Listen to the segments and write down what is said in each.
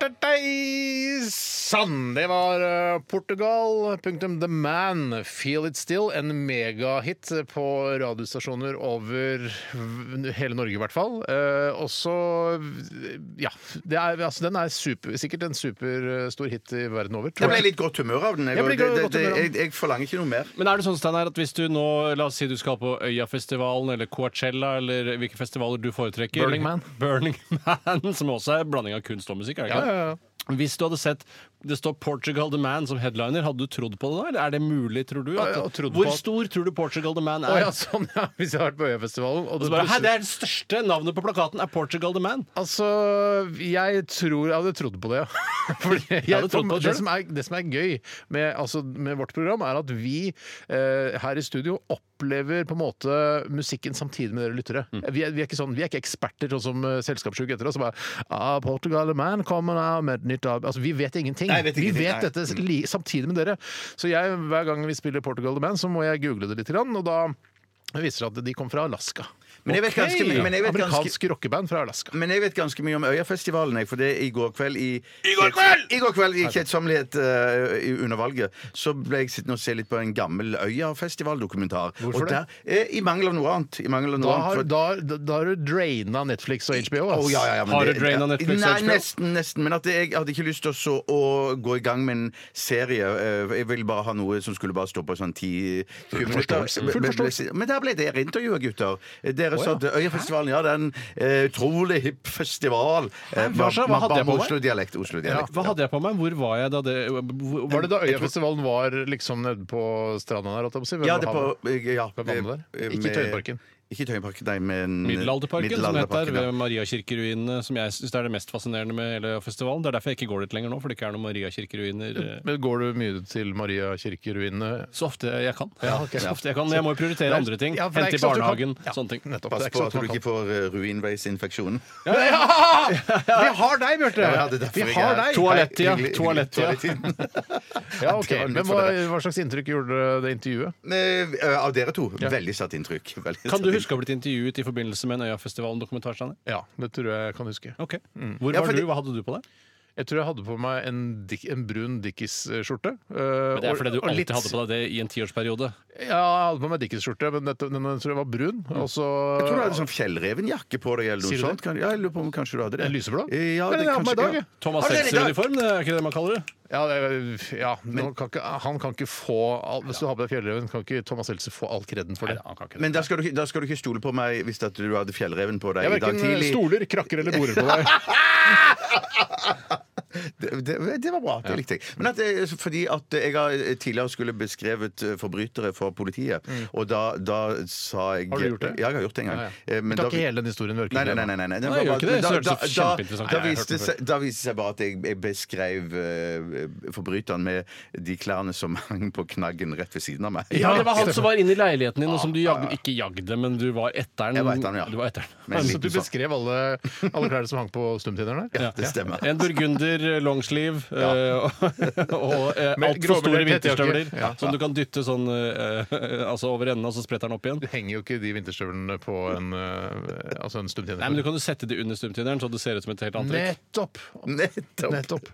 Dei, Sann! Det var eh, Portugal, punktum The Man, Feel It Still. En megahit på radiostasjoner over v- hele Norge, i hvert fall. Eh, også Ja. Det er, altså, den er super, sikkert en superstor hit i verden over. Jeg ble litt godt humør av den. Jeg, Jeg ble det, det, godt humør av jeg, den. jeg forlanger ikke noe mer. Men er det sånn, Steinar, at hvis du nå, la oss si du skal på Øyafestivalen eller Coachella, eller hvilke festivaler du foretrekker Burning Man. Burning Man, Som også er en blanding av kunst og musikk, er det Ja, ikke? ja, ja. det? Hvis du hadde sett det står Portugal The Man som headliner, hadde du trodd på det da? Eller er det mulig, tror du? At, Ja, ja, trodd på hvor at- stor tror du Portugal The Man Å er? ja, sånn, ja. Hvis jeg har vært på Øyafestivalen og Og det så bare, Hæ, plutselig- det er det største navnet på plakaten er Portugal the Man. Altså, jeg tror Jeg hadde trodd på det, ja. Fordi jeg, hadde trodd på det det, selv. som er, det som er gøy med, altså, med vårt program, er at vi eh, her i studio opplever på en måte musikken samtidig med dere lyttere. Mm. Vi, er, vi, er ikke sånn, vi er ikke eksperter, sånn som uh, Selskapssjuk etter oss. som Bare, ah, 'Portugal the Man kommer her med et nytt album'. Altså, vi vet ingenting. Nei, jeg vet ingenting, vi nei. Mm. vet dette li, samtidig med dere. Så jeg, hver gang vi spiller 'Portugal the Man', så må jeg google det litt, grann, og da viser det at de kom fra Alaska. Men jeg vet ganske, mye- men jeg vet ganske, Amerikansk rockeband fra Alaska. men jeg vet ganske mye om Øyafestivalen, jeg, for det i går kveld i I går kveld! I går kveld, i kjedsommelighet eh, i- under valget, så ble jeg sittende og se litt på en gammel Øyafestival-dokumentar. Hvorfor Og det? der- eh, I mangel av noe annet. I mangel av noe Da annet. har, for- da, da, da har du draina Netflix og HBO. Ass. Å, ja, ja, ja, men Har det- du draina Netflix og Nei, HBO? nesten. nesten men at jeg hadde ikke lyst til å så, å gå i gang med en serie. Eh, Jeg ville bare ha noe som skulle bare stå på sånn 10-20 minutter. forståelse. Full Men- forståelse. Men der ble dere intervjua, gutter. Dere Å, sa ja. at Øyafestivalen ja, det er en eh, utrolig hipp festival. Eh, hva sa- hva ma- hadde ma- jeg på meg? Oslo-dialekt. Oslo-dialekt. Hva hadde jeg på meg? Hvor var jeg da det hvor, Var det da Øyafestivalen var liksom nede på stranda der? holdt jeg på å si? Ved Ja, det er havet? på eh, ja, Ved vannet der? eh, Ikke med- Tøyenparken. Ikke Tøyenparken, nei, men Middelalderparken, som heter, Middelalderparken, ja. ved Mariakirkeruinene, som jeg syns er det mest fascinerende med hele festivalen. Det er derfor jeg ikke går dit lenger nå, for det ikke er noen Mariakirkeruiner eh, Men Går du mye til Maria kirkeruinene? så ofte jeg kan. Ja, ok. Så ofte jeg kan. Jeg må jo prioritere andre ting. Ja, for det er Hente i ikke sånn at du kan- barnehagen, Ja, sånne ting. Nettopp. Pass det er på ikke sånn at du man ikke kan- får eh, ruinveisinfeksjon. Vi har deg, Bjarte! Ja, det er derfor Vi jeg har er- deg! Toalettida. Hyggelig- hyggelig- Toalettida. toalettida. Ja, ok. Det var litt Men for hva, deg. hva slags inntrykk gjorde det intervjuet? Eh, eh, Av dere to. Veldig satt inntrykk. Veldig Kan satt du inntrykk. huske å ha blitt intervjuet i forbindelse med en Øyafestivalen-dokumentar? Steinar? Ja, det tror jeg jeg kan huske. Ok. Mm. Hvor Ja, var fordi- du? Hva hadde du på deg? Jeg tror jeg hadde på meg en, dik- en brun Dickies-skjorte. eh, Det er fordi du alltid hadde på deg det i en tiårsperiode. Ja, jeg hadde på meg Dickies-skjorte, men dette- den, den tror jeg var brun. Og så Jeg tror du hadde sånn fjellrevenjakke på deg. eller Sier du noe det? sånt. Kan- Ja, jeg lurer på om kanskje du hadde det. En lyseblå? Eh, Ja, Men det den har jeg på kanskje, meg i dag, jeg. ja. Thomas Har du den i dag? Seltzer-uniform, det er ikke det man kaller det? Ja, det, er- ja nå kan ikke, han kan ikke få all, Hvis du har på deg fjellreven, kan ikke Thomas Helse få all kreden for det. Men da skal, du, ikke- da skal du ikke stole på meg hvis at du hadde fjellreven på deg Jeg eh, i dag verken tidlig. stoler, krakker eller borer på deg. Det, det, det var bra. Det likte jeg. Men at det, fordi at jeg har eh, tidligere skulle beskrevet eh, forbrytere for politiet, og da, da sa jeg Har du gjort det? Ja, jeg har gjort det en gang. Ja, Eh, men Vi tar da- ikke hele den historien. vi orker Nei, ikke nei, nei. det. nei, nei, Nei, gjør ikke det. men Så høres det da- kjempeinteressant ut. da, Nei, da, jeg hørte viste det seg, da viste det seg bare at jeg, jeg beskrev eh, forbryteren med de klærne som hang på knaggen rett ved siden av meg. Ja, det var han som var inne i leiligheten din, og som du jag, ikke jagde, men du var etter Jeg den. var etter den, ja. Du var etter den. Men Så liten du sånn. beskrev alle, alle klærne som hang på stumtideren der? Ja, det stemmer. En burgunder longsleeve eh, og eh, Med altfor store gråbeltet, vinterstøvler jakke. Ja. som du kan dytte sånn eh, eh, altså over enden, og så spretter den opp igjen. Du henger jo ikke de vinterstøvlene på en, eh, altså en stumtjener. Nei, men Du kan jo sette de under stumtideren, så det ser ut som et helt antrekk. Nettopp! Nettopp. Nettopp.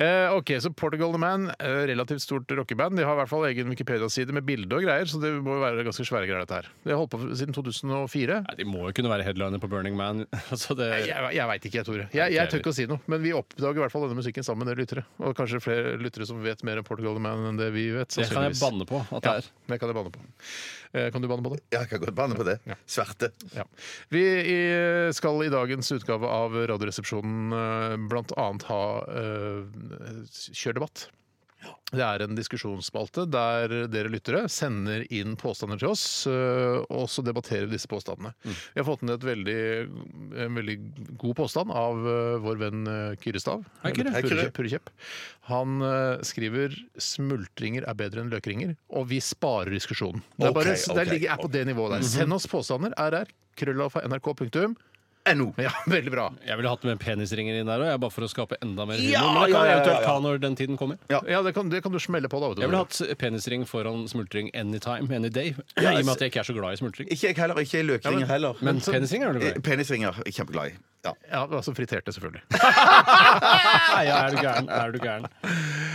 Eh, ok, så Portugal The Man, eh, relativt stort rockeband. De har i hvert fall egen Wikipedia-side med bilde og greier, så det må jo være ganske svære greier, dette her. De har holdt på siden 2004. Nei, De må jo kunne være headliner på Burning Man. altså det... Jeg, jeg veit ikke, jeg, Tore. Jeg, jeg tør ikke å si noe. Men vi oppdager i hvert fall denne musikken sammen med dere lyttere. Og kanskje flere lyttere som vet mer om Portugal The Man enn det vi vet. Det kan jeg sannsynligvis. banne på at det Ja, er. det kan jeg banne på. Eh, Kan du banne på det? Jeg kan godt banne på det. Sverte. Ja. Vi i- skal i dagens utgave av Radioresepsjonen eh, blant annet ha eh, kjørdebatt. Det er en diskusjonsspalte der dere lyttere sender inn påstander til oss, eh, og så debatterer vi disse påstandene. Mm. Vi har fått ned et veldig, en veldig god påstand av eh, vår venn eh, Kyrre Stav. Hei, Kyrre. Eller Hei, Purre Kjepp- Purre Kjepp. Han eh, skriver 'smultringer er bedre enn løkringer', og vi sparer diskusjonen. Det er Ok, bare, det ok, Mhm. ligger, er på det nivået der. Send oss påstander. RR. Krøllalfa.nrk. punktum. NO. Ja, veldig bra. Jeg ville hatt med penisringer inn der òg, bare for å skape enda mer humor. Ja, men det kan jeg ja, ja, eventuelt ja, ja. ta når den tiden kommer. Ja. Ja, det kan, det kan du smelle på, da. Vet du. Jeg ville hatt penisring foran smultring anytime, any day. I og med at jeg ikke er så glad i smultring. Ikke jeg heller. Ikke jeg løkringer heller. Eh, Men penisring er du glad i? Penisringer. jeg er Kjempeglad i. Ja. Ja, altså friterte, selvfølgelig. Nei, ja, er du gæren? Er du gæren?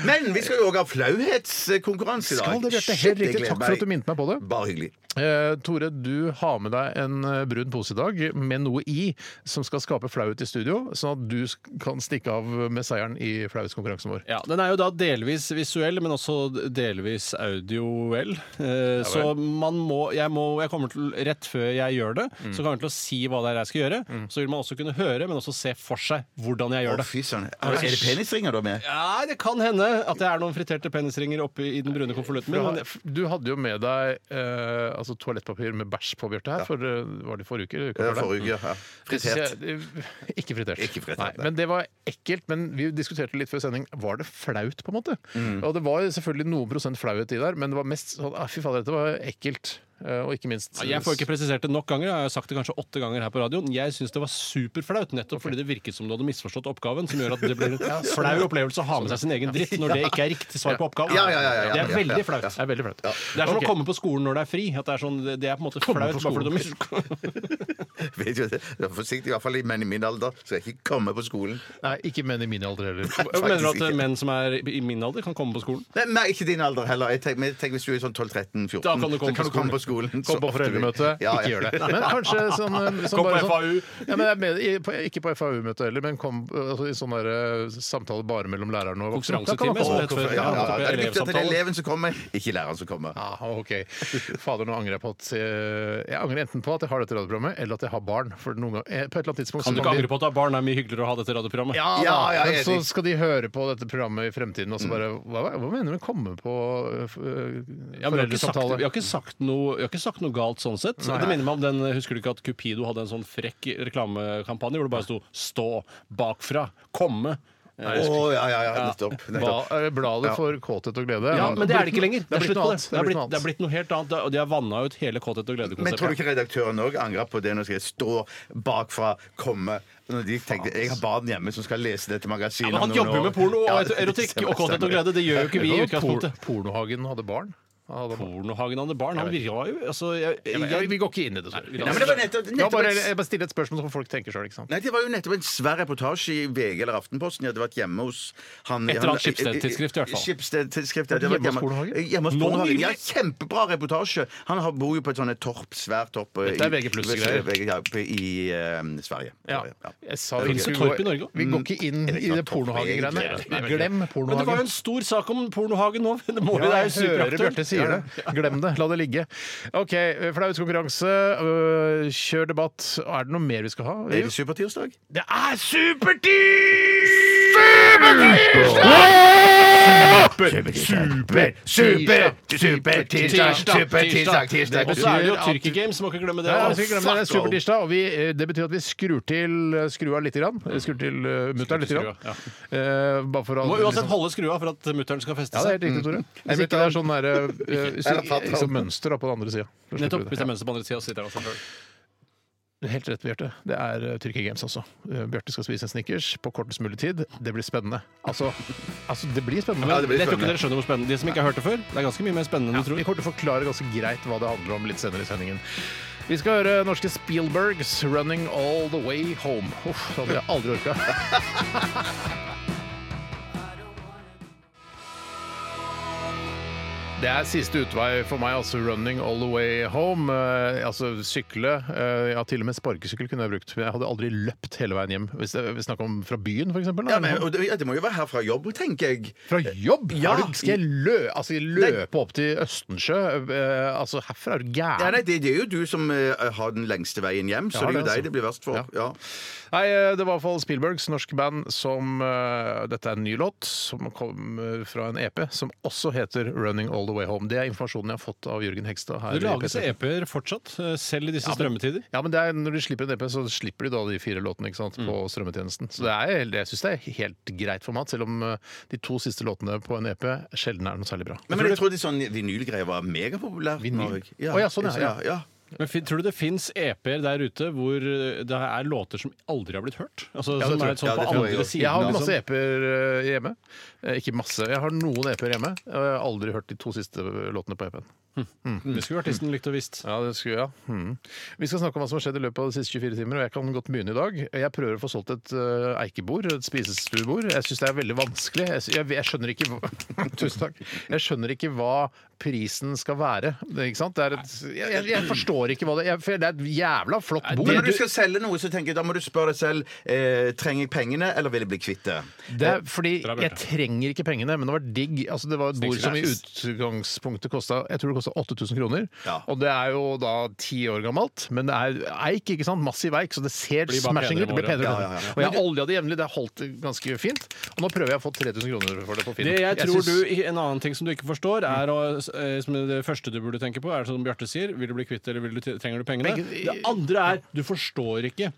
Men vi skal jo òg ha flauhetskonkurranse i dag. Skal det, Bjarte. Shit, Helt jeg riktig. gleder Takk for at du meg. minnet meg på det. Bare hyggelig. Eh, Tore, du har med deg en eh, brun pose i dag med noe i som skal skape flauhet i studio, sånn at du sk- kan stikke av med seieren i flauhetskonkurransen vår. Ja, Den er jo da delvis visuell, men også delvis audioell. Eh, så man må jeg, må jeg kommer til, Rett før jeg gjør det, Mm. så kommer jeg til å si hva det er jeg skal gjøre. Så vil man også kunne høre, men også se for seg hvordan jeg Å, gjør det. fy søren. Er det- er det penisringer da med? Ja, Det kan hende at det er noen friterte penisringer oppi i den brune konvolutten min. Du, men- har- du hadde jo med deg eh, altså toalettpapir med bæsj på, Bjarte, her. For, eh, var det i forrige uke? eller uka Det før var der? Forrige uke. Ja. Fritert. Jeg- Ikke fritert. Ikke fritert, Nei, nei. men det var ekkelt. Men vi diskuterte litt før sending. Var det flaut, på en måte? Mm. Og det var selvfølgelig noen prosent flauhet i der, men det var mest sånn ah, Fy fader, dette var ekkelt. Eh, Og ikke minst Ja, Jeg får ikke presisert det nok ganger. Jeg har sagt det kanskje åtte ganger her på radioen. Jeg syns det var superflaut, nettopp fordi det virket som du hadde misforstått oppgaven, som gjør at det blir en flau opplevelse å ha med seg sin egen dritt når det ikke er riktig svar på oppgaven. Ja, ja, ja, ja, ja. Det er veldig Ja, ja, flaut. Det er veldig flaut. Det er som Ok. å komme på skolen når det er fri. At det, er sånn, det er på en måte Komme flaut på skolen. skoledommer. Vet du, det er forsiktig, i hvert fall i menn i min alder, så jeg ikke kommer på skolen. Nei, ikke menn i min alder heller. Mener du at ikke. menn som er i min alder, kan komme på skolen? Nei, nei, ikke din alder heller. Jeg tenker, men tenk hvis du er sånn 12-13-14. Da kan du komme så kan på du komme på skolen. Kom på så ofte du vil. foreldremøte, Ja, ikke ja. gjør det. Men kanskje sånn, eh, som Kom på bare sånn- FAU. Ja, men jeg er med, i- på, ikke på FAU-møte heller, men kom eh, altså, i sånn der, eh, samtale bare mellom læreren og voksne. Da kan man Konkurransetime, som komme- det het før. Ja, ja, ja. Det er viktig at det er Elevsamtale. eleven som kommer, ikke læreren som kommer. Ja, Ah, ok. Fader, nå angrer jeg på at eh, Jeg angrer enten på at jeg har dette radioprogrammet, eller at jeg har barn. For noen gang, eh, på et eller annet tidspunkt Kan du så ikke kan de- angre på at du har barn? Det er mye hyggeligere å ha dette radioprogrammet. Ja, Ja, da. ja, Men jeg er så enig. skal de høre på dette programmet i fremtiden Mm. og så bare Hva, hva mener du med å komme på eh, f- eh, Ja, men vi, har ikke sagt, vi, foreldresamtale? har ikke sagt noe, vi har ikke sagt noe galt sånn sett. Nei. Det minner meg om den, Husker du ikke at Cupido hadde en sånn frekk reklamekampanje hvor det bare sto 'stå bakfra', 'komme'? Å, ja, ja, ja, nettopp. nettopp. Hva er eh, Bladet for kåthet og glede? Ja, men det er det ikke lenger. Det er blitt slutt på noe annet. det. Det er blitt, det er blitt noe helt annet. Og de har vanna ut hele Kåthet og Men tror du glede-konseptet. ikke redaktøren òg angrer på det når de skal stå bakfra, komme Når de tenkte jeg har barn hjemme som skal lese dette magasinet Men han om noen jobber år. med porno Ja, og det erotikk stemmer, og Kåthet og stemmer. glede. Det gjør jo ikke vi i Por- utgangspunktet. Pornohagen hadde barn. Han Hadde barn. Pornohagen hadde barn. Han virka jo altså, jeg, Ja, men, jeg, vi går ikke inn i det. Sorry. Nei, Nei, men det var nettopp, Ja, nettopp bare, et- jeg bare stiller et spørsmål som folk tenker sjøl. Nei, Det var jo nettopp en svær reportasje i VG eller Aftenposten. Jeg hadde vært hjemme hos han Et eller annet Schibsted-tidsskrift i hvert fall. Skipsted-tidsskrift, ja. Det Hjemme var hos Pornohagen? hjemme- Hjemme hos Nå nylig? Pornohagen. Ja, kjempebra reportasje! Han har, bor jo på et sånt et torp, svært torp eh, Dette er i- VG pluss-greier. VG, ja, på- I eh, Sverige. Ja. Ja. Jeg sa Finnes vi det skulle torp i gå- Norge også? Vi går ikke inn det i ikke det sånn torp? pornogreiene. Egentlig er det- Glem men det var jo pornohagen. en stor sak om Pornohagen nå. Det må jo, det er Ja, jo jeg hører Bjarte superaktør. sier det. Glem det. La det ligge. OK, flauhetskonkurranse. øh, Kjør debatt. Er det noe mer vi skal ha? Er det supertirsdag? Det er supertid! Super, tirsdag. Og så er det jo Tyrkia Games, må ikke glemme det. da. Ja, vi skal glemme det. det er Fuck off. supertirsdag, og vi, eh, det betyr at vi skrur til eh, skrua lite grann. Eh, Skrur til uh, mutter'n lite grann. skrua, Eh, bare for å Må liksom- uansett holde skrua for at eh, mutter'n skal feste Ja, det er seg. Mm. helt riktig, Tore. Hvis ikke det er sånn der, eh, så- Eller fatt, så mønster da, på den andre sida. Nettopp. Hvis det er mønster på andre sida, sitter han også sjøl. Helt rett, Bjarte. Det er uh, Tyrkia Games også. Eh, Bjarte skal spise en Snickers på kortest mulig tid. Det blir spennende. Altså, altså det blir spennende. Ja, det blir Jeg tror ikke spennende. dere skjønner hvor spennende De som ikke har hørt det før, det er ganske mye mer spennende enn du tror. Vi kommer til å forklare ganske greit hva det handler om litt senere i sendingen. Vi skal høre norske Spielbergs 'Running All The Way Home'. Uff, det hadde jeg aldri orka. Det er siste utvei for meg, altså 'running all the way home'. Eh, altså sykle. Eh, ja, til og med sparkesykkel kunne jeg brukt. Men jeg hadde aldri løpt hele veien hjem. Hvis det- vi snakker om fra byen, f.eks. Ja, men, og det, ja, det må jo være her fra jobb, tenker jeg. Fra jobb? Ja. Har du, skal jeg lø, altså, jeg løpe opp til Østensjø? Eh, altså, herfra er du gæren. Ja, nei, det, det er jo du som eh, har den lengste veien hjem, så Ja, det det er jo er deg sant. det blir verst for. Ja. Nei, eh, det var i hvert fall Spielbergs norske band som eh, Dette er en ny låt som kom eh, fra en EP som også heter 'Running All The Way Home'. Det er informasjonen jeg har fått av Jørgen Hegstad her. Det i lages E P3. EP-er fortsatt, eh, selv i disse strømmetider. Ja, men det er, Når de slipper en EP, så slipper de da de fire låtene ikke sant, på strømmetjenesten. Så det er, jeg syns det er helt greit format, selv om eh, de to siste låtene på en EP sjelden er noe særlig bra. Men, men jeg trodde sånn vinylgreier var megapopulært. Vinyl? Norge. Å, ja, sånn, ja, ja. ja. Men fin, tror du det fins EP-er der ute hvor eh, det er låter som aldri har blitt hørt? Altså, det som tror er jeg. sånn Ja, det på tror jeg andre også. siden Jeg har av masse sånn- EP-er eh, hjemme. Eh, Ikke masse. Jeg har noen EP-er hjemme. og Jeg har aldri hørt de to siste eh, låtene på EP-en. Mm, Det skulle artisten likt å visst. Ja, det skulle, ja. Hmm. Vi skal snakke om hva som har skjedd i løpet av de siste 24 timer, og jeg kan godt begynne i dag. Jeg prøver å få solgt et eh, eikebord, et spisestuebord. Jeg syns det er veldig vanskelig. Jeg, sy- jeg, jeg skjønner ikke hva, Tusen takk. Jeg skjønner ikke hva prisen skal være. Det, ikke sant? Det er et, jeg, jeg, jeg forstår ikke hva det er. Det er et jævla flott bord. Men når du skal selge noe, så tenker jeg, da må du spørre deg selv eh, Trenger jeg pengene, eller vil jeg bli kvitt det? Det er Eh, fordi Bra, Bjarte. jeg trenger ikke pengene, men det var digg. Altså, det var et bord som i utgangspunktet kosta 8000 kroner. Ja. Og det er jo da ti år gammelt, men det er eik, ikke sant? massiv eik, så det ser Blir bare smashing penere ut. Det med blir året. penere. Ja, ja, ja. Og jeg har olja det jevnlig, det har holdt ganske fint. Og nå prøver jeg å få 3000 kroner for det på Finn. Det jeg tror syns- du, En annen ting som du ikke forstår, er å, eh, som det første du burde tenke på, er som Bjarte sier, vil du bli kvitt eller vil du, trenger du pengene? Begge- Det andre er, du forstår ikke.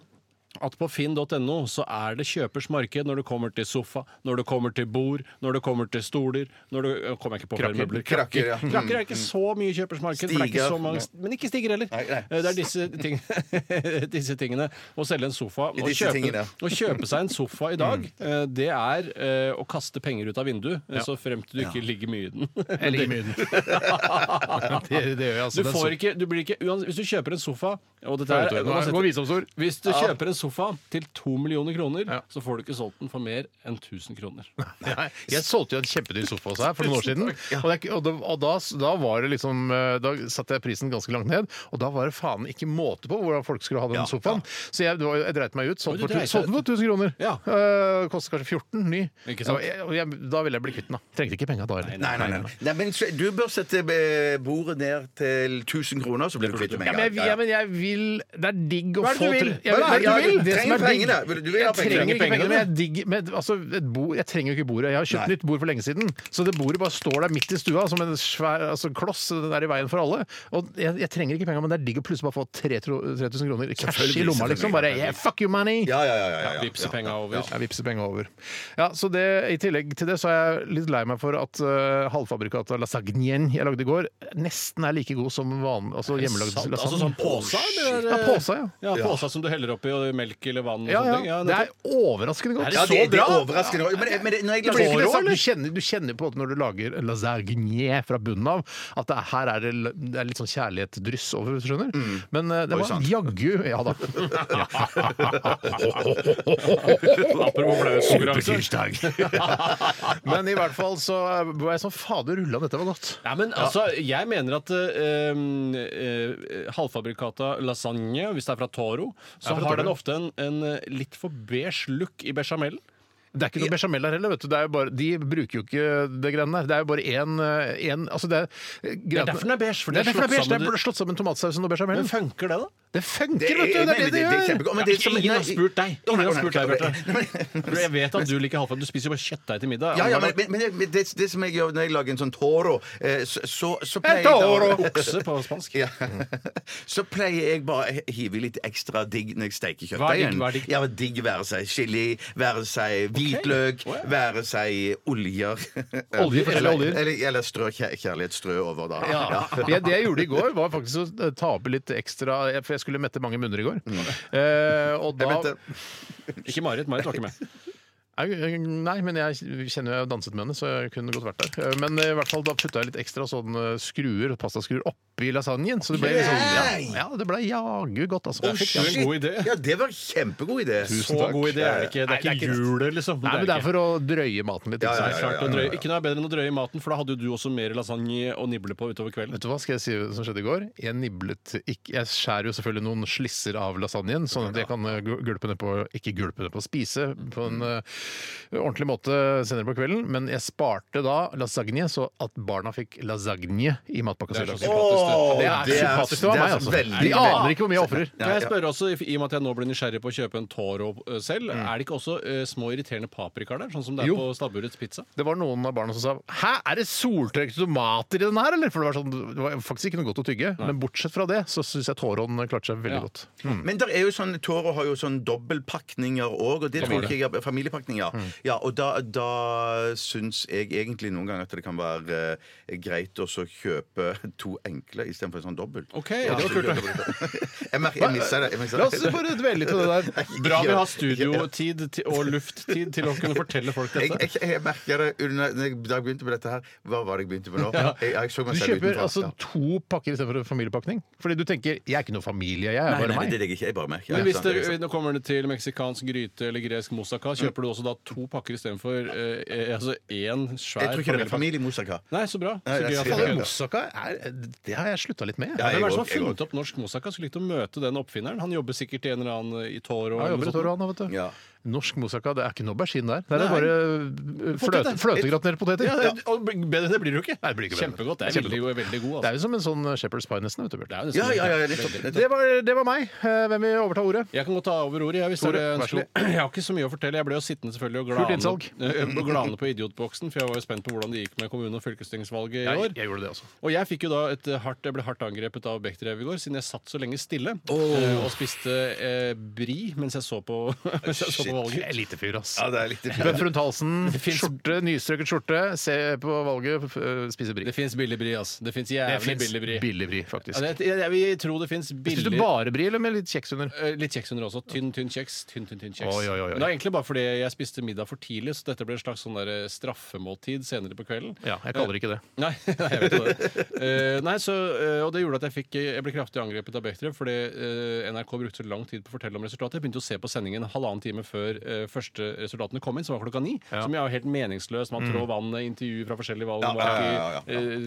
At på finn.no så er det kjøpers marked når det kommer til sofa, når det kommer til bord, når det kommer til stoler når det, øh, Kommer jeg ikke på flere Krakker. møbler? Krakker, ja. Krakker er ikke så mye kjøpers marked, for det er ikke Stiger. så mange, men ikke stiger heller. Nei, nei. Eh, Det er disse, ting, disse tingene. Å selge en sofa og disse kjøpe, tingene. å kjøpe seg en sofa i dag, Mm. eh, det er eh, å kaste penger ut av vinduet, eh, så fremt du ikke ligger mye i den. Jeg ligger mye i den. det, det gjør jeg altså. Du Den får ikke, du blir ikke uans- Hvis du kjøper en sofa og dette sofaen- er, Nå er- Gå visdomsord. Hvis du kjøper en sofa til to millioner kroner, Ja. så får du ikke solgt den for mer enn 1000 kroner. Nei, jeg solgte jo en kjempedyr sofa også her for noen år siden. Og, det, og, da, og da, da var det liksom eh, Da satte jeg prisen ganske langt ned, og da var det faen ikke måte på hvordan folk skulle ha den sofaen. Så jeg, det var, jo- jeg dreit meg ut. Oi, du Solgte for, tu- dreit deg solgte den for 1000 kroner. Ja. Eh, Kostet kanskje 14 ny. Ikke sant? Og jeg, og jeg, da ville jeg bli kvitt den, da. Trengte ikke penga da heller. Nei, nei, nei. nei men så- du bør sette eh, bordet ned til 1000 kroner, så blir du kvitt det med Ja, en men jeg, gang. ja, men jeg vil Det er digg å Hva er det få du vil? tre- Jeg, Hva er jeg det du vil? Det som er Trenger digg- pengene. Vil du- du vil ha jeg trenger ikke pengene. Trenger pengene, pengene, men jeg, er digg, men, altså, et bord, jeg trenger jo ikke bordet. Jeg har kjøpt Nei. nytt bord for lenge siden, så det bordet bare står der midt i stua som en svær altså, kloss. Den er i veien for alle. Og jeg, jeg trenger ikke pengene, men det er digg å plutselig bare få 3000 kroner cash i lomma, liksom. Bare yeah, fuck you money! Ja, ja, ja. ja, ja, ja. Vipse penga over. Jeg vippser penger over. Ja, så det, I tillegg til det så er jeg litt lei meg for at uh, halvfabrikatet lasagnen jeg lagde i går, nesten er like god som vanlig altså hjemmelagd Sant? lasagne. Altså sånn påsa? eller? Ja, påsa, ja. Ja, påsa som du heller oppi og melk eller vann og Ja, sånne ting. ja. Ja, Det nettopp. er overraskende godt. Er Ja, Så det, det er bra! overraskende. Men, men det- når jeg Det blir ikke det lager- samme. Du kjenner, du kjenner på at når du lager lasagne fra bunnen av, at det, er- her er det, l- det er litt sånn kjærlighetsdryss over, hvis du skjønner. Men eh, det var sant. jaggu Ja da. Apropos flauskonkurranse. Men i hvert fall så var jeg sånn Fader ullan, dette var godt. Ja, men altså, jeg mener at eh, eh, halvfabrikata lasagne, hvis det er fra Toro, så fra Toro, har den ja. ofte en, en eh, litt for beige look i bechamelen. Det er ikke noe bechamel der heller, vet du. Det er jo bare, de bruker jo ikke det greiene der. Det er jo bare én én- Altså, det er Det er derfor den er beige, for Det det er, er derfor slått den er beige. sammen- Det er slått sammen tomatsausen og Men bechamelen. funker det, da? Det funker, Det er- vet du! Det er det men det er gjør! kjempegodt. Men det som- Ingen har spurt deg! Å, nei, Ingen har å, nei, spurt deg, ok, Bjarte. For Jeg vet at du liker halvfabrikata. Du spiser jo bare kjøttdeig til middag. Ja, ja, Alle har men, men, men det- men det, det som jeg gjør når jeg lager en sånn toro, eh, så, så, så pleier toro! jeg da- Okse på spansk. Ja. Så pleier jeg bare å hive i litt ekstra digg når jeg steker kjøttdeigen. Hva er digg? Hva er digg? Ja, men digg være seg chili, være seg hvitløk, Å, ja. være seg oljer. Oljer, forskjellige eller, oljer. Eller, eller strø kjær- kjærlighet strø over, da. Ja. Det, det jeg gjorde i går, var faktisk å ta opp litt ekstra For jeg skulle mette mange munner i går. Eh, og da Mm. Jeg mente, Ikke Marit. Marit var ikke med. Nei, Nei, men jeg kjenner jo jeg har danset med henne, så jeg kunne godt vært der. Eh, Men i hvert fall da putta jeg litt ekstra sånn eh, skruer, pastaskruer oppi lasagnen. Så det ble litt sånn Ja, ja det ble jaggu godt, altså. «Å, Fikk jeg- det er en god idé. Ja, det var en kjempegod idé. Så god idé er det ikke. Det Nei, er ikke julet, liksom. Nei, men det er ikke. for å drøye maten litt. Ja, ikke sant? ja, ja, ja. Klart å drøye. Ikke noe er bedre enn å drøye maten, for da hadde jo du også mer lasagne å nible på utover kvelden. Vet du hva skal jeg si hva som skjedde i går? Jeg niblet ikke Jeg skjærer jo selvfølgelig noen slisser av lasagnen, sånn at jeg kan eh, gu- gulpe ned på Ikke gulpe ned på, spise på en eh, ordentlig måte senere på kvelden. Men jeg sparte da lasagne, så at barna fikk lasagne i matpakka si i dag. så Å, Det er sympatisk. Det var meg, altså. veldig De bra. aner ikke hvor mye jeg ofrer. Kan jeg spørre også, I i og med at jeg nå blir nysgjerrig på å kjøpe en Toro eh, selv, Mm. er det ikke også eh, små irriterende paprikaer der? Sånn som det er Jo. på Stabburets pizza? Det var noen av barna som sa 'hæ, er det soltørkede tomater i den her', eller? For det var, sånn, det var faktisk ikke noe godt å tygge. Men bortsett fra det så syns jeg Tårån klarte seg veldig Ja. Mm. godt. Men der er jo sånn, Toro har jo sånn dobbeltpakninger òg, og det tror ikke jeg familiepakninger. påvirkning, ja. ja og da, da syns jeg egentlig noen ganger at det kan være eh, greit å så kjøpe to enkle istedenfor en sånn dobbel. Ok, ja, det var kult, Jeg, merker- jeg missa det. Jeg misser La oss det. bare dvele litt ved det der. Nei, Bra vi ikke- har studiotid til- og lufttid til å kunne fortelle folk Jeg, dette. jeg, jeg merker det under, når jeg, da jeg begynte på dette her Hva var det jeg begynte på nå? Jeg, jeg så meg Du selv kjøper utenfor, altså ja. to pakker istedenfor en familiepakning? Fordi du tenker 'jeg er ikke noe familie, jeg er Nei, bare nei, det meg'. er jeg ikke. Jeg bare merker Men det. hvis Sant, det, sant. Mm. nå kommer det til meksikansk gryte eller gresk moussaka, kjøper du også da to pakker istedenfor eh, eh, altså én svær Jeg tror ikke det familiepakke? er familiemoussaka. Nei, så bra. Så Nei, gøy jeg at sier dere det. gjør det. Moussaka er Det har jeg slutta litt med. Ja, jeg Hvem er det som har går- jeg funnet opp norsk moussaka? Skulle likt å møte den oppfinneren. Han jobber sikkert i en eller annen i Toro. Ja, eller noe jobber i sånt. Toro, han, vet du. Ja. Norsk moussaka, det er ikke noe aubergine der. Der er Nei. bare øh, fløte, Poteter. fløtegratinerte poteter. Ja, det- og bedre det blir det jo ikke. Nei, det blir ikke bedre. Kjempegodt. Det er Kjempegodt. veldig, god- veldig god. Det er Altså. jo som en sånn Shepherd's pie, nesten. vet du, Bjørn. Det er jo Ja, nesten- ja, ja, nettopp. nettopp. Det var, det var meg. Eh, Hvem vil overta ordet? Jeg kan godt ta over ordet. Jeg, hvis Tore, dere vær så ønsker- jeg har ikke så mye å fortelle. Jeg ble jo sittende selvfølgelig og Fullt glane, innsalg. og glane på idiotboksen, for jeg var jo spent på hvordan det gikk med kommune- og fylkestingsvalget i år. Jeg, jeg gjorde det også. Og jeg fikk jo da et eh, hardt, jeg ble hardt angrepet av Bechdrev i går, siden jeg satt så lenge stille eh, og spiste eh, bri mens jeg så på, mens jeg så på Jeg valget. er lite fyr, ass. Ja, det er litt Bøffer rundt halsen, finnes- skjorte, nystrøket skjorte, se på valget, f- øh, spise bri. Det fins billig bri, ass. Det fins Det jævlig finnes billig bri. billig bri, faktisk. Ja, det, jeg, jeg vil tro det fins Spiser du billig bare bri, eller med litt kjeks under? Eh, Litt kjeks under også. Tynn, tynn kjeks. Tynn, tynn, tynn kjeks. Oi, oi, oi, oi. Det var egentlig bare fordi jeg spiste middag for tidlig, så dette ble en slags sånn der eh, straffemåltid senere på kvelden. Ja, jeg kaller det ikke det. Nei, nei, jeg vet jo det. Eh, nei, så, eh, og det gjorde at jeg, fikk, jeg ble kraftig angrepet av Bechdrev, fordi eh, NRK brukte så lang tid på å fortelle om resultatet. Jeg begynte å se på sendingen halvannen time før eh, første resultatene kom inn, som var klokka ni. Ja. Som jo er helt meningsløs. Man trår vannet, intervju eh, fra forskjellige valg. Mm. Ja, ja, ja, ja, ja. Eh,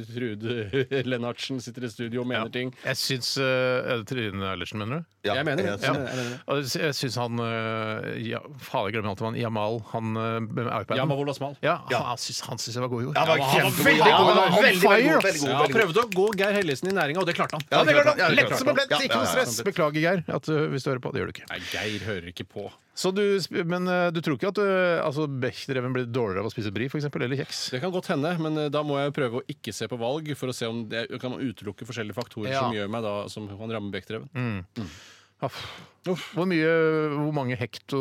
Trude Lennartsen sitter i studio og mener ting. Jeg syns øh, Er det Trine Eilertsen, mener du? Ja, jeg mener det. ja. Jeg mener det. Og Jeg syns han øh, ja, Faen, jeg glemmer alltid han Jamal, han øh, med iPaden. Ja, Mavola Smal. Ja, han syns han synes jeg var god i går. Han var kjempegod. veldig Ja, god. han var On veldig, veldig fire. god, veldig god, Ja, veldig god. prøvde å gå Geir Hellesen i næringa, og det klarte han. Ja, det klarte han. klarte Ja, det Lett klarte som en han. blett, Ja, ikke ja, noe ja. stress. Beklager, Geir, at, øh, hvis du hører på. Det gjør du ikke. Nei, Geir hører ikke på. Så du, sp- men øh, du tror ikke at øh, altså, Bechdreven blir dårligere av å spise brie, f.eks., eller kjeks? Det kan godt hende, men eh, da må jeg prøve å ikke se på valg, for å se om det kan man utelukke forskjellige faktorer Ja. Mm. som gjør meg da som kan ramme Bechdreven. Aff. Hvor, mye, hvor mange hekto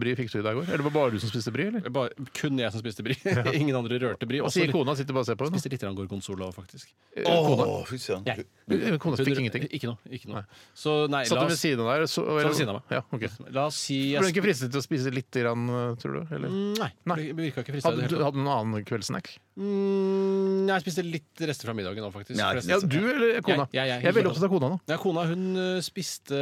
brie fikk du i deg i går? Eller var det bare du som spiste brie? eller? Bare- Kun jeg som spiste brie. Ingen andre rørte brie. Hva Også sier litt- kona? Sitter bare og ser på henne. spiste litt grann gorgonzola, faktisk. Åh, fy søren. Jeg. Eh, Kona fikk ingenting. Ikke noe. Ikke noe. Så nei, Satt la hun ved oss, siden av deg? eller Så, eller- ved siden av meg. Ja, ok. la oss si Ble hun ikke fristet til å spise litt, grann, eh, tror du? Eller? Nei. Nei. det Virka ikke frista i Mm. Hadde det du hele tatt. hadde du noen annen kveldssnack? Mm, jeg spiste litt rester fra middagen nå, faktisk. Ja, Forresten. Ja, du eller kona? sånn, Jeg- jeg- jeg- Jeg er veldig opptatt av kona nå. Ja, kona hun eh, spiste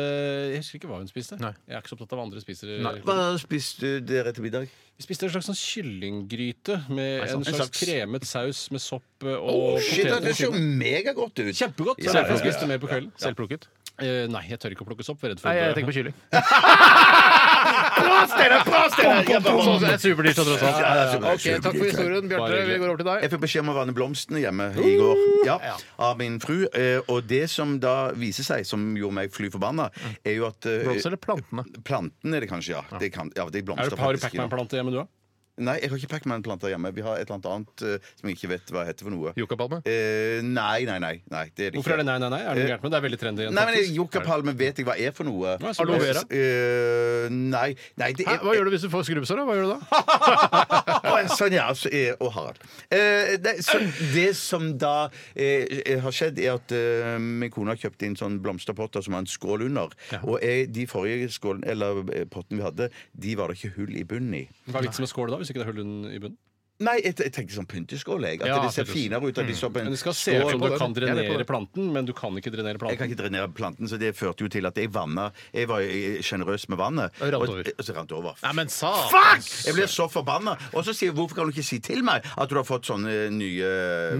Jeg husker ikke hva hun spiste. Nei. Jeg er ikke så opptatt av hva andre spiser. Nei. Hva spiste dere til middag? Vi spiste en slags sånn kyllinggryte med en slags, sant. En slags- kremet saus med sopp eh, og Åh, shit, poteter det på så siden. megagodt ut. Kjempegodt! Ja, Så ja, derfor ja, spiste ja. mer på kvelden. Selvplukket? Eh, nei, jeg tør ikke å plukke sopp. for jeg er Redd for Nei, jeg å dø. tenker på kylling. Jeg bare- Så Det er superdyrt, og tross alt. Ja, det er superdyrt. Eh, Ok, Takk for historien, Bjarte. Vi går over til deg. Jeg fikk beskjed om å vanne blomstene hjemme i går ja, av min fru. Eh, Og det som da viser seg, som gjorde meg fly forbanna, er jo at eh, Blomster eller plantene? Planten er det kanskje, ja. Det kan, ja det er Er blomster, det Har du faktisk, ja. Pacman-plante hjemme, du, da? Nei, jeg har ikke Pacman-planter hjemme. Vi har et eller annet annet eh, som jeg ikke vet hva heter for noe. Yucapalme? Eh, nei, nei, nei. nei det er det Hvorfor er det nei, nei, nei? Er det noe Eh, gærent med det? Det er veldig trendy. Nei, men faktisk. Yucapalme vet jeg hva er for noe. Ja, så Aloe bra. vera? Eh, nei, nei, det Hæ, er Hva gjør du hvis du får skrubbsår? da? Hva gjør du da? Å, sånn, ja. Så, eh, og Harald. Eh, det, så, det som da eh, har skjedd, er at eh, min kone har kjøpt inn sånn blomsterpotter som har en skål under. Og eh, de forrige skålen, eller eh, pottene vi hadde, de var det ikke hull i bunnen i. Hva er vitsen med skål da, hvis ikke det er hull i bunnen? Nei, jeg, jeg tenker sånn pynteskål. Jeg. At Ja, det ser absolutt. finere ut. At de står på en Men Det skal se ut skål. som på du den. kan Jeg er med på drenere den. planten, men du kan ikke drenere Jeg kan planten. ikke drenere planten, så det førte jo til at jeg vanna Jeg var eh, sjenerøs med vannet. Det rant og- over. Og så rant det over. Nei, men sa Fuck! Jeg blir så forbanna. Og så sier jeg hvorfor kan du ikke si til meg at du har fått sånne nye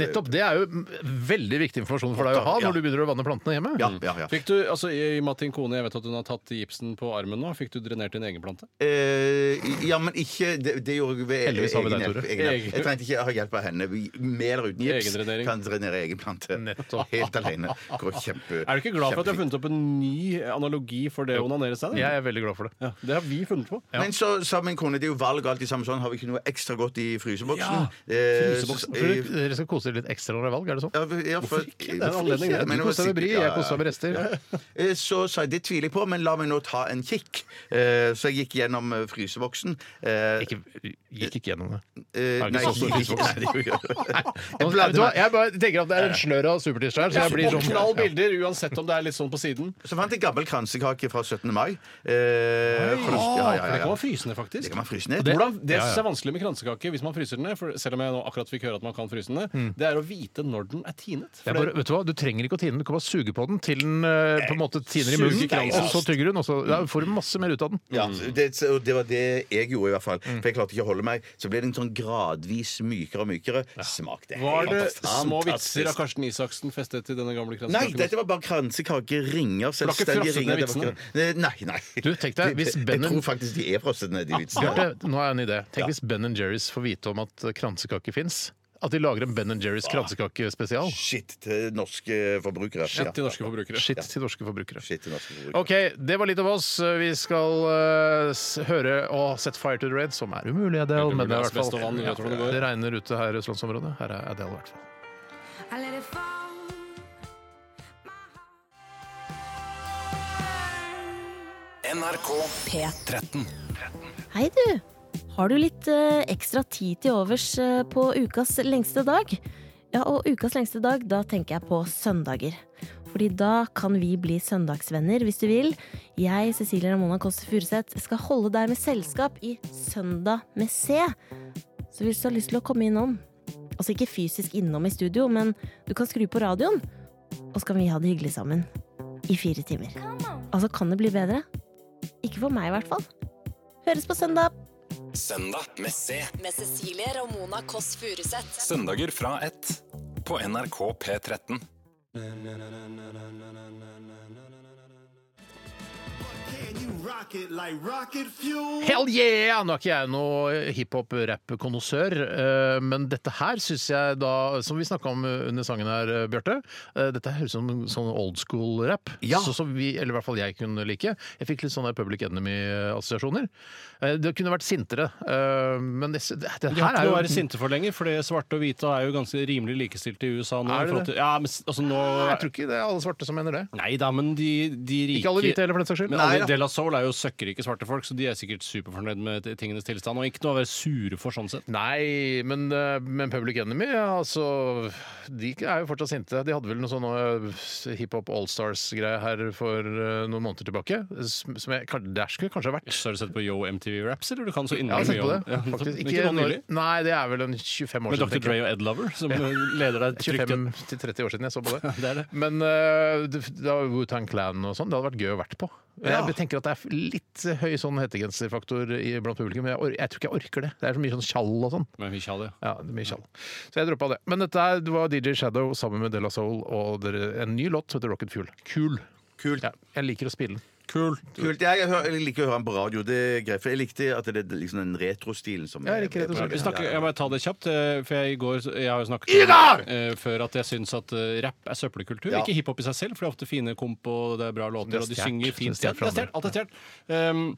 Nettopp. Det er jo m- veldig viktig informasjon for deg å ha Ja. når du begynner å vanne plantene hjemme. Ja, ja, ja. Fikk du, altså, I og med at din kone jeg vet at hun har tatt gipsen på armen nå, fikk du drenert din egen plante? Eh, ja, men ikke Det, det gjorde jeg ved Heldigvis har vi deg, Tore. egen hjelp. Jeg trengte ikke ha hjelp av henne. Vi- Med eller uten gips Egendrenering. kan drenere egen plante. Nettopp. Helt alene. Går kjempe... Er du ikke glad for at du har kjempefint. funnet opp en ny analogi for det å onanere seg? da? Jeg er veldig glad for det. Ja, det har vi funnet på. Men så sa min kone det er jo valg og alt i samme sånn. Har vi ikke noe ekstra godt i fryseboksen? Ja, Eh, fryseboksen. så- Tror eh, du dere skal kose dere litt ekstra når det er valg? er det sånn? ja, ja, for- Hvorfor ikke? Det er en Hvorfor anledning, ikke? det. Men Du det var koser deg med bri, sikkert- ja, jeg ja, koser meg ja. med rester. Eh, Så sa jeg det tviler jeg på, men la meg nå ta en kikk. Eh, Så jeg gikk gjennom eh, fryseboksen. Eh, Ikke, gikk ikke gjennom det. eh, ikke Nei, så stor jeg gikk- nei, det gjorde jeg ikke. Jeg Nå, vet du bladde hva, meg. jeg bare tenker at det er en slør av supertirsdag her, så jeg blir Og sånn knall bilder, uansett om det er litt sånn på siden. Så fant jeg gammel kransekake fra 17. mai. Eh, for- ja, ja, For det ja, kan ja. være frysende, Det faktisk. kan man fryse ned. Det, Hvordan, det synes jeg er vanskelig med kransekake hvis man fryser den ned, for selv om jeg nå akkurat fikk høre at man kan fryse den ned, det er å vite når den er tinet. jeg For bare, det, vet Du hva, du trenger ikke å tine den, du kan bare suge på den til den eh, på en måte tiner i Suge munnen. kransen. Og så tygger hun, og så ja, får du masse mer ut av den. Ja, Mm. det, og det var det jeg gjorde, i hvert fall. For jeg klarte ikke å holde meg. Så ble den sånn gradvis mykere og mykere. Smak det. var det helt små fantastisk. vitser av Karsten Isaksen festet til denne gamle kransekaken? Nei, dette var bare kransekake, ringer, var ikke selvstendige frosset ringer. ned Det var ikke- Nei, nei. Du, tenk deg, hvis Jeg Benham- tror faktisk de er frosset ned, de Ah, vitsene. Bjarte, nå har jeg en idé. Tenk hvis Ben Jerry's får vite om at kransekake fins. At de lager en Ben Jerry's kransekakespesial. Shit til norske forbrukere. Shit til Ja. norske forbrukere. Shit til norske forbrukere. Shit til norske forbrukere. OK, det var litt av oss. Vi skal eh, s- høre og Set Fire to the Red, som er umulig, Adele. Helt Men det, er i umulig, hvert asbest og vann, vi vet fall, hvordan det går. det regner ute her i østlandsområdet. Her er Adele, i hvert fall. I let it fall. My heart. NRK P13. Hei du! Har du litt eh, ekstra tid til overs eh, på ukas lengste dag? Ja, og ukas lengste dag, da tenker jeg på søndager. Fordi da kan vi bli søndagsvenner, hvis du vil. Jeg, Cecilie Ramona Kåss Furuseth, skal holde deg med selskap i Søndag med C. Så hvis du har lyst til å komme innom, altså ikke fysisk innom i studio, men du kan skru på radioen, og så kan vi ha det hyggelig sammen i fire timer. Altså, kan det bli bedre? Ikke for meg, i hvert fall. Høres på søndag! Søndag med C. Med Cecilie Ramona Koss Furuseth. Søndager fra ett på NRK P13. Hell yeah! Nå er ikke jeg noe hiphop-rapp-konnoissør, eh, men dette her syns jeg da, som vi snakka om under sangen her, eh, Bjarte, eh, dette høres ut som en sånn old school-rapp. Ja. Sånn som vi, eller i hvert fall jeg, kunne like. Jeg fikk litt sånne Public Enemy-assosiasjoner. Eh, Det kunne vært sintere, eh, men det, det, det De har her ikke noe er å jo være sinte for lenger, for det svarte og hvite er jo ganske rimelig likestilt i USA nå. Er det i forhold til- Ja, men s- altså nå Jeg tror ikke det er alle svarte som mener det. Nei da, men de, de rike Ikke alle hvite heller, for den saks skyld. Men Nei, alle da. i De La Soul er jo søkkrike svarte folk, så de er sikkert superfornøyd med t- tingenes tilstand. Og ikke noe å være sure for sånn sett. Nei, men, eh, men Public Enemy altså, De er jo fortsatt sinte. De hadde vel noe sånn eh, hiphop allstars-greie her for eh, noen måneder tilbake. Som som jeg, kan- der skulle jeg kanskje ha vært. Så har du sett på Yo MTV Raps, eller du kan så Jeg har innmari sett mye på om det. Ja, faktisk. men ikke nå når- nylig. Nei, det er vel en 25 år Med Dr. siden. tenker Dre jeg. og Ed Lover, som leder deg trygt hjem. 25 til 30 år siden jeg så på det. Det er det. Men eh, det- da Wu-Tang Clan og sånn, det hadde vært gøy å vært på. Jeg tenker at det er litt høy sånn hettegenserfaktor i- blant publikum, men jeg, or jeg tror ikke jeg orker det. Det er så mye sånn tjall og sånn. Men vi kjaller, ja. Ja, det er mye tjall. Så jeg droppa det. Men dette er, det var DJ Shadow sammen med De La Soul og dere, en ny låt som heter Rocket Fuel. Kul. Kult. Ja, jeg liker å spille den. Kult. Jeg, hø- jeg liker å høre han på radio. Det er greit, for jeg likte at det er liksom den retrostilen som Ja, jeg liker retrostilen. Vi snakker, jeg må ta det kjapt, eh, for jeg, i går, jeg har jo snakket eh, før at jeg syns at eh, rapp er søppelkultur. Ikke hiphop i seg selv, for det er ofte fine komp og det er bra låter, Det er og de stjert. synger fint. Det er stjert Det er stjert, Alt er stjert. Um,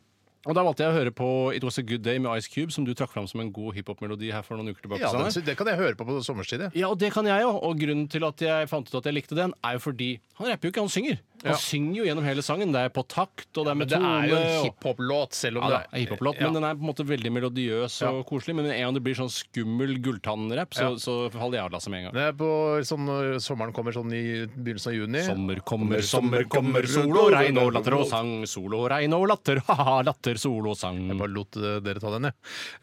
og Da valgte jeg å høre på It Was A Good Day med Ice Cube, som du trakk fram som en god hiphop-melodi her for noen uker tilbake. Ja, Steinar. den, det kan jeg høre på på sommerstid. jeg. Ja, og det kan jeg jo. Og grunnen til at jeg fant ut at jeg likte den, er jo fordi han rapper jo ikke, han synger. Han Ja. synger jo gjennom hele sangen. Det er på takt, og det er Men med det tone. er jo en og- hiphop-låt, selv om ja, det det er hiphop-låt, eh, Ja. men den er på en måte veldig melodiøs og koselig. Men med en gang det blir sånn skummel gulltannrapp, så, Ja. så faller jeg av lasset med en gang. Det er på, sånn, når sommeren kommer sånn i begynnelsen av juni. Sommer kommer, sommer kommer, sol og regn og latter og sang. Sol og regn og latter, ha-ha, latter, sol og sang. Jeg bare lot eh, dere ta den, jeg.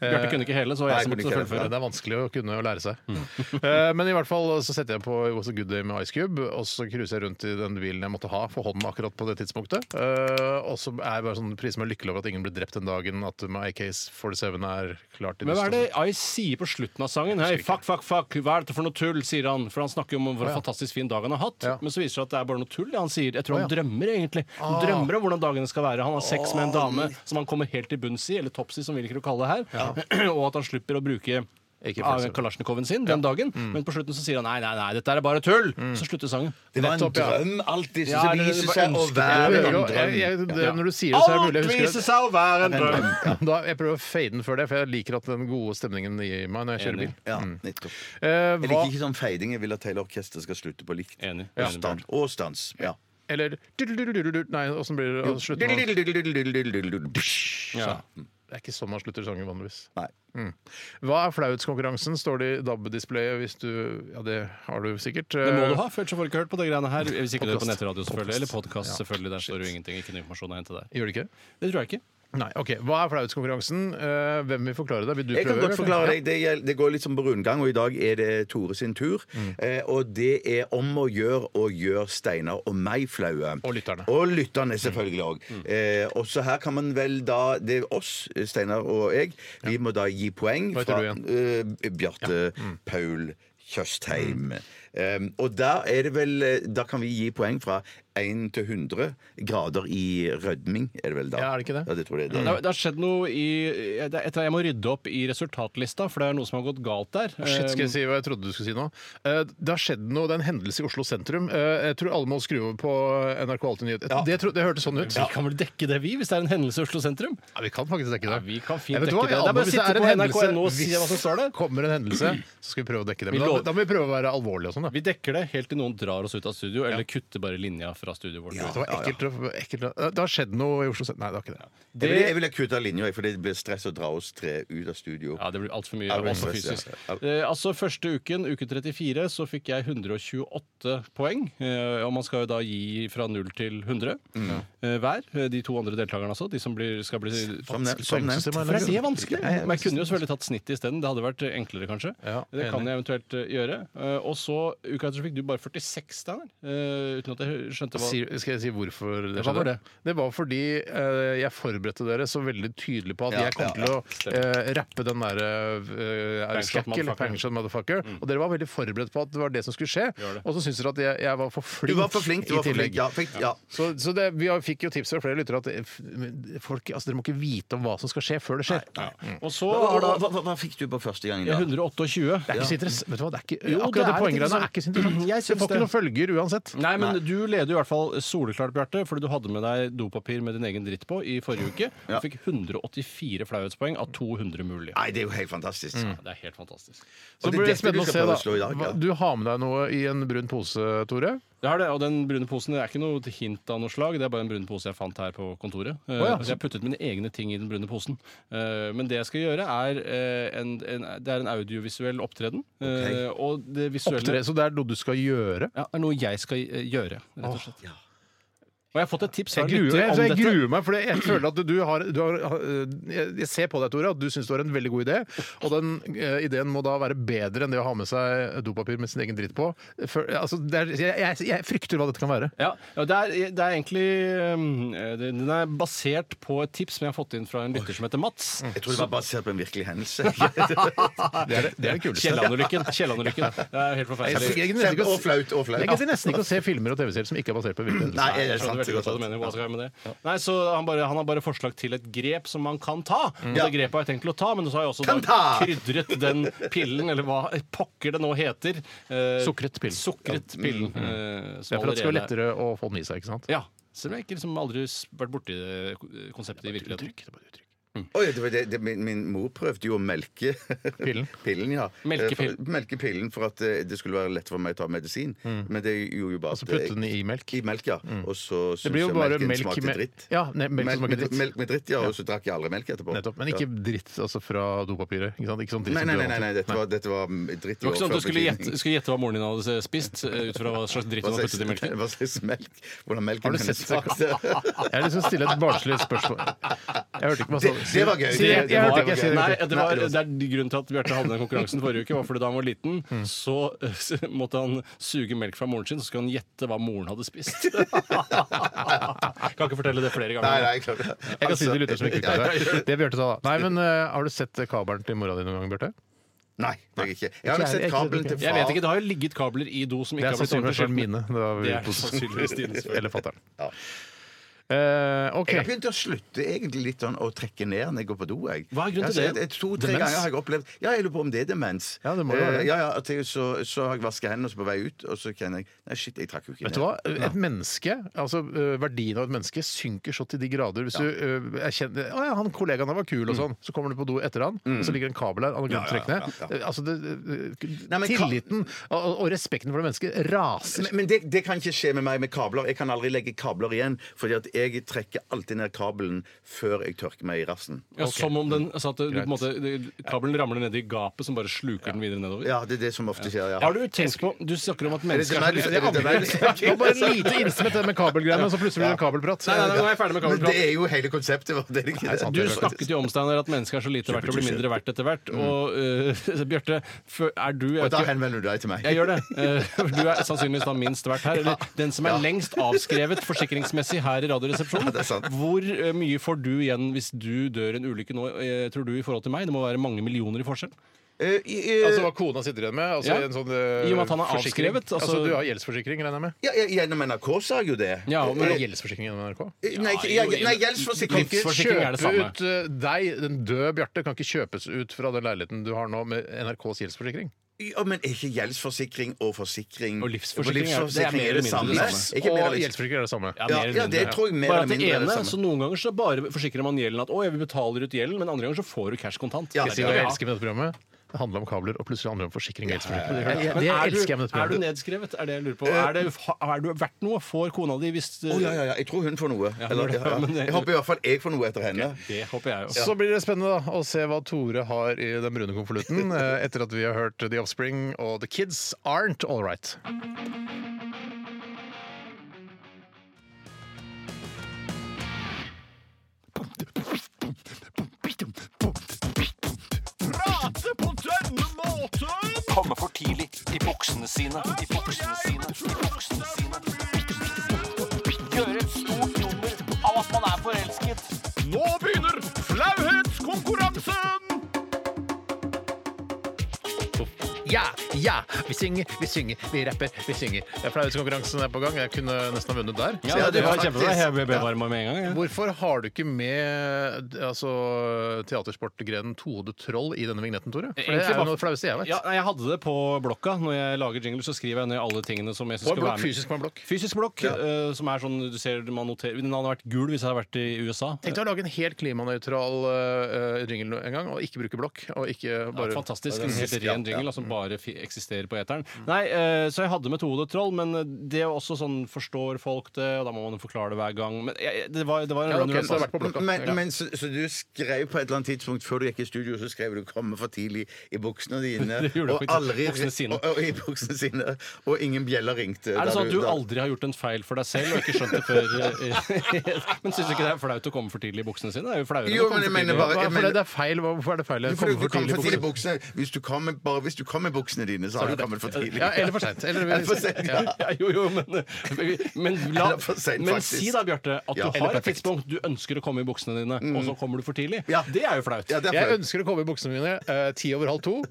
Eh, Bjarte kunne ikke hele, så Nei, jeg som kunne måtte ikke Mm. hele. Ja, fullføre. Det er vanskelig å kunne å lære seg. Eh, Men i hvert fall så setter jeg på It Was a Good Day med Ice Cube, og så cruiser jeg rundt i den bilen jeg måtte ha for hånden akkurat på det tidspunktet. Eh, Og så er jeg bare sånn priser meg lykkelig over at ingen ble drept den dagen, at my AK-47 er klart til Men hva er det neste år. Ice sier på slutten av sangen? Hei, fuck, fuck, fuck, hva er dette for noe tull? sier han. For han snakker jo om hvor fantastisk fin dag han har hatt. Ja. Men så viser det seg at det er bare noe tull. det Han sier, jeg tror han ja. drømmer, egentlig. Han drømmer om hvordan dagene skal være. Han har sex med en dame som han kommer helt til bunns i, eller topsy, som vi liker å kalle det her. Og at han slipper å bruke Ikke av følelser. Kalasjnikoven sin den dagen, men på slutten så sier han nei, nei, nei, dette er bare tull. Så slutter sangen. Det var en Nettopp, ja. drøm alltid Ja, det- som det viser var seg å ønsket. være en Jeg- jeg- jeg- drøm. det- Når du sier det, så er det mulig jeg husker det. seg å være en Da, jeg prøver å fade den før det, for jeg liker at den gode stemningen gir meg når jeg kjører bil. Ja, nettopp. Eh, Jeg liker hva, ikke sånn feiding. Jeg vil at hele orkesteret skal slutte på likt. Enig. Og Enig, stans. Og stans. Ja. eller Nei, åssen blir det? å slutte nå? Det Ja. er ikke sånn man slutter sanger vanligvis. Nei. Hva er flauhetskonkurransen, står det i DAB-displayet hvis du Ja, det har du sikkert. eh, Det må du ha, for ellers så får du ikke hørt på det greiene her. Eh, Hvis ikke du hører på Podcast. nettradio, selvfølgelig. Eller podkast, Ja. selvfølgelig. Der står det jo ingenting. Ikke noe informasjon å hente der. Gjør du ikke? Det tror jeg ikke. Nei. ok. Hva er flauhetskonkurransen? Eh, Hvem vil forklare det? Vil du altså. Jeg kan prøve? godt eller? forklare deg. Det, gjel- det går litt som på rundgang, og i dag er det Tore sin tur. Mm. Eh, og det er om å gjøre å gjøre Steinar og meg flaue. Og lytterne. Mm. Og lytterne, selvfølgelig òg. Eh, også her kan man vel da Det er oss, Steinar og jeg. Vi må da gi poeng Hva heter fra du Mm. eh, Bjarte Paul Tjøstheim. Eh, og da er det vel eh, Da kan vi gi poeng fra 1 til 100 grader i rødming, er det vel da? Ja, er det ikke det? Mm. Ja, det tror jeg det Det er. har, det har skjedd noe i det er- Jeg må rydde opp i resultatlista, for det er noe som har gått galt der. Shit, Eh, skal jeg si hva jeg trodde du skulle si nå? Eh, Det har skjedd noe, det er en hendelse i Oslo sentrum. Eh, Jeg tror alle må skru over på NRK Alltid Nyhet. Det, tro- det hørtes sånn ut. Vi kan vel dekke det, vi, hvis det er en hendelse i Oslo sentrum? Ja, vi kan faktisk dekke Ja, det. vi kan fint Jeg vet dekke hva, det. jeg Det er bare å anbefaler hvis sitte på er en NRK.no og si hvis hva som står der. kommer en hendelse, så skal vi prøve å dekke det. Vi Men da, lover. da må vi prøve å være alvorlige og sånn, da. Vi dekker det helt til noen drar oss ut av studio, eller kutter bare linja fra studioet vårt. Det var ekkelt. å- ekkelt å- Det har skjedd noe i Oslo sentrum. Nei, det har ikke det. Jeg vil- Jeg ville kutta linja, jeg, for det blir stress å dra oss tre ut av studio. Ja, det blir altfor mye Ja, det blir også stress, ja. fysisk. Eh, altså Første uken, uke 34, så fikk jeg 128 poeng. Eh, og man skal jo da gi fra 0 til 100 eh, hver. Eh, De to andre deltakerne, altså. De som blir, skal bli Som, ne som nevnt. Poengsystemet For er det laget. vanskelig? Ja, ja. Men jeg kunne jo selvfølgelig tatt snittet isteden. Det hadde vært enklere, kanskje. Ja, det kan jeg enig. eventuelt eh, gjøre. Eh, og så uka etter så fikk du bare 46, Steinar. Eh, uten at jeg skjønte hva Sier- Skal jeg si hvorfor det Hva var det? Det var fordi eh, jeg forberedte dere så veldig tydelig på at Ja, jeg kom ja, ja. til å eh, rappe den derre uh, Bangshot Skakkil, motherfucker. Pangshot Motherfucker. Og dere var veldig forberedt på at det var det som skulle skje. Gjør det. Og så syns dere at jeg, jeg var for flink, Du var for flink. Du var i for flink. tillegg. Ja, fikk, ja. Så, så det, vi har- fikk jo tips fra flere lyttere at det- f- folk, altså, dere må ikke vite om hva som skal skje, før det skjer. Mm. Og så Hva, har da hva, hva, hva fikk du på første gangen? Ja, da? 128. Det er ikke så interess- Vet du hva, det er ikke, Jo, det akkurat er det, litt poenggreiene interessant. er ikke så interessant. Jeg Det syns får det. ikke noen følger uansett. Nei, men du leder jo i hvert fall soleklart, Bjarte, fordi du hadde med deg dopapir med din egen dritt på i forrige uke. Du fikk 184 flauhetspoeng av 200 mulige. Nei, det er jo helt fantastisk. Det er helt fantastisk. Så Og det Mm. blir det er dette du spennende å se, skal prøve da. å slå i dag, ja. Hva- Du har med deg noe i en brun pose, Tore. Det er det, og Den brune posen det er ikke noe hint av noe slag, det er bare en brun pose jeg fant her på kontoret. Eh, ja. så jeg har puttet mine egne ting i den brune posen. Eh, men det jeg skal gjøre, er eh, en, en, det er en audiovisuell opptreden. Eh, og det visuelle Opptre, så det er noe du skal gjøre? ja, er noe jeg skal eh, gjøre, rett og slett. Og jeg har fått et tips fra en Jeg gruer, lytter jeg, om jeg dette. gruer meg, for jeg føler at du har, du har øh, Jeg jeg ser på deg, Tore, at du syns du har en veldig god idé. Og den øh, ideen må da være bedre enn det å ha med seg dopapir med sin egen dritt på. For, altså, det er, jeg, jeg, jeg frykter hva dette kan være. Ja, ja, det, er, det er egentlig um, eh, det- Den er basert på et tips som jeg har fått inn fra en lytter som heter Mats. Mm. Jeg tror det var basert på en virkelig hendelse. Det er det, det, er det kuleste. Kielland-ulykken. Kielland-ulykken. Det er helt Jeg, forferdelig. jeg, jeg, Kjempe- og flaut. Og jeg flaut. gidder nesten ikke å se filmer og TV-serier som ikke er basert på virkelige Nei, hendelser. er det Jeg skjønner sant? veldig godt hva du mener. Hva skal jeg med det? Nei, så han, bare, han har bare forslag til et grep som man kan ta. Og det grepet har jeg tenkt til å Mm. ta, men så har jeg også Kan da ta! krydret den pillen, eller hva pokker det nå heter. Eh, Sukret pill. Sukret pillen. eh, Det som er for at det skal allerede- være lettere å få den i seg, ikke sant? Ja. Selv om jeg ikke liksom aldri s- vært borti det eh, konseptet i virkeligheten. Oi, det var det, det, min, min mor prøvde jo å melke Pillen. Pillen, ja. Melkepillen. Eh, for- melkepillen for at eh, det skulle være lett for meg å ta medisin. Men det gjorde jo Mm. bare Og så putte den i melk. Mm. i melk, ja. Og så Det syntes blir jo jeg bare melken melk smakte med dritt. Ja, ne, melk som Melk smaker med, dritt. melk med dritt, ja, og så drakk jeg aldri melk etterpå. Nettopp. Men ikke Ja. dritt altså fra dopapirene. Ikke sant, ikke sånn dritt som Nei, nei, du nei, nei, antyder. nei, dette var, dette var mm, dritt. Det var ikke sånn at du skulle overført gjette, skulle gjette hva moren din hadde spist, eh, ut fra hva slags dritt Hva hun hadde puttet i slags, melken. hva slags melk? Hvordan melken Har du hennes sett- smakte? Jeg har lyst til å stille et barnslig spørsmål. Jeg hørte ikke hva Det- det var gøy. Si, jeg, jeg, Det var hørte ikke, jeg, sier gøy. det Nei, ikke. det, var, det er Grunnen til at Bjarte hadde den konkurransen forrige uke, var fordi da han var liten, så eh, s- måtte han suge melk fra moren sin, så skulle han gjette hva moren hadde spist. kan ikke fortelle det flere Nei, ganger. nei, klart det. Jeg kan si det til Altså, lytter som ikke fikk det. Det Bjarte sa da. Nei, men eh, har du sett kabelen til mora di noen gang, Bjarte? Nei, det er ikke. Jeg har Ikke ikke jeg- sett jeg- kabelen til far. Jeg vet ikke, Det har jo ligget kabler i do som Det ikke er har blitt sannsynligvis ordentlig mine. Det var vi Det er på- sannsynligvis dine. Eller fatter'n. Ja. Eh, OK. Jeg har begynt å slutte egentlig litt sånn å trekke ned når jeg går på do. Jeg. Hva er grunnen til Altså, det? jeg- jeg- To-tre Demens? ganger har jeg opplevd Ja, jeg lurer på om det er demens. Ja, det må jo være det. Eh, ja, ja, at jeg, så, så har jeg vasket hendene, og så på vei ut, og så kjenner jeg Nei, shit, jeg trakk jo ikke Vet du hva? Et menneske, altså ø, Verdien av et menneske synker så til de grader. Hvis du ø, er kjent, å ja, 'Han kollegaen der var kul', Mm. og sånn. Så kommer du på do etter han, og så ligger det en kabel her. Han har glemt å trekke ned. Altså, det, ø, Nei, men ka- tilliten og, og respekten for det mennesket raser. Men, men det, det kan ikke skje med meg med kabler. Jeg kan aldri legge kabler igjen, fordi at jeg trekker alltid ned kabelen før jeg tørker meg i rassen. Ja, Som om den, altså at du, på Greit. en måte, det- kabelen ramler ned i gapet som bare sluker den videre nedover. Ja, det er det som ofte skjer. Ja. Har du tenkt på Du snakker om at mennesker det der- er det det Det der- var bare et lite innspill til det med kabelgreiene, og så plutselig blir det kabelprat. Nei, nei, nei, nå er jeg ferdig med Men det kabelprat. er jo hele konseptet vårt. Det er ikke det. Du snakket jo om Steiner, at mennesker er så lite verdt og blir mindre verdt etter hvert. Og eh, Bjarte, fø- er du jeg Og vet da ikke- henvender du deg til meg. Jeg gjør det. Eh, Du er sannsynligvis da minst verdt her. Eller den som er lengst avskrevet forsikringsmessig her i Radioresepsjonen. det er sant. Hvor eh, mye får du igjen hvis du dør en ulykke nå, eh, tror du, i forhold til meg? Det må være mange millioner i forskjell. Eh, i- eh, Altså hva kona sitter igjen med? Altså, Ja. en sånn, ø, I og med at han er forsikring. avskrevet, altså- Altså, du har gjeldsforsikring, regner jeg med? ja, ja, gjennom NRK sa jeg jo det. Ja, Men men er det gjeldsforsikring gjennom NRK? Eh, Nei, ikke- ja, Kan nei gjeldsforsikring. ikke Livsforsikring er det kjøpe samme. ut ø, deg, den døde Bjarte, kan ikke kjøpes ut fra den leiligheten du har nå med NRKs gjeldsforsikring. Ja, men er ikke gjeldsforsikring og forsikring Og livsforsikring er- det er mer eller er det mindre samme? det Yes, samme. Ikke mer og eller mindre. gjeldsforsikring er det samme. mer Ja, eller ja, det mindre. tror jeg mer Bare eller at det mindre er det ene, samme. så Noen ganger så bare forsikrer man gjelden at å, jeg betaler ut gjelden, men andre ganger så får du cash kontant. Ja, Jeg sier hva jeg elsker med dette programmet. Det handler om kabler, og plutselig handler det om forsikring og gjeldsforsikring. Men Det, det er, elsker du, er jeg med Eh, dette du programmet. nedskrevet? Er det jeg lurer på. Er, det, er du verdt noe? Får kona di hvis Å, ja, ja, ja. Jeg tror hun får noe. Eller, det- ja, ja. men det- Jeg håper i hvert fall jeg får noe etter henne. Det håper jeg jo. Så blir det spennende da, å se hva Tore har i den brune konvolutten eh, etter at vi har hørt The Offspring og The Kids Aren't All Right. Komme for tidlig i buksene sine, i buksene sine, i buksene sine. Gjøre et stort nummer av at man er forelsket. Nå begynner flauhetskonkurransen! Ja, ja! Vi synger, vi synger, vi rapper, vi synger. Ja, Flauhetskonkurransen er på gang. Jeg kunne nesten ha vunnet der. Ja, Ja, det, det var var kjempebra. faktisk- Jeg ble varma med en gang. jeg. Hvorfor har du ikke med altså, teatersportgrenen tohodet troll i denne vignetten, Tore? For det Egentlig er jo bare- noe av det flaueste jeg vet. Ja, nei, jeg hadde det på blokka. Når jeg lager jingler, så skriver jeg ned alle tingene som jeg synes På skal en blokk, være med. fysisk på en blokk. Fysisk blokk, eh, som er sånn du ser man noterer Den hadde vært gul hvis jeg hadde vært i USA. Tenk deg å lage en helt klimanøytral uh, jingle en gang, og ikke bruke blokk. Og Ja, ikke bare fantastisk. En helt ren jingle da, som bare fi- eksisterer på eteren. Mm. Nei, eh, Så jeg hadde med tohodet troll, men det er også sånn forstår folk det, og da må man forklare det hver gang. Men jeg, det, var, det var en Ja, ok, runner-up, så det har vært altså. på blokka. Men, Ja. men så, så du skrev på et eller annet tidspunkt før du gikk i studio, så skrev du 'komme for tidlig' i buksene dine. Det gjorde jeg Og faktisk. aldri Buksene sine. Og, og, i buksene sine. Og ingen bjeller ringte. Er da det sånn at du da- aldri har gjort en feil for deg selv og ikke skjønt det før? eh, Men syns du ikke det er flaut å komme for tidlig i buksene sine? Det er jo flauere Jo, å komme men for tidlig. jeg mener Hva, bare jeg for det, mener, det er feil. Hvorfor er det feil? du Jeg får kommer ikke komme for tidlig i bukse. buksene. Hvis du kommer, bare hvis du kommer i buksene dine, så har du kommet for tidlig. Ja, eller for seint. Eller, Eller for sent, ja. Ja. Ja, jo, jo, men, men, la, Eller for sent, men faktisk. si da, Bjarte, at Ja, du eller har et perfekt. Mm. tidspunkt du ønsker å komme i buksene dine, og så kommer du for tidlig. Ja. Det er jo flaut. Ja, det er Jeg flaut. ønsker å komme i buksene mine eh, ti over halv to.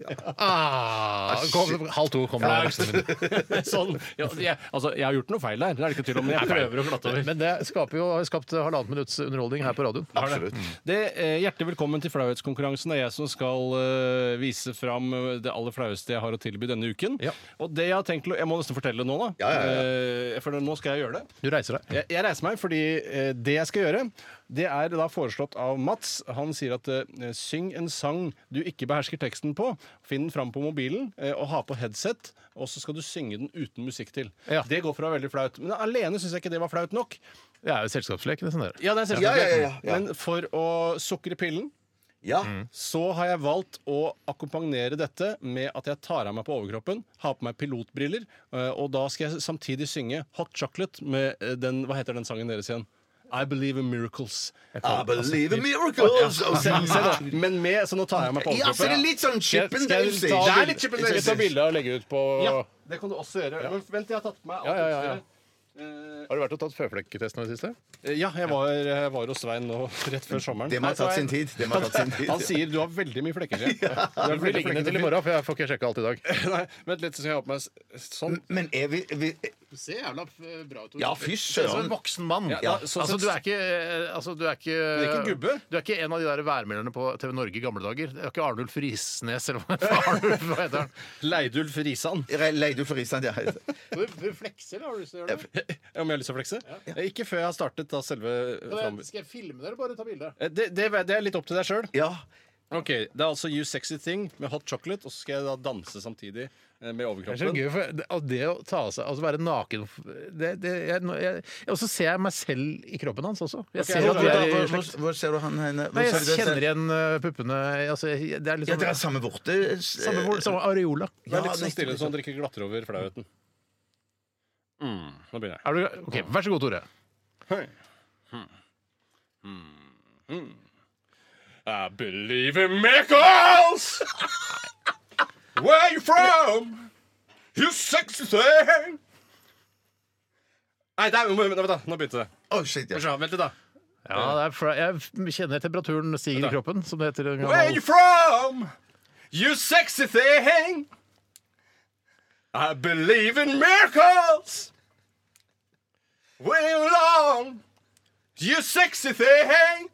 Ah, kom, halv to kommer jeg i buksene mine. sånn, ja, jeg, altså, jeg har gjort noe feil der, det er det ikke tvil om, men jeg prøver å glatte over. Men det skaper jo, har jo skapt halvannet minutts underholdning her på radioen. Absolutt. Det, eh, hjertelig velkommen til flauhetskonkurransen. Det er jeg som skal eh, vise fram eh, det aller flaueste jeg har å tilby denne uken. Ja. Og det jeg har tenkt til å- Jeg må nesten fortelle det nå, da. Ja, ja, ja. Eh, for nå skal jeg gjøre det. Du reiser deg. Jeg, jeg reiser meg fordi eh, det jeg skal gjøre, det er da foreslått av Mats. Han sier at eh, syng en sang du ikke behersker teksten på. Finn den fram på mobilen eh, og ha på headset, og så skal du synge den uten musikk til. Ja. Det går for å være veldig flaut. Men alene syns jeg ikke det var flaut nok. Det er jo selskapslek, nesten. Der. Ja, det er Ja, selvsagt. ja, ja, ja, ja. Men for å sukre pillen Ja. så har jeg valgt å akkompagnere dette med at jeg tar av meg på overkroppen, har på meg pilotbriller, eh, og da skal jeg samtidig synge Hot Chocolate med eh, den Hva heter den sangen deres igjen? I Believe in Miracles. I believe in miracles! Og så- Se da, Men med, så nå tar jeg meg på Ja, så det er overkroppen. litt sånn chippen Skal jeg ta- Det er litt chippen Skal jeg ta bilde og legge ut på Ja, det kan du også gjøre. Men vent, jeg har tatt på meg Ja, alt ja, ja, ja. utstyret. Har du vært og tatt føflekketesten i det siste? Eh, Ja, jeg var, jeg var hos Svein nå rett før sommeren. Det må ha tatt sin tid. Det må ha tatt sin tid. Han sier du har veldig mye flekker. Jan." Du har Jeg blir veldig liggende flekker. til i morgen, for jeg får ikke sjekka alt i dag. Nei, Vent litt, så skal jeg ha på meg s- sånn. Men er vi, vi Du ser jævla eh, bra ut. Tore. Ja, Du fy er som en søren! voksen mann. Ja, ja, sånn altså, sett- du er ikke, eh, altså, du er ikke Du er ikke en gubbe. Du er ikke en av de der værmelderne på TV Norge i gamle dager. Det er ikke Arnulf Risnes eller hva faen Arnulf hva heter han? Leidulf Risan. Re- Leide for Island, ja. Du, du flekser, da. Har du lyst til å gjøre det? Om jeg har lyst til å flekse? Eh, Ikke før jeg har startet da selve fram... Da Skal jeg filme det, eller bare ta bilde? Eh, Det, det, det er litt opp til deg sjøl. ja. Ok, Det er altså You Sexy Thing med hot chocolate, og så skal jeg da danse samtidig eh, med Det er så overkroppen. gøy, for det, og det å ta av seg Altså være naken det, det, jeg, jeg, Og så ser jeg meg selv i kroppen hans også. Jeg ser Hvor, at vi er i hvor, slekt. hvor, hvor ser du han henne? Hvor Nei, ser jeg du det? kjenner igjen eh, puppene altså, jeg, Det er Ja, dere er liksom samme vorte. samme, hvor- samme areola. Vær litt Ja, sånn stille nettopp. så han drikker glatter over flauheten. Mm, nå begynner jeg. Er du, ok, Vær så god, Tore. Hmm. I believe in miracles! Where you from? You sexy thing! Nei, der, vent da, nå begynte det. Å, sånn. shit, ja. Vent da, Vent litt, da. Ja, det er fra, jeg kjenner temperaturen stiger i kroppen, som det heter. i en gammel- Where you from? You sexy thing! I believe in miracles! Where you long? You sexy thing!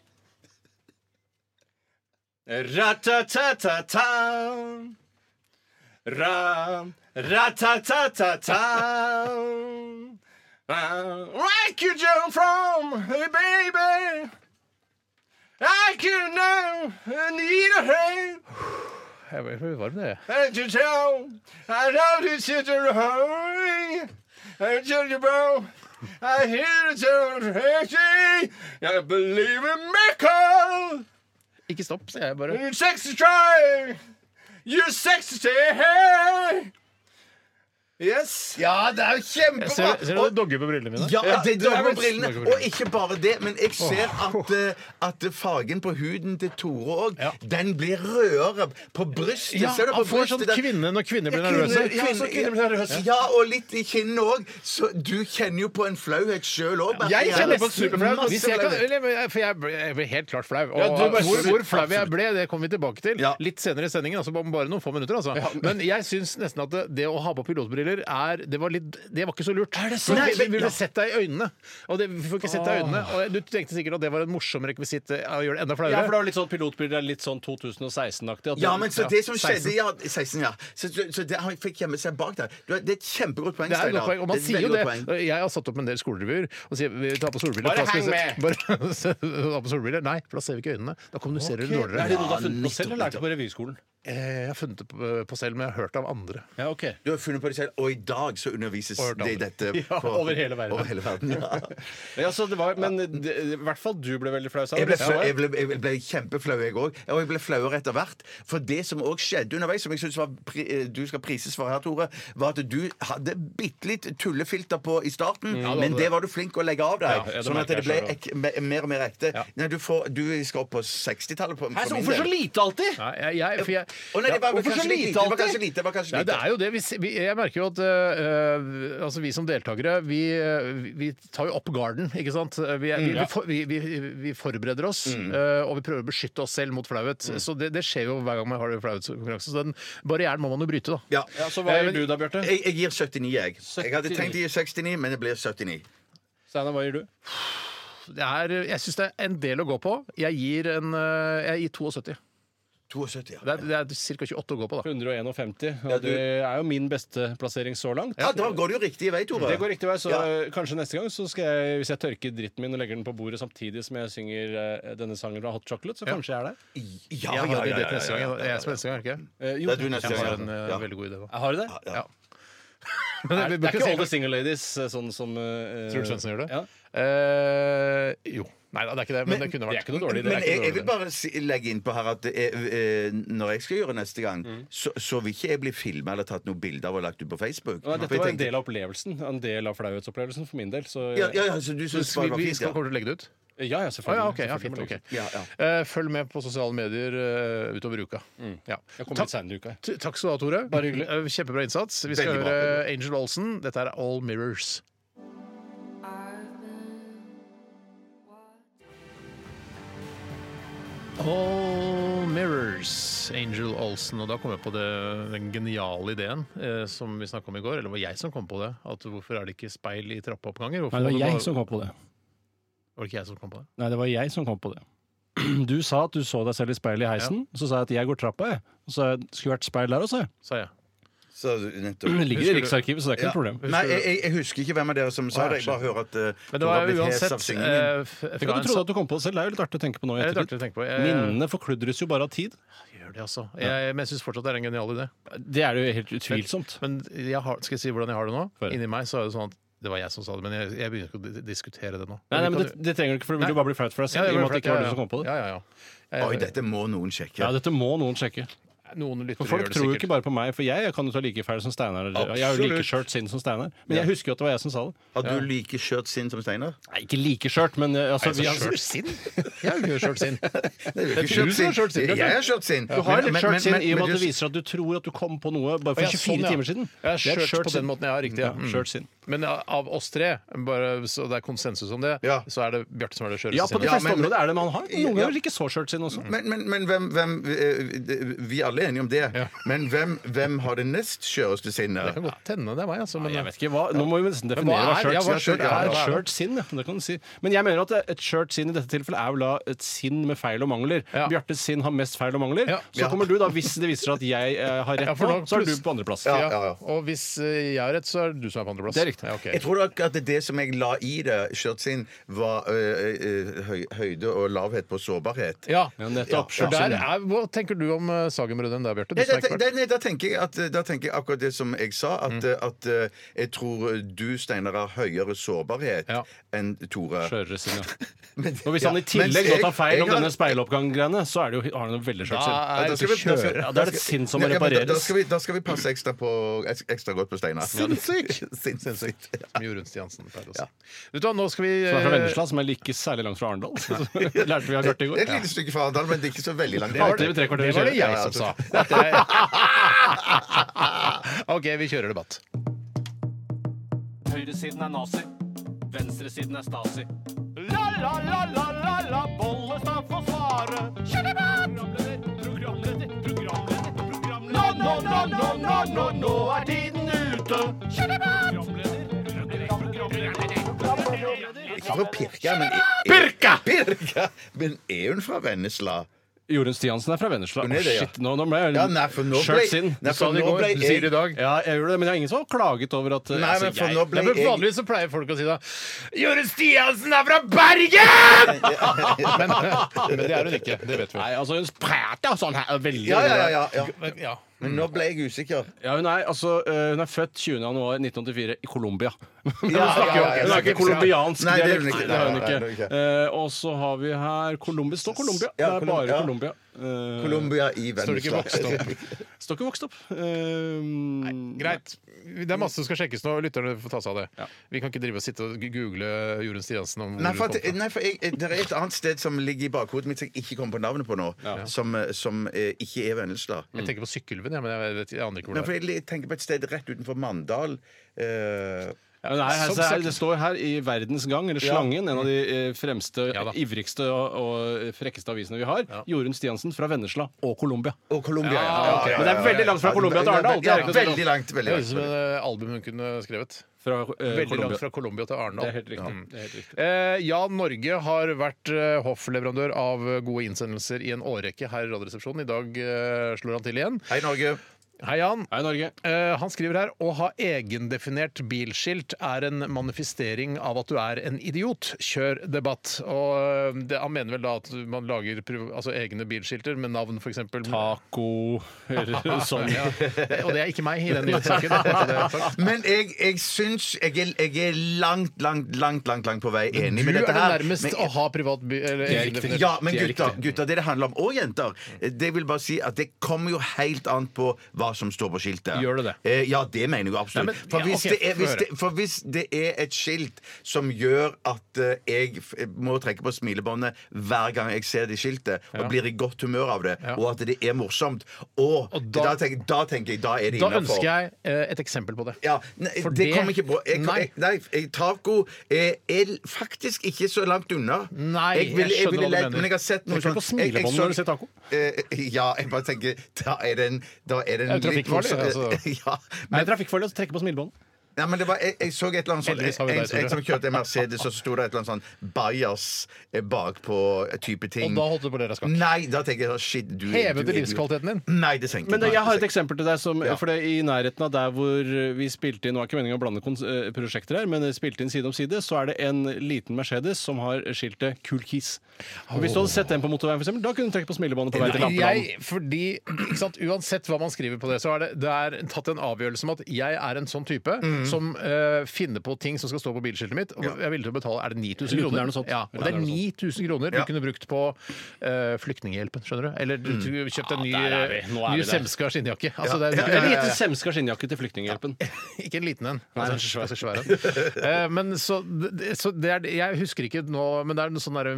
Ra-ta-ta-ta-ta Ra Ra-ta-ta-ta-ta Uh, Where you jump from, hey baby? I can know I need a hand. Jeg ble- jeg ble varm, jeg. And you tell I know this is a hurry. I tell you, bro. I hear it's a crazy. I believe in miracles. Ikke stopp, sier jeg bare. You're sexy try. You're sexy stay. Yes. ja, det er jo Jeg kjempebra! ser, ser du det dogger på brillene mine? Ja, Ja, det det er drar på vel- brillene. Dogger på Og ikke bare det, men jeg ser at, eh, at fargen på huden til Tore òg, Ja. den blir rødere på brystet. Ja, ser du han på får sånn brystet der? kvinne når kvinner blir Ja, nervøse. kvinner- ja, så kvinner blir nervøse. Ja, og litt i kinnet òg. Så du kjenner jo på en flauhet sjøl òg. Jeg kjenner på en superflau. Hvis jeg kan, eller, men- for jeg ble, jeg ble helt klart flau. Og Ja, du ble- hvor, hvor flau jeg ble, det kommer vi tilbake til Ja. litt senere i sendingen. Altså om bare noen få minutter, altså. Men jeg syns nesten at det, det å ha på pilotbriller er Det var, litt, det var ikke så lurt. Ah. sant? Nei, vi Ja. ville sett deg i øynene. Og det, vi får ikke sett deg i øynene. Og du tenkte sikkert at det var en morsom rekvisitt eh, å gjøre det enda Ja, for det flauere. var litt sånn pilotbilder litt sånn 2016-aktig. Ja, men så det som skjedde 16. ja, 16, ja. Så, så, så det, han fikk gjemme seg bak der. Du, det er et kjempegodt poeng, Det er et godt poeng, og man et sier veldig jo godt det. poeng. Jeg har satt opp en del skolerevyer og sier vi tar på solbriller. Bare for da skal vi heng se- Bare se- ta på solbriller. Nei, for da ser vi ikke øynene. Da kommuniserer du Er dårligere. det noe du har funnet på selv, eller er det på revyskolen? Eh, Jeg har funnet det på- på selv, men jeg har hørt av andre. Ja, ok. Du har funnet på det selv, og i dag så undervises Og det i dette Ja, over hele verden. Over hele verden ja. Ja, så det var, men det, i hvert fall du ble veldig flau. sa du. jeg, ble Ja, flau, ja. jeg, ble, jeg ble kjempeflau, jeg òg. Og jeg ble flauere etter hvert. For det som òg skjedde underveis, som jeg syns eh, du skal prises for her, Tore, var at du hadde bitte litt tullefilter på i starten, men det var du flink å legge av deg. Ja, ja, det sånn at merker det ble jeg ek, me, mer og mer ekte. Ja. Nei, du, får, du skal opp på 60-tallet på Hæ, for så min hvorfor så del. lite alltid? Nei, jeg, jeg, for jeg, Å, nei, det var, Ja, hvorfor så kanskje litt lite, lite det var alltid? kanskje lite. Det var kanskje Nei, lite. det er jo det. Vi, s- vi, jeg merker jo at øh, øh, altså vi som deltakere, vi, øh, vi tar jo opp garden, ikke sant? Eh, Vi, er- Mm. vi, vi, for, vi, vi, vi forbereder oss, Mm. øh, og vi prøver å beskytte oss selv mot flauhet. Så det, det skjer jo hver gang man har flauhetskonkurranse. Så den barrieren må man jo bryte, da. Ja. Ja, så hva Eh, gjør men- du da, Bjarte? Jeg, jeg gir 79, jeg. Jeg hadde 79. tenkt å gi 69, men det blir 79. Steinar, hva gjør du? Det er, jeg syns det er en del å gå på. Jeg gir, en, øh, jeg gir 72. 72, ja. Det er, det er ca. 28 å gå på, da. 151. Og Ja, du- det er jo min beste plassering så langt. Ja, Da går det jo riktig vei, Tore. Det går riktig vei, så Ja. kanskje neste gang, så skal jeg, hvis jeg tørker dritten min og legger den på bordet samtidig som jeg synger eh, denne sangen fra Hot Chocolate, så kanskje jeg er der. Ja, Jeg ja, har ja, idé ja, til neste gang. ja, ja, Jeg er som neste gang, er det ikke? Eh, jo, Det er du neste Jeg har gang. en øh, Ja. veldig god idé, da. Jeg har det. Ja. Ja. Det Men er, vi det bør er ikke si- alle single ladies eh, sånn som eh, Truls Svendsen gjør det? Ja. Eh, jo. Nei da, det er ikke det, men, det kunne Det vært. er ikke noe dårlig idé. Men Det er jeg, ikke jeg noe vil dårlig idé. bare si, legge inn på her at eh, eh, når jeg skal gjøre neste gang, Mm. så, så vil ikke jeg bli filma eller tatt noe bilde av og lagt ut på Facebook. Nei, For dette jeg var en tenkte- del av opplevelsen. En del av flauhetsopplevelsen for min del. Så, eh, ja, ja, ja, så du Så syns det var vi, vi fint, skal, ja. kommer du til å legge det ut? ja, ja, Å selvfølgelig. ja, ok. Ja, selvfølgelig fint, må jeg ok. gjøre det. Ja, ja. Eh, følg med på sosiale medier eh, utover uka. Ja. Mm. Jeg kommer Takk- litt senere i uka. jeg. t- Takk skal du ha, Tore. Bare hyggelig. Eh, Kjempebra innsats. Vi skal Veldig bra. høre Angel Olsen. Dette er All Mirrors. All Mirrors, Angel Olsen. Og da kom jeg på det, den geniale ideen eh, som vi snakka om i går. Eller det var jeg som kom på det. At hvorfor er det ikke speil i trappeoppganger? Hvorfor Nei, det må du var bare- jeg som kom på det. var det ikke jeg som kom på det? Nei, det var jeg som kom på det. Du sa at du så deg selv i speilet i heisen. og Så sa jeg at jeg går trappa, jeg. Og så sa jeg, skulle vært speil der også, jeg. Sa jeg. Så nettopp. Det ligger Husker i du- Riksarkivet, så det er ikke noe problem. Nei, jeg, jeg- jeg husker ikke hvem av dere som sa det. Jeg bare hører Men at eh, det Tore har var blitt hes av uansett eh, f- syngingen. Tenk fra at en du trodde at du kom på det selv. Det er jo litt artig å tenke på nå i Det er litt artig ettertid. å tenke på. Jeg, Minnene forkludres jo bare av tid. gjør det, altså. jeg, men jeg syns fortsatt det er en genial idé. Det er jo helt utvilsomt. Men jeg har, skal jeg si hvordan jeg har det nå? Få høre. Inni meg så er det sånn at det var jeg som sa det, men jeg, jeg begynner ikke å di- diskutere det nå. Nei, nei, Vi men kan det, det trenger du ikke, for det vil jo bare bli flaut for deg jo- selv. i og med at det ikke ja, var du ja. som kom på det. Ja, ja, ja. Jeg- Oi, dette må noen sjekke. Ja, dette må noen sjekke. Noen lyttere For folk gjør det tror jo sikkert. ikke bare på meg, for jeg kan jo ta like feil som Steinar. eller- Jeg har jo like skjørt sinn som Steinar. Men jeg husker jo at det var jeg som sa det. Har du like skjørt sinn som Steinar? Nei, ikke like skjørt, men eh, altså, vi har Skjørt sinn? Jeg har jo ikke skjørt sinn. Jeg tror du har skjørt sinn, Bjarte. Jeg har skjørt sinn. Du har Men- litt men- skjørt sinn men- i og med men at det du- viser at du tror at du kom på noe bare Å, for ja, 24 sånn, ja. timer siden. Jeg har Det er skjørt på sinn. den måten, ja, riktig. Ja. Mm, Skjørt sinn. Men av oss tre, bare så det er konsensus om det, Ja. så er det Bjarte som er det skjøreste Ja, på de sinnet. Ja, fleste men- områder er det man har. Noen Ja. ganger ikke så skjørt sinn også. Men, men, men hvem, hvem eh, Vi alle er enige om det. Men hvem, hvem har det nest skjøreste Det sinnet? kan godt hende det er meg, altså. Men, Jeg vet ikke, hva, Nå må vi nesten Men hva definere eh, hva er- ja, hva skjørt sinn skjørt- ja, er. hva er det? Skjørt sinn, ja, det kan du si. Men jeg mener at et skjørt sinn i dette tilfellet er vel da et sinn med feil og mangler. Ja. Bjartes sinn har mest feil og mangler. Ja. Så kommer du, da, hvis det viser seg at jeg eh, har rett, Ja, for nå, da- så er du pluss- på andreplass. ja, Ja. ja, ja. Og hvis eh, jeg har rett, så er det du som er på andreplass. Det er riktig. Ja, ok. Jeg tror nok at det som jeg la i det, skjørt sinn, var eh, eh, høy, høyde og lavhet på sårbarhet. Ja. Ja, nettopp. For Skjørt der sinn. er, hva tenker du om eh, Sagen-brødrene der, Bjarte? Du Nei, som da, er ekspert. da, nei, da, tenker jeg at, da tenker jeg akkurat det som jeg sa, at, Mm. at eh, jeg tror du, Steinar, har høyere sårbarhet Ja. enn Tore. Skjørere sinn, ja. Men- Og hvis ja, han i mens tillegg da jeg- tar feil jeg om har- denne speiloppgang-greiene, så er det jo, har han jo veldig skjørt sinn. Da Ja, er da det skal vi- da skal- kjører. Ja, det er et sinn som må Ja, men da- Da repareres. skal vi, da skal vi passe ekstra, på, ekstra godt på Steinar. Sinnssyk! Sinnssykt. Som Jorunn Stiansen pleier å si. Vet du hva, nå skal vi Som er fra eh, Vennesla, som er like særlig langt fra Arendal. Det lærte vi av Bjarte i Det er går. et lite stykke fra Arendal, men det er ikke så veldig langt. var det vi tre kvarter Det var det siden. jeg som sa. At jeg- OK, vi kjører debatt. Høyresiden er nazi. Venstresiden er stasi. La, la, la, la, la, la, Bollestad får svare. Kjør Programleder, programleder, programleder, programleder. Nå, nå, nå, nå, nå, nå, nå er tiden ute. Kjør Programleder, programleder, programleder, programleder. Ikke fra Pirka, men Pirka! Pirka! Men er hun fra Vennesla? Jorunn Stiansen er fra Vennesla. Hun Å, er det, ja. shit, nå, nå ble jeg Ja, nei, for nå ble- skjørt sinn. nei, Du sa for det i nå går. ble Du jeg- sier det i dag. Ja, jeg gjorde det, men det er ingen som har klaget over at eh, altså, Nei, men for nå Nei, ble men Altså, jeg Vanligvis så pleier folk å si da Jorunn Stiansen er fra Bergen! men, men det er hun ikke. Det vet vi. Nei, altså hun prater sånn her veldig Ja, ja, ja, ja, ja. Men, ja. Men nå ble jeg usikker. Ja, hun, er, altså, eh, hun er født 20. januar 1984 i Colombia. Hun ja, snakker ja, jo- ja, hun har ikke ja. colombiansk Nei, det er hun dialekt. ikke. det har hun Nei, nei, det er ikke. hun Eh, og så har vi her Colombia. Står Colombia. Ja, det er Colom- bare ja. Colombia. Eh, Colombia i Står det ikke Vennesla. vokst opp? Står ikke vokst opp. Eh, Greit. Det er masse som skal sjekkes nå. Lytterne får ta seg av det. Ja. Vi kan ikke drive og sitte og google Jorunn Stiansen om hvor Nei, hun for, at, kom fra. nei, for jeg, det er et annet sted som ligger i bakhodet mitt som jeg ikke kommer på navnet på nå, som, som eh, ikke er Vennesla. Mm. Jeg tenker på Sykkylven, ja, men jeg, vet, jeg aner ikke hvor Nei, det for er. jeg tenker på et sted rett utenfor Mandal. eh, Ja, men her, her, Som se her, sagt. det står her i Verdens Gang, eller Slangen, en av de eh, fremste, Ja da. ivrigste og, og eh, frekkeste avisene vi har, Jorunn Stiansen fra Vennesla og Colombia. og Colombia. Ja, Ah, ok. Men det er veldig langt fra Colombia til Arendal. Det Ja, er ikke noe tvil om. veldig langt. Det veldig høres ut som langt. et album hun kunne skrevet. Fra, eh, Veldig Colombia. langt fra Colombia til Arendal. Det er helt riktig. Det er helt riktig. Eh, Jan Norge har vært eh, hoffleverandør av eh, gode innsendelser i en årrekke her i Radioresepsjonen. I dag eh, slår han til igjen. Hei, Norge. Hei, Jan. Hei, Norge. Eh, han skriver her å ha egendefinert bilskilt er en manifestering av at du er en idiot. Kjør debatt. Og eh, det, Han mener vel da at man lager priv- altså, egne bilskilter med navn, f.eks. Taco eller sånn. Ja. Og det er ikke meg i den nyhetssaken. bare så det er sagt. Men jeg, jeg syns jeg er, jeg er langt, langt, langt langt, langt på vei enig Du med er dette det her. nærmest Men- å ha privat by... Eller, Det er egendefinert- riktig. ja, men Det er gutter, riktig. gutter, det det handler om, og jenter, det vil bare si at det kommer jo helt an på hva hva som står på skiltet. Gjør det det? Eh, ja, det mener jeg absolutt. Nei, men- for, ja, hvis ok, det er, få hvis høre. det, for hvis det er et skilt som gjør at eh, jeg f må trekke på smilebåndet hver gang jeg ser det skiltet, og blir i godt humør av det, og at det er morsomt, og, Og da- da, tenker, da tenker jeg da er det Da innafor. ønsker jeg eh, et eksempel på det. Ja, nei, For det, det- kom ikke på. Jeg, Nei. nei. Jeg, nei, jeg, taco er, er faktisk ikke så langt unna. Nei, ville- jeg skjønner ville hva du lett- mener. Men jeg har sett noe Tenker du på sånn- jeg- jeg smilebåndet så- når du ser taco? Eh, ja, jeg bare tenker Da er den, da er den Det er jo litt trafikkfarlig, altså. morsom- ja, Nei, men, trafikkfarlig å trekke på smilebåndet. nei, men det var, jeg, jeg så et eller annet sånt Heldigvis har vi en, deg, Tore. en som kjørte en Mercedes, og så sto det et eller annet sånn eh, Bajas bakpå type ting. Og da holdt du på det raskt. Nei, da tenker jeg sånn, shit du, Hevet du- det livskvaliteten din? Nei, det senker Men den. jeg har et Det senker- eksempel til deg. Som, For det, I nærheten av der hvor vi spilte inn Nå er ikke meningen å blande kons eh, prosjekter her, men spilte inn side om side, så er det en liten Mercedes som har skiltet 'Cool Keys'. Og Hvis du hadde sett den på motorveien, for eksempel, da kunne du trekke på smilebåndet på vei til Lampeland. Jeg, fordi, ikke sant, Uansett hva man skriver på det, så er det, det er tatt en avgjørelse om at jeg er en sånn type som eh, finner på ting som skal stå på bilskiltet mitt. Og jeg er villig til å betale er det 9000 Lurer på om det er kroner. noe sånt. Ja, Ja, og det det er er noe 9000 kroner du Ja. kunne brukt på eh, Flyktninghjelpen, skjønner du. Eller du du kjøpte en ny, Ja, der er vi. Nå er ny vi der. Semska skinnjakke. Altså, Ja. det er, Ja, Eller gitt en semska skinnjakke til Flyktninghjelpen. Ikke en liten en. Nei, Altså, altså, svær en. Eh, men så, det- så det er, Jeg husker ikke nå, men det er noe sånn derre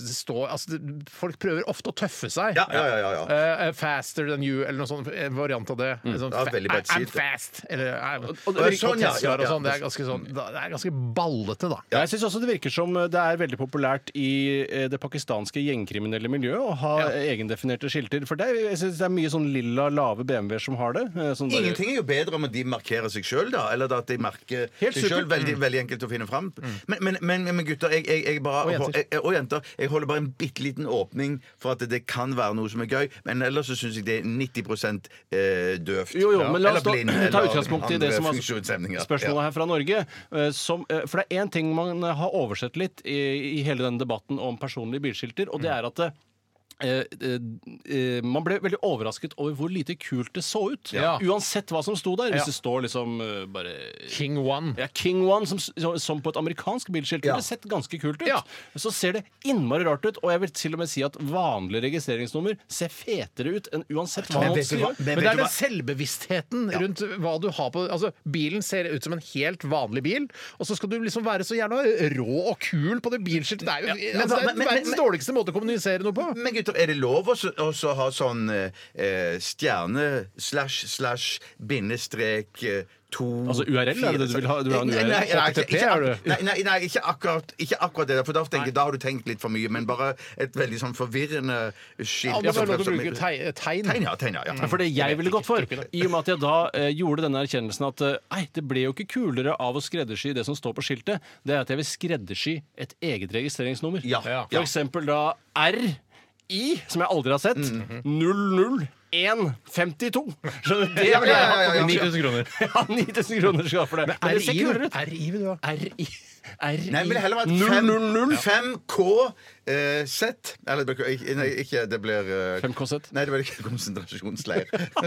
stå Altså, det- folk prøver ofte å tøffe seg. Ja, ja, ja, ja, ja. Eh, faster than you, eller noe sånn en variant av det. En Sånn, Ja, fa- veldig bredt I'm sitt. fast! Eller I'm, og, det er sånn, ja, Tesla ja, ja. og sånn. Det er ganske sånn Det er ganske ballete, da. Jeg syns også det virker som eh, det er veldig populært i eh, det pakistanske gjengkriminelle miljøet å ha eh, egendefinerte skilter. For det, er- jeg synes det er mye sånn lilla, lave BMW-er som har det. eh, Sånn bare- Ingenting er jo bedre om at de markerer seg sjøl, da. Eller at de merker Mm. Helt Mm. seg sjøl. supert. Veldig, veldig enkelt å finne fram. Men, men, men, men gutter jeg, jeg, jeg bare, Og jenter. Jeg, jeg, og jenter. Jeg holder bare en bitte liten åpning for at det kan være noe som er gøy, men ellers så syns jeg det er 90 eh, døvt. Jo, jo, Ja. men la oss Eller da, blind, ta eller utgangspunkt i det andre som var funksjonshemninger. spørsmålet Ja. her fra Norge. eh, Som, eh, for det er én ting man eh, har oversett litt i, i hele denne debatten om personlige bilskilter, Mm. og det er at det, Eh, eh, eh, man ble veldig overrasket over hvor lite kult det så ut. Ja. Uansett hva som sto der. Ja. Hvis det står liksom eh, bare King One. ja, King One, som, som på et amerikansk bilskilt ville sett ganske kult ut. Ja. Så ser det innmari rart ut, og jeg vil til og med si at vanlig registreringsnummer ser fetere ut enn uansett hva Men man vet du hva- skriver. men Men det vet du er den hva- selvbevisstheten rundt hva du har på Altså, Bilen ser ut som en helt vanlig bil, og så skal du liksom være så gjerne rå og kul på det bilskiltet. Det er jo men- altså, det er men- men- verdens men- dårligste måte å kommunisere noe på. Men gutter, er det lov å så- å så ha sånn eh, stjerne slash slash bindestrek eh, to Altså URL, er det det du vil ha? Du vil ha en Nei, URL? Nei, nei, ikke, HTTP, ikke, er du? nei, nei, nei ikke, akkurat, ikke akkurat det. der, For da, tenker, jeg, da har du tenkt litt for mye. Men bare et veldig sånn forvirrende skilt. Ja, men det er lov til som å fremstår- bruke tei- tegn. Tegn, ja. Tegn, ja, ja. For det jeg ville gått for, i og med at jeg da eh, gjorde denne erkjennelsen at eh, nei, det ble jo ikke kulere av å skreddersy det som står på skiltet, det er at jeg vil skreddersy et eget registreringsnummer. Ja, ja. For eksempel da R, I, som jeg aldri har sett, 00152. Skjønner du? Det Ja, vil jeg ha. ja, ja, ja. 9000 kroner. Ja, 9000 kroner skal jeg ha for det. Men det ser RI, kulere ut. RI vil du ha. RI. Nei, men det heller vært 5- 5KZ. eh, Eller det blir ikke- nei, ikke Det blir eh, 5KZ. Nei, det blir ikke konsentrasjonsleir.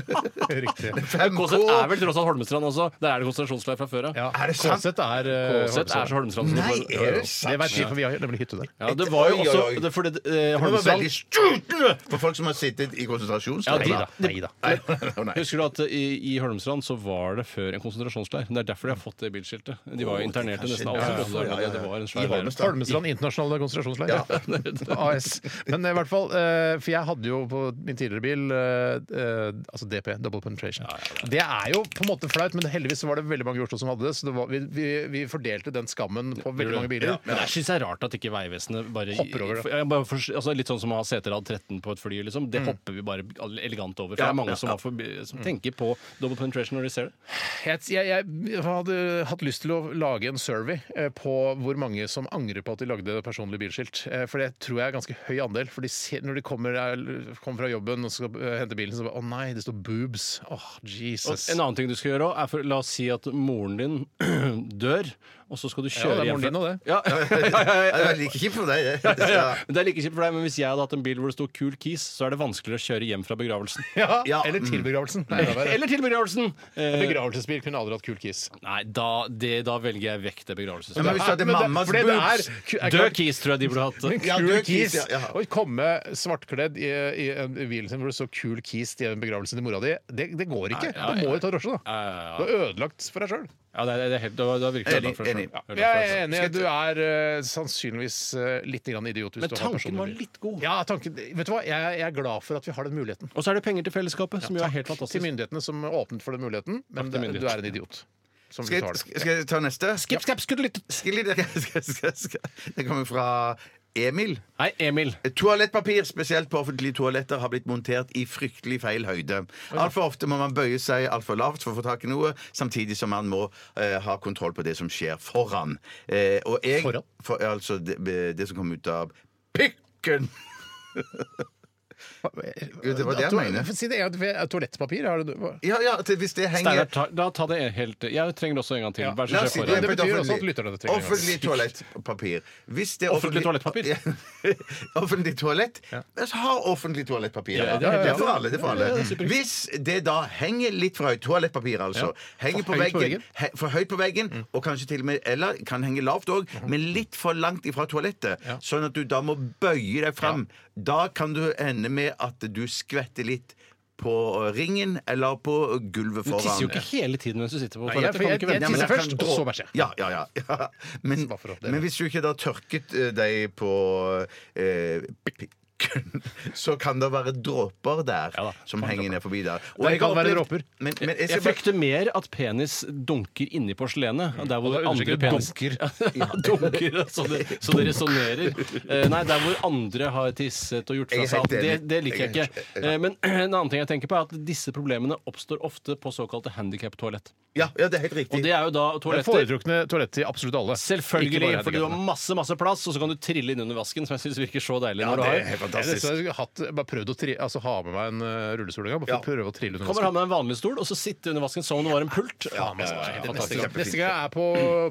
Riktig. 5K KZ er vel tross alt Holmestrand også. Der er det konsentrasjonsleir fra før av. Ja. Er det sant? KZ er, eh, KZ er så Holmestrand sånn som Nei, er får- det Det sant? veit vi, for vi har nemlig hytte der. Ja, det var jo Oi, oi, også oi. det, fordi, eh, Det var Holmestrand veldig stutende for folk som har sittet i Ja, de konsentrasjonsleir. da. Nei da. Nei, nei, nei. Husker du at i, i Holmestrand så var det før en konsentrasjonsleir? Det er derfor de har fått det bilskiltet. De var jo internerte nesten alle. Ja, ja, som bodde der, ja, ja, ja. men Det var en I svær leir. Holmestrand. Holmestrand internasjonale konsentrasjonsleir. AS. Men i hvert fall, eh, for jeg hadde jo på min tidligere bil eh, eh, altså DP, double penetration. Det er jo på en måte flaut, men heldigvis så var det veldig mange i Oslo som hadde det, så det var, vi, vi, vi fordelte den skammen på veldig mange biler. Men jeg syns det er rart at ikke Vegvesenet bare Hopper over det. Ja, bare for, altså Litt sånn som å ha seterad 13 på et fly, liksom. Det hopper vi bare elegant over. For det er mange som, har forbi, som tenker på double penetration når de ser det. Jeg, jeg, jeg hadde hatt lyst til å lage en survey eh, på hvor mange som angrer på at de lagde personlig bilskilt. Eh, For det tror jeg er ganske høy andel. For de ser, når de kommer, er- kommer fra jobben og skal eh, hente bilen, så bare Å nei, det står boobs. Åh, Og Jesus. en annen ting du skal gjøre òg, er for La oss si at moren din dør, og så skal du Ja, kjøre det er hjem moren din og det. Ja, Det er veldig kjipt for deg, det. Ja, ja. Men Det er like kjipt for deg, men hvis jeg hadde hatt en bil hvor det sto 'Cool Keys', så er det vanskeligere å kjøre hjem fra begravelsen. Ja, Ja, eller til begravelsen. Nei, det var det. Eller til begravelsen! Eh, Begravelsesbil kunne aldri hatt kul kiss. nei, da, det, da velger jeg vekk det Ja, begravelsesbildet. men hvis du hadde Men det- mammas fordi det boobs er- Død altså. Keys tror jeg de burde hatt. Ja, Kul død kis. kis, ja, ja. Å komme svartkledd i, i en vielsen hvor det står 'kul kis' til begravelsen til mora di, det, det går ikke. Nei, ja, Da må ja. du ta drosje, da. Ja, ja, ja. Du har ødelagt for deg sjøl. Ja, det er, det er helt, det var, det var virkelig Enig, ødelagt for deg enig. selv. Ødelagt for Jeg deg er selv. enig. Du er eh, sannsynligvis eh, litt grann idiot. Hvis Men du har tanken var personlig- litt god. Ja, tanken, vet du hva? Jeg, jeg er glad for at vi har den muligheten. Og så er det penger til fellesskapet, som jo er helt Til fantastisk. myndighetene som åpnet for den muligheten, men til det- du er en idiot. Som skal betaler. jeg, skal jeg ta neste? Skip, skap, skuddelitt. Skilly, det, skal- skal- skal- det kommer fra Emil. Nei, Emil. Toalettpapir, spesielt på offentlige toaletter, har blitt montert i fryktelig feil høyde. Altfor ofte må man bøye seg altfor lavt for å få tak i noe, samtidig som man må eh, ha kontroll på det som skjer foran. Eh, og jeg, Foran? For, altså det, det som kom ut av pikken! Jo, det var det jeg To- mener. Si det, ja, toalettpapir? Har du, hva? Ja, ja, at hvis det henger Steinar, ta, da ta det helt Jeg trenger også en gang til. Vær så La oss si snill. er på foran. et Det betyr offentlig- også at lytterne trenger det. Offentlig toalettpapir. Hvis det er Offentlig toalettpapir? Ja. offentlig toalett? Ja. Så har offentlig toalettpapir. Ja, ja, det, ja, ja. er for alle. Det er for alle. Ja, ja, ja, superriktig. Hvis det da henger litt for høyt, toalettpapir altså, henger For på høyt på veggen, veggen? he, for høyt på veggen, Mm. og kanskje til og med eller kan henge lavt òg, Mhm. men litt for langt ifra toalettet, sånn at du da må bøye deg fram, da kan du ende med at du skvetter litt på ringen eller på gulvet Du foran. tisser jo ikke hele tiden mens du sitter på Nei, jeg- toalettet. Kan du ikke jeg- vente? jeg- men Tisse jeg først, og kan gå- så bæsje. Ja, ja, ja. ja. Men, Bare for å oppdele. men hvis du ikke da tørket eh, deg på eh, pikken, så kan det være dråper der Ja da, som kan henger dråper. ned forbi der. Og Det jeg kan har være opplevd- dråper. Men, men jeg Jeg skal bare frykter mer at penis dunker inni porselenet. Der hvor Og da andre understreker penis dunker. Ja, dunker, så det, så det resonnerer. Eh, Nei, der hvor andre har tisset og gjort Jeg fra er seg helt alt. Det, enig. det liker jeg Jeg er ikke. helt- Eh, Men en annen ting jeg tenker på, er at disse problemene oppstår ofte på såkalte handikap-toalett. ja, ja, det er helt Og riktig. det er jo da Det er toaletter foretrukne toalett til absolutt alle. Ikke Selvfølgelig, bare for du har handikappede. masse masse plass, og så kan du trille inn under vasken, som jeg syns virker så deilig. når du det har er helt Jeg har fantastisk. nesten hatt, bare prøvd å tri, altså, ha med meg en eh, rullestol en gang. Bare for å prøve å trille under Kommer ha med deg en vanlig stol, og så sitte under vasken som om det var en pult. Ja, men det var helt Fantastisk. neste, gang, neste gang jeg er på,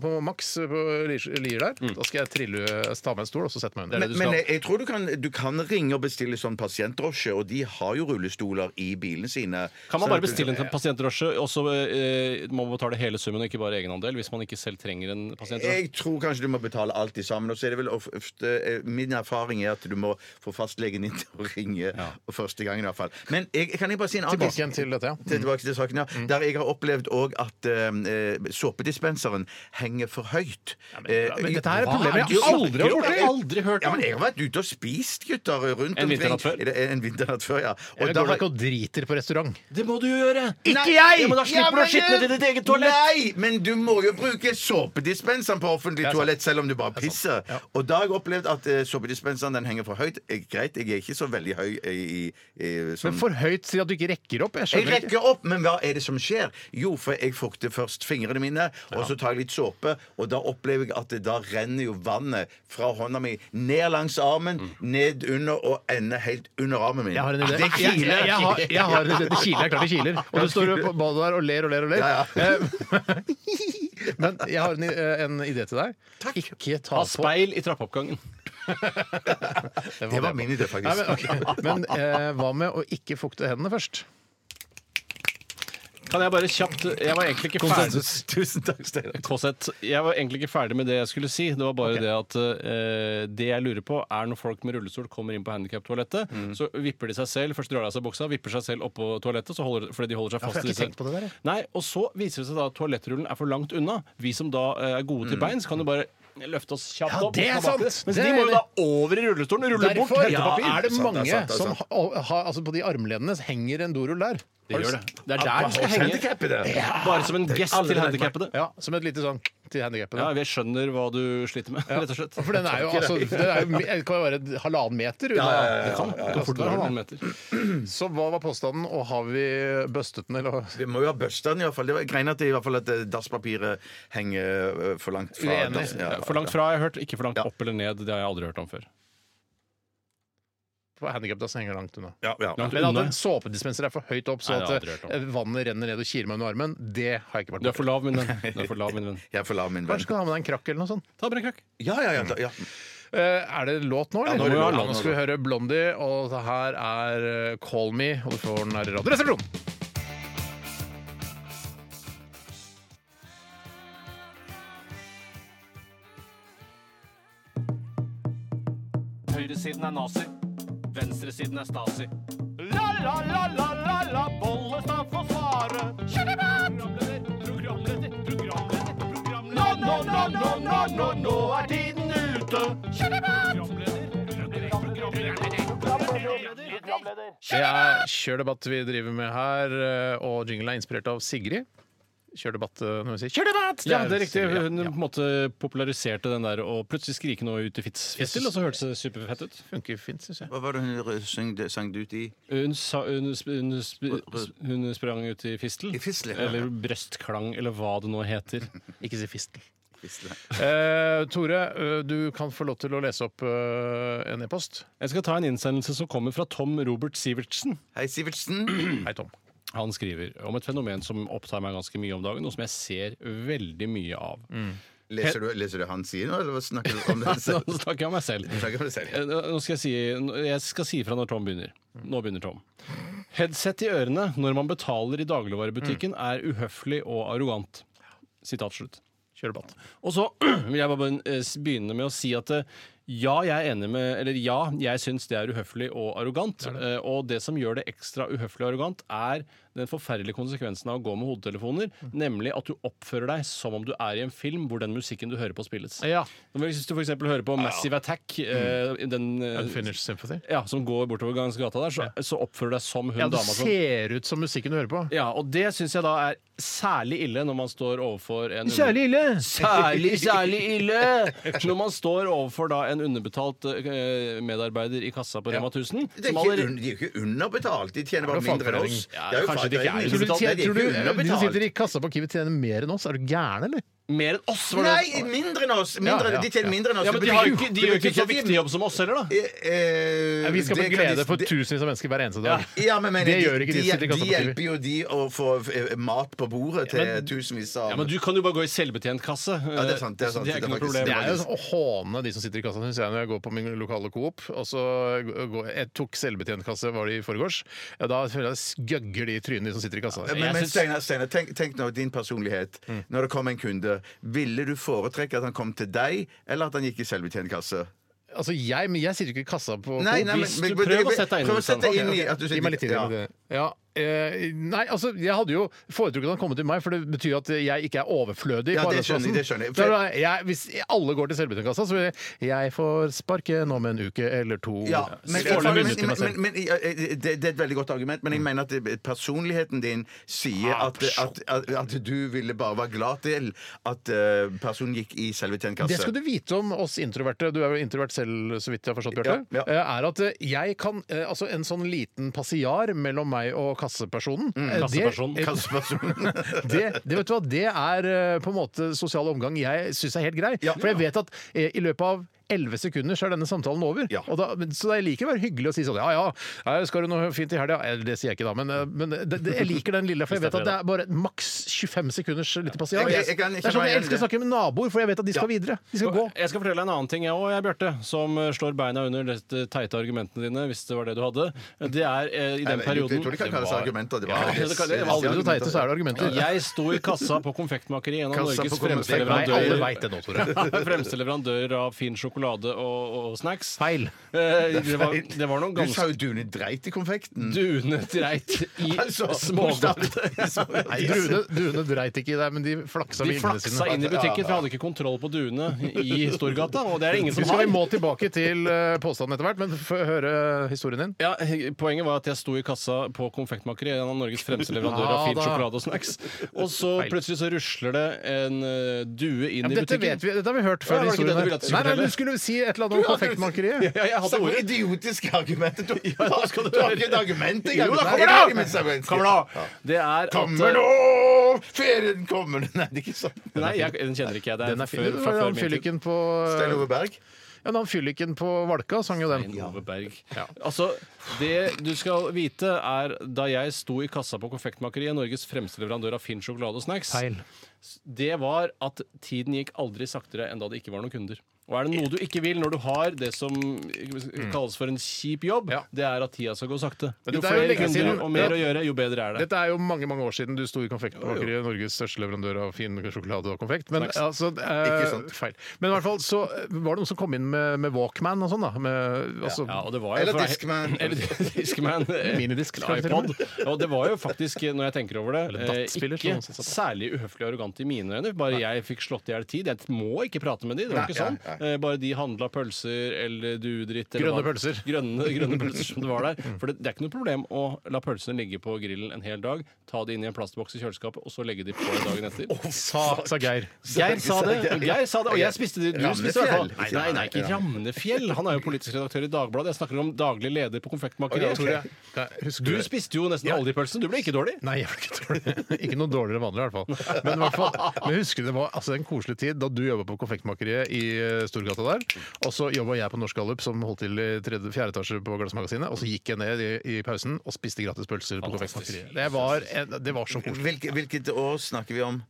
på Max på Lier, Lier der, Mm. da skal jeg trille, ta med en stol og så sette meg under. Men, men jeg, jeg tror du kan, du kan ringe og bestille sånn pasientdrosje, og de har jo rullestoler i bilene sine. Kan man Sånn bare at du- bestille en pasientdrosje, og så eh, må man betale hele summen og ikke bare egenandel hvis man ikke selv trenger en pasientdrosje? Jeg tror kanskje du må betale alt i sammen. Og så er det vel ofte, eh, Min erfaring er at du må få fastlegen inn til å ringe og første gangen i hvert fall. Men jeg, kan jeg bare si en annen Tilbake Mm. igjen til dette, ja. Til- Tilbake til saken, ja. Der jeg har opplevd òg at eh, såpedispenseren henger for høyt. Eh, men dette her er hva problemer jeg det du aldri har snakker vært om? borti. Jeg har aldri hørt ja, om. men Jeg har vært ute og spist, gutter, rundt En vinternatt før? Er det- En vinternatt før, ja. Og Jeg da går da har- ikke og driter på restaurant. Det må du gjøre! Nei, Ja, men da slipper du å skitne til ditt eget toalett! Nei, men du må jo bruke såpedispenseren på offentlig er sant. toalett selv om du bare pisser. Og da har jeg opplevd at eh, såpedispenseren den henger for høyt. Eh, greit, jeg er ikke så veldig høy eh, i, i, Men sånn for høyt til at du ikke rekker opp. Jeg jeg skjønner ikke. rekker opp, men hva er det som skjer? Jo, for jeg fukter først fingrene mine, og så tar jeg litt såpe, og da opplever jeg at det da renner jo vannet fra hånda mi ned langs armen, ned under og ender helt under armen min. Jeg har en idé. Det Jeg, jeg, kiler. jeg, har, jeg har en idé. Det kiler. Det er klart det kiler. Og du står på badet der og ler og ler og ler. Ja, Eh, Men jeg har en, i- eh, en idé til deg. Ikke ta Ha på speil i trappeoppgangen. Det var min idé, faktisk. Nei, men ok. men eh, hva med å ikke fukte hendene først? Kan jeg bare kjapt Jeg var egentlig ikke ferdig. Tusen takk, Steinar. Kåsett, jeg var egentlig ikke ferdig med det jeg skulle si. Det var bare det at eh, det jeg lurer på, er når folk med rullestol kommer inn på handikaptoalettet, Mm. så vipper de seg selv, først drar de av seg buksa, vipper seg selv oppå toalettet så holder, fordi de holder seg for fast jeg har i ikke tenkt på det der, jeg. Nei, og så viser det seg da at toalettrullen er for langt unna. Vi som da eh, er gode til beins, kan jo bare løfte oss kjapt Mm. Ja, opp. og det er ta bak i sant. Mens Det de er må jo enig. da over i rullestolen, rulle bort Derfor ja, hentepapir. er det Sant, mange det er sant, det er som sant. ha- har altså På de armleddene henger en dorull der. Det gjør det. Det er der den skal henge. Handikappede. Bare som en gest til handikappede. Ja, Som et lite sånn til handikappede. Ja, jeg skjønner hva du sliter med, rett og slett. For den er jo altså den er jo, Det kan jo være en halvannen meter unna. Det kan- det kan fort være halvannen. Så hva var påstanden, og har vi bøstet den, eller? Vi må jo ha bøsta den, i hvert fall. Det var greiene at i hvert fall at eh, dasspapiret henger eh, for langt fra Uenig. dass- ja. For langt fra har jeg hørt, ikke for langt Ja. opp eller ned. Det har jeg aldri hørt om før. Handikapdassen henger langt unna. Ja, ja. Langt Men at unna. en såpedispenser er for høyt opp, så Nei, det har jeg at aldri hørt om. eh, vannet renner ned og kiler meg under armen, det har jeg ikke vært Du er med på. for lav, min venn. Du er for lav, min venn. Jeg forlar min venn. Kanskje du kan ha med deg en krakk eller noe sånt. Ta bare en krakk. Ja, ja, ja, da- ja. Eh, er det låt nå, eller? nå er det låt. nå skal vi høre Blondie, og det her er eh, Call Me, og du får den her i Radioresepsjonen. Thank Høyresiden er nazi. Venstresiden er Stasi. La, la, la, la, la, la, Bollestad får svare. Programleder, programleder, programleder, programleder. Nå, nå, nå, nå, nå, nå, nå er tiden ute. Programleder, programleder, programleder, programleder, programleder. Det er Kjør debatt vi driver med her, eh, og jingle er inspirert av Sigrid. Kjør debatt eh, når hun sier 'kjør debatt'! Ja, det er riktig. Sigrid, ja. Hun Ja. på en måte populariserte den der og plutselig skrike noe ut i fits- fistel, og så hørtes det superfett ut. Funker fint, syns jeg. Hva var det hun sang, sang ut i? Hun, sa, hun, sp- hun, sp- hun sprang ut i fistel. I fistel, ja. Eller brøstklang, eller hva det nå heter. Ikke si fistel. Fistel. Eh, Tore, eh, du kan få lov til å lese opp eh, en e-post. Jeg skal ta en innsendelse som kommer fra Tom Robert Sivertsen. Hei, Sivertsen. Hei, Tom. Han skriver om et fenomen som opptar meg ganske mye om dagen, og som jeg ser veldig mye av. Leser du, leser du han sier nå, eller hva snakker du om det? Nå snakker jeg om meg selv. Snakker om det selv. sånn. Eh, Nå skal jeg si, jeg skal si fra når Tom begynner. Nå begynner Tom. Headset i ørene når man betaler i dagligvarebutikken er uhøflig og arrogant. Sitat slutt. Kjør debatt. Og så vil jeg bare eh, s- begynne med å si at eh, ja, jeg er enig med Eller ja, jeg syns det er uhøflig og arrogant. Eh, Og det som gjør det ekstra uhøflig og arrogant, er den forferdelige konsekvensen av å gå med hodetelefoner, nemlig at du oppfører deg som om du er i en film hvor den musikken du hører på, spilles. Ja. Når vi- Hvis du f.eks. hører på Massive Attack, eh, den eh, Unfinished Sympathy. ja, som går bortover gangs gata der, så, så oppfører du deg som hun Ja, det dama som ser ut som musikken du hører på. ja, og det syns jeg da er særlig ille når man står overfor en ille! Særlig, særlig ille! Når man står overfor da en underbetalt eh, medarbeider i kassa på Rema 1000 Det er som ikke, allerede- un- de er jo ikke underbetalt, de tjener bare Det er mindre enn oss. fagforening. Ja, Det er jo kanskje de ikke er fagforening. Tror du, de Nei, tjener, de er tror du de ikke som sitter underbetalt. i kassa på Kiwi tjener mer enn oss? Er du gæren, eller? Mer enn oss! Var det Nei, mindre enn oss! Mindre, Ja, ja, de tjener ja. mindre enn oss. ja, men Det de, har jo betyr- ikke, de det gjør jo ikke betyr så at viktig jobb som oss heller, da. Eh, eh, Vi skaper det kan de- glede for det- tusenvis av mennesker hver eneste dag. Ja, men mener, Det gjør ikke de som sitter i de, kassa på Kiwi. hjelper jo de å få eh, mat på bordet til tusenvis av Ja, Men du kan jo bare gå i selvbetjent kasse. Eh, Ja, det er sant, det er sant. ikke Det noe er faktisk- problem. Det er jo sånn å håne de som sitter i kassa, syns jeg, når jeg går på min lokale Coop. Og så går, jeg tok selvbetjentkasse, var det i forgårs. Ja, da føler jeg det skøgger de i trynet, de som sitter i kassa. Men, der. men syns- Steinar, Steinar, tenk, tenk nå din personlighet. Mm. Når det kom en kunde, ville du foretrekke at han kom til deg, eller at han gikk i selvbetjent kasse? Altså, jeg, men jeg sitter jo ikke i kassa på Coop. hvis du prøver å sette deg inn i prøv å det, sette deg Steinar. inn i at du sånn. Gi meg litt tid ja. til det. Ja. Eh, nei, altså, jeg hadde jo foretrukket at han kom til meg, for det betyr at jeg ikke er overflødig. Ja, på det skjønner arbeidsplassen. jeg, det skjønner jeg. Da er det- jeg. Hvis alle går til selvbetjenkassa, så vil jeg, jeg får sparken om en uke eller to. Ja, men, men, jeg- Foreløpig men, minutt til meg selv. men, men, ja, det, det er et veldig godt argument, Mm. men jeg mener at det- personligheten din sier Ah, at, at, at, at du ville bare være glad til at eh, personen gikk i det selvbetjentkasse. skal du vite om oss introverte, du er jo introvert selv, så vidt jeg har forstått, Bjarte. Ja, ja. eh, Er at eh, jeg kan eh, Altså, en sånn liten passiar mellom meg og kassepersonen Mm, eh, det- Kasseperson. eh, det, det, vet du hva, det er eh, på en måte sosial omgang jeg syns er helt grei. Ja. For jeg vet at eh, i løpet av 11 sekunder så er denne samtalen over. Ja. Og da, men- så jeg liker å være hyggelig og si sånn Ja ja, eh, skal du noe fint i helga? Eh, Det sier jeg ikke da, men, eh, men det, det, jeg liker den lille, for jeg vet at det er bare maks 25 sekunders lite passiar. Jeg- Det jeg- jeg kan- jeg er kan sånn jeg være enig i elsker å snakke med naboer, for jeg vet at de skal videre. De skal gå. Jeg skal fortelle deg en annen ting, jeg òg, jeg, Bjarte, som eh, slår beina under de teite argumentene dine, hvis det var det du hadde. Det er eh, i Nei, men den jeg- perioden Jeg tror det kan kalles var- argumenter. Det Ja, var det kan- det var Aldri så teite, så er det argumenter. Jeg sto i kassa på Konfektmakeri, en av Kassa på Norges fremste konfekt- Nei, alle leverandører. veit det nå, Tore. Fremste leverandør av fin sjokolade og, og snacks. Feil. Eh, Det var, det var noen Du sa ganske jo Dune dreit i konfekten. Dune dreit i Altså, smågodt. bokstavelig. Nei, Druene, druene dreit ikke i deg, men de flaksa De med vingene flaksa sine. inn i butikken, for jeg hadde ikke kontroll på duene i Storgata. Og det er det ingen Vi som skal har. vi må tilbake til eh, påstanden etter hvert, men få høre eh, historien din. Ja, Poenget var at jeg sto i kassa på Konfektmakeri, en av Norges fremste leverandører av Ja, fin da. sjokolade og snacks, og så Feil. plutselig så rusler det en eh, due inn Ja, men i dette, vet butikken. vi, dette har vi hørt Ja, før. var det ikke det du historien ville at her. jeg skulle Nei, nei, fortelle? Du skulle si et eller annet om konfektmakeriet. Ja, jeg hadde Snakk om ordet. idiotiske argumenter! Du, du, skal du har høre. ikke et argument Jo engang! da, Nei, kommer det er det! argumentargument. Kommer det! Det er at- eh, Kommer nå! Ferien kommer! Nei, det er ikke sånn. Nei, jeg, den kjenner ikke jeg. Det er, Den er fin. før, Det fra var før Han min tid. fylliken på, Stein Ove Berg. ja, han fylliken på Valka sang jo den. Stein Ove Berg. Altså, det du skal vite, er da jeg sto i kassa på Konfektmakeriet, Norges fremste leverandør av fin sjokolade og snacks, Feil. det var at tiden gikk aldri saktere enn da det ikke var noen kunder. Og er det noe du ikke vil når du har det som kalles for en kjip jobb, Mm. Ja. det er at tida skal gå sakte. Men Jo det er jo flere lenge siden. kunder og mer Ja. å gjøre, jo bedre er det. Dette er jo mange mange år siden du sto i Konfektmakeriet, Norges største leverandør av fin sjokolade og konfekt. Men Snacks. altså, eh, Ikke sant. feil. Men i hvert fall så eh, var det noen som kom inn med, med Walkman og sånn, da. Med, altså, Ja, og det var jo Eller fra- Discman. Eller Discman. Minidisk, En kanskje til og iPod. Og det var jo faktisk, når jeg tenker over det, Eller eh, dattspiller, som noen ikke sa. særlig uhøflig og arrogant i mine øyne. Bare jeg fikk slått i hjel tid. Jeg må ikke prate med de, det var ikke sånn. Eh, Bare de handla pølser eller duedritt eller Grønne hva- pølser. Grønne, grønne pølser som det var der. For det, det er ikke noe problem å la pølsene ligge på grillen en hel dag, ta de inn i en plastboks i kjøleskapet, og så legge de på dagen etter. sa, sa Geir. Geir sa det, Geir sa det, og jeg spiste det. Du spiste det. i hvert fall. Nei, Ramnefjell. nei, nei, ikke Ramnefjell. Han er jo politisk redaktør i Dagbladet. Jeg snakker om daglig leder på Konfektmakeriet. Tore, kan- husker Du det? spiste jo nesten alle de pølsene. Du ble ikke dårlig. Nei, jeg var ikke dårlig. Ikke noe dårligere enn vanlig, i hvert fall. Men, i hvert fall, men husker du det var altså, en koselig tid da du jobba på Konfektmakeriet i eh, Storgata der. Og så jobba jeg på Norsk Gallup, som holdt til i tredje, fjerde etasje på Glassmagasinet. Og så gikk jeg ned i, i pausen og spiste gratis pølser på Konfektmakeriet. Det var, en, det var så koselig. Hvilke, hvilket år snakker vi om?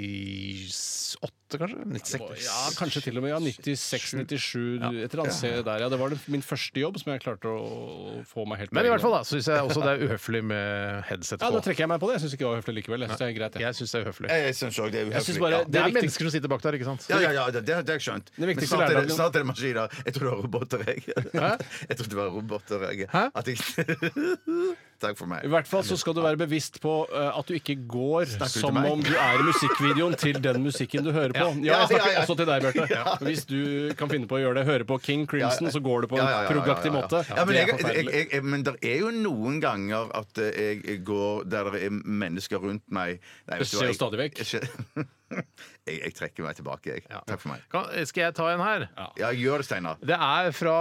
98, kanskje? 96? Ja, Kanskje til og med ja, 96-97. Et eller annet sted der. Ja, det var det, min første jobb som jeg klarte å få meg helt på Men i egen hvert fall hånd. da, syns jeg også det er uhøfelig med headset Ja, på. Da trekker jeg meg på det. Jeg syns ikke det var høflig likevel. Jeg synes det er greit. jeg. Jeg syns det er uhøflig. Jeg syns òg det er Jeg synes uhøflig. bare- Ja. Det er viktig- mennesker som sitter bak der, ikke sant? Ja, ja, ja, det, det har jeg skjønt. Det Men viktigste snart er det, lærdommen- snart er det maskiner. Jeg tror det var roboter, jeg. Jeg trodde det var roboter, jeg. Hæ? At jeg... Takk for meg. I hvert fall så skal du være bevisst på eh, at du ikke går til som meg? om du er i musikkvideoen til den musikken du hører på. Ja, Ja, ja, jeg snakker ja. også til deg, Bjarte. Hvis du kan finne på å gjøre det, høre på King Crimson, så går du på Ja, en ja, ja, ja, ja, ja. progaktig måte. Ja, men, Det er jeg, jeg, forferdelig. jeg, jeg, men det er jo noen ganger at eh, jeg, jeg går der det er mennesker rundt meg Nei, vet du hva, skjer jo stadig vekk. Jeg, jeg, jeg trekker meg tilbake, jeg. Takk for meg. Kan, skal jeg ta en her? Ja, gjør det, Steinar. Det er fra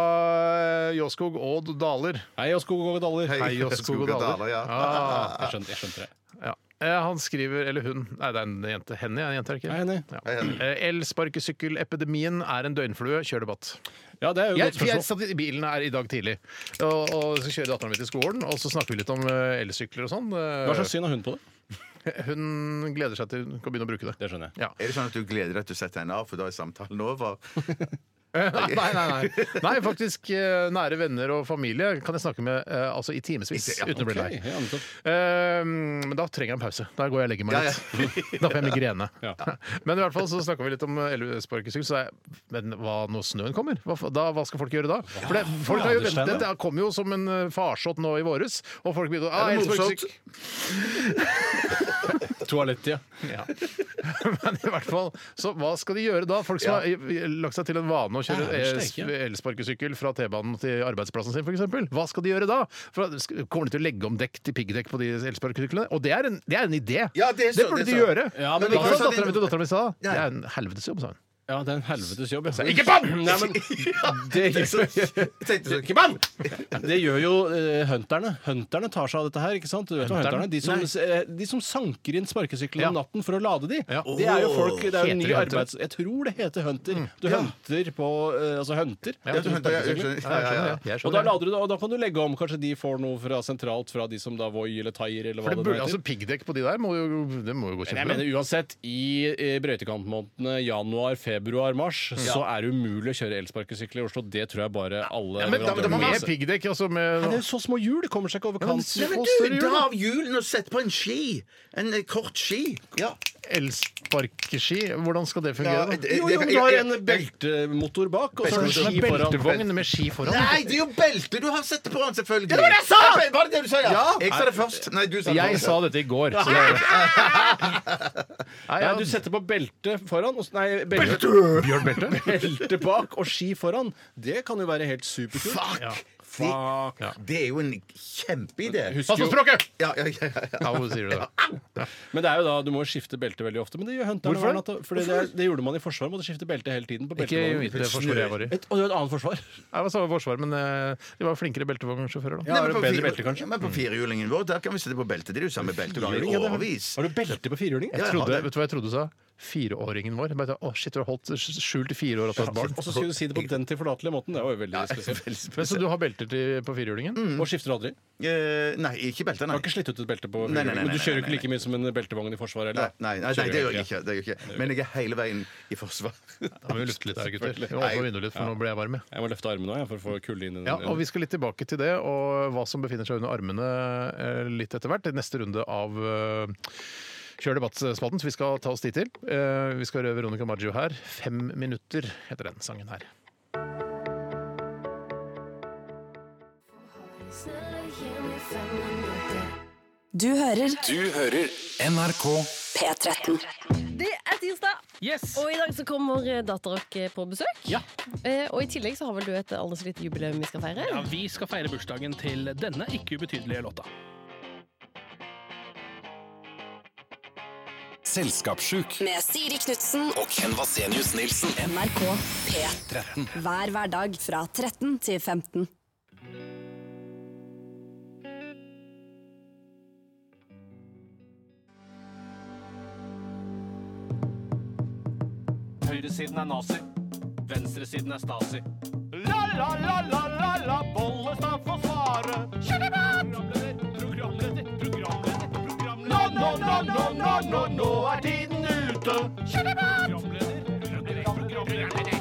Jåskog og Daler. Hei, og skog og daller. Hei, Hei, Jåskog Jåskog og og Daler. Daler, ja. Ah, Jeg skjønte, jeg skjønte det. ja. Eh, Han skriver, eller hun Nei, det er en jente. Henny er en jente, er det ikke? Hei, Henny. Ja. Hei, Henny. Eh, El-sparkesykkelepidemien er en døgnflue. Kjør debatt. Ja, det er jo et Jeg, godt for jeg spørsmål. satt i bilen her i dag tidlig og, og skal kjøre datteren min til skolen. Og så snakker vi litt om eh, elsykler og sånn. Eh, Hva slags syn har hun på det? Hun gleder seg til hun kan begynne å bruke det. Det skjønner jeg. Ja. Er det sånn at du gleder deg til å sette henne av, for da er samtalen over? Nei, nei, nei. nei, faktisk eh, nære venner og familie kan jeg snakke med eh, altså i timevis Ja, uten å bli lei. Ok, ja, nettopp. Eh, Men da trenger jeg en pause. Da går jeg og legger meg Ja, ja. litt. Da får jeg migrene. Ja. Men i hvert fall så snakka vi litt om elsparkesykkel. Så jeg, men hva når snøen kommer? Hva, f- da, hva skal folk gjøre da? For det, folk har jo fader, Stein, ventet, ja. det kom jo som en eh, farsott nå i våres. Og folk begynte å ah, Er det morsomt? elsparkesykkel. Toalettida. Ja. Men i hvert fall, så hva skal de gjøre da? Folk som Ja. har eh, lagt seg til en vane å kjøre Ja, det eh, er sterke. elsparkesykkel fra T-banen til arbeidsplassen sin, f.eks. Hva skal de gjøre da? For, sk- kommer de til å legge om dekk til piggdekk på de elsparkesyklene? Og det er en, det er en idé! Ja, det er så- burde det er de så. gjøre! Ja, men men da- da sa dattera mi til dattera mi sa det Ja. er en helvetes jobb, sa hun. Ja, det er en helvetes jobb. Ja. Ikke bann! Nei, men det gjør Jeg tenkte sånn, Ikke bann! Det gjør jo eh, hunterne. Hunterne tar seg av dette her. ikke sant? Du vet hva Hunterne? hunterne? De, som, eh, de som sanker inn sparkesyklene om Ja. natten for å lade de. Ja. Det er jo folk, det er jo Heter en ny det hunter? Mm. arbeids... Jeg tror det heter hunter. Du hunter på eh, Altså hunter. Ja, du skjønte, ja, jeg skjønner. Ja, Jeg ja, ja. Og da, skjønner det. lader du, det, og da kan du legge om. Kanskje de får noe fra sentralt fra de som da Voi eller Taier eller For hva det det, burde, nå altså heter. Piggdekk på de der må jo, det må jo gå Men jeg kjempebra. mener uansett, i, i brøytekantmånedene januar, februar, mars, så er det umulig å kjøre elsparkesykler i Oslo. Det tror jeg bare alle Men da- leverandører da må må man- Med innse. piggdekk, altså Nei, Det er med jo så små hjul! Det kommer seg ikke over Ja, men kanten. se- Men du, dra av hjulene og sett på en ski! En eh, kort ski. Ja. elsparkeski. Hvordan skal det fungere? da? det- Jo, jo, men du har en beltemotor bak, og så er det Som ski en foran. beltevogn med ski foran. Nei, det er jo belte du har sett på han, selvfølgelig! Det var det jeg sa! Var det det du sa, ja? Jeg sa det først. Nei, du sa det Jeg først. sa dette i går. Så det er... Nei, Nei, ja, du setter på belte foran og, s- Nei, belte, Bjørn Belte. belte bak og ski foran. Det kan jo være helt superkult. Fuck! Ja. Fuck. Ja. Det er jo en kjempeidé. Pass Husker på jo, språket! Ja, ja, ja, ja. Ja, hvorfor sier du det? men det er jo da, Du må jo skifte belte veldig ofte. Men det gjør hunterne Hvorfor hver det? natt. Fordi det, det gjorde man i Forsvaret. Måtte skifte belte hele tiden. på Ikke i beltevognen. mitt forsvar jeg var i. Et, og det var et annet forsvar. Jeg var samme forsvar, men eh, de var flinkere beltevognsjåfører da. Ja, er men det på bedre fire- belte, kanskje? Ja, men på firehjulingen vår der kan vi sitte på belte. Det er jo samme belte du har i Firehjuling, ja, det har- årevis. Har du belte på firehjuling? Ja, Jeg jeg har trodde, det. vet du hva jeg trodde du sa? fireåringen vår. Bare, ta, å, shit, du har holdt skjult i fire år at du har et barn. Og så skulle du si det på den tilforlatelige måten. Det var jo veldig spesielt. Men, så du har belter til, på firehjulingen? Og skifter aldri. Du Eh, Mm. nei, ikke belte, nei. har ikke slitt ut et belte på Nei, nei, nei, firehjulingen, men du nei, kjører nei, ikke like mye som en beltevogn i Forsvaret? Nei, Eller? nei, nei, nei, det gjør jeg Kjører ikke. Det gjør jeg ikke. Men jeg er hele veien i forsvar. Da må vi lufte litt her, gutter. Vi må åpne vinduet litt, for nå blir jeg varm. jeg. Jeg må løfte armene nå, jeg, for å få kulde inn i den. Ja, og Vi skal litt tilbake til det og hva som befinner seg under armene eh, litt etter hvert. I neste runde av eh, Kjør debatt-spalten, så vi skal ta oss tid til. Eh, Vi skal høre Veronica Maggio her. 'Fem minutter' heter den sangen her. Du hører Du hører NRK P13. Det er tirsdag, Yes! og i dag så kommer eh, Datarok på besøk. Ja. Eh, og i tillegg så har vel du et alders lite jubileum vi skal feire? Ja, vi skal feire bursdagen til denne ikke ubetydelige låta. Selskapssjuk. Med Siri Knutsen Og Ken Vasenius Nilsen. NRK P13. Hver hverdag fra 13 til 15. Høyresiden er nazi, venstresiden er stasi. La, la, la, la, la, la, Bollestad får svare. Programleder, programleder, programleder, programleder. Nå, nå, nå, nå, nå, nå, nå er tiden ute. Programleder, programleder, programleder,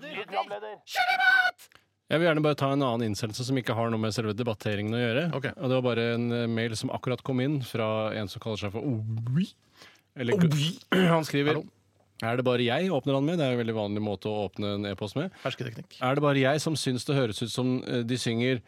programleder. Jeg vil gjerne bare ta en annen innsendelse som ikke har noe med selve debatteringen å gjøre. Ok. Og det var bare en eh, mail som akkurat kom inn fra en som kaller seg for Obi. Eller, Han skriver Er det bare jeg, åpner han med. Det er en veldig vanlig måte å åpne en e-post med. Hersketeknikk. Er det bare jeg som syns det høres ut som eh, de synger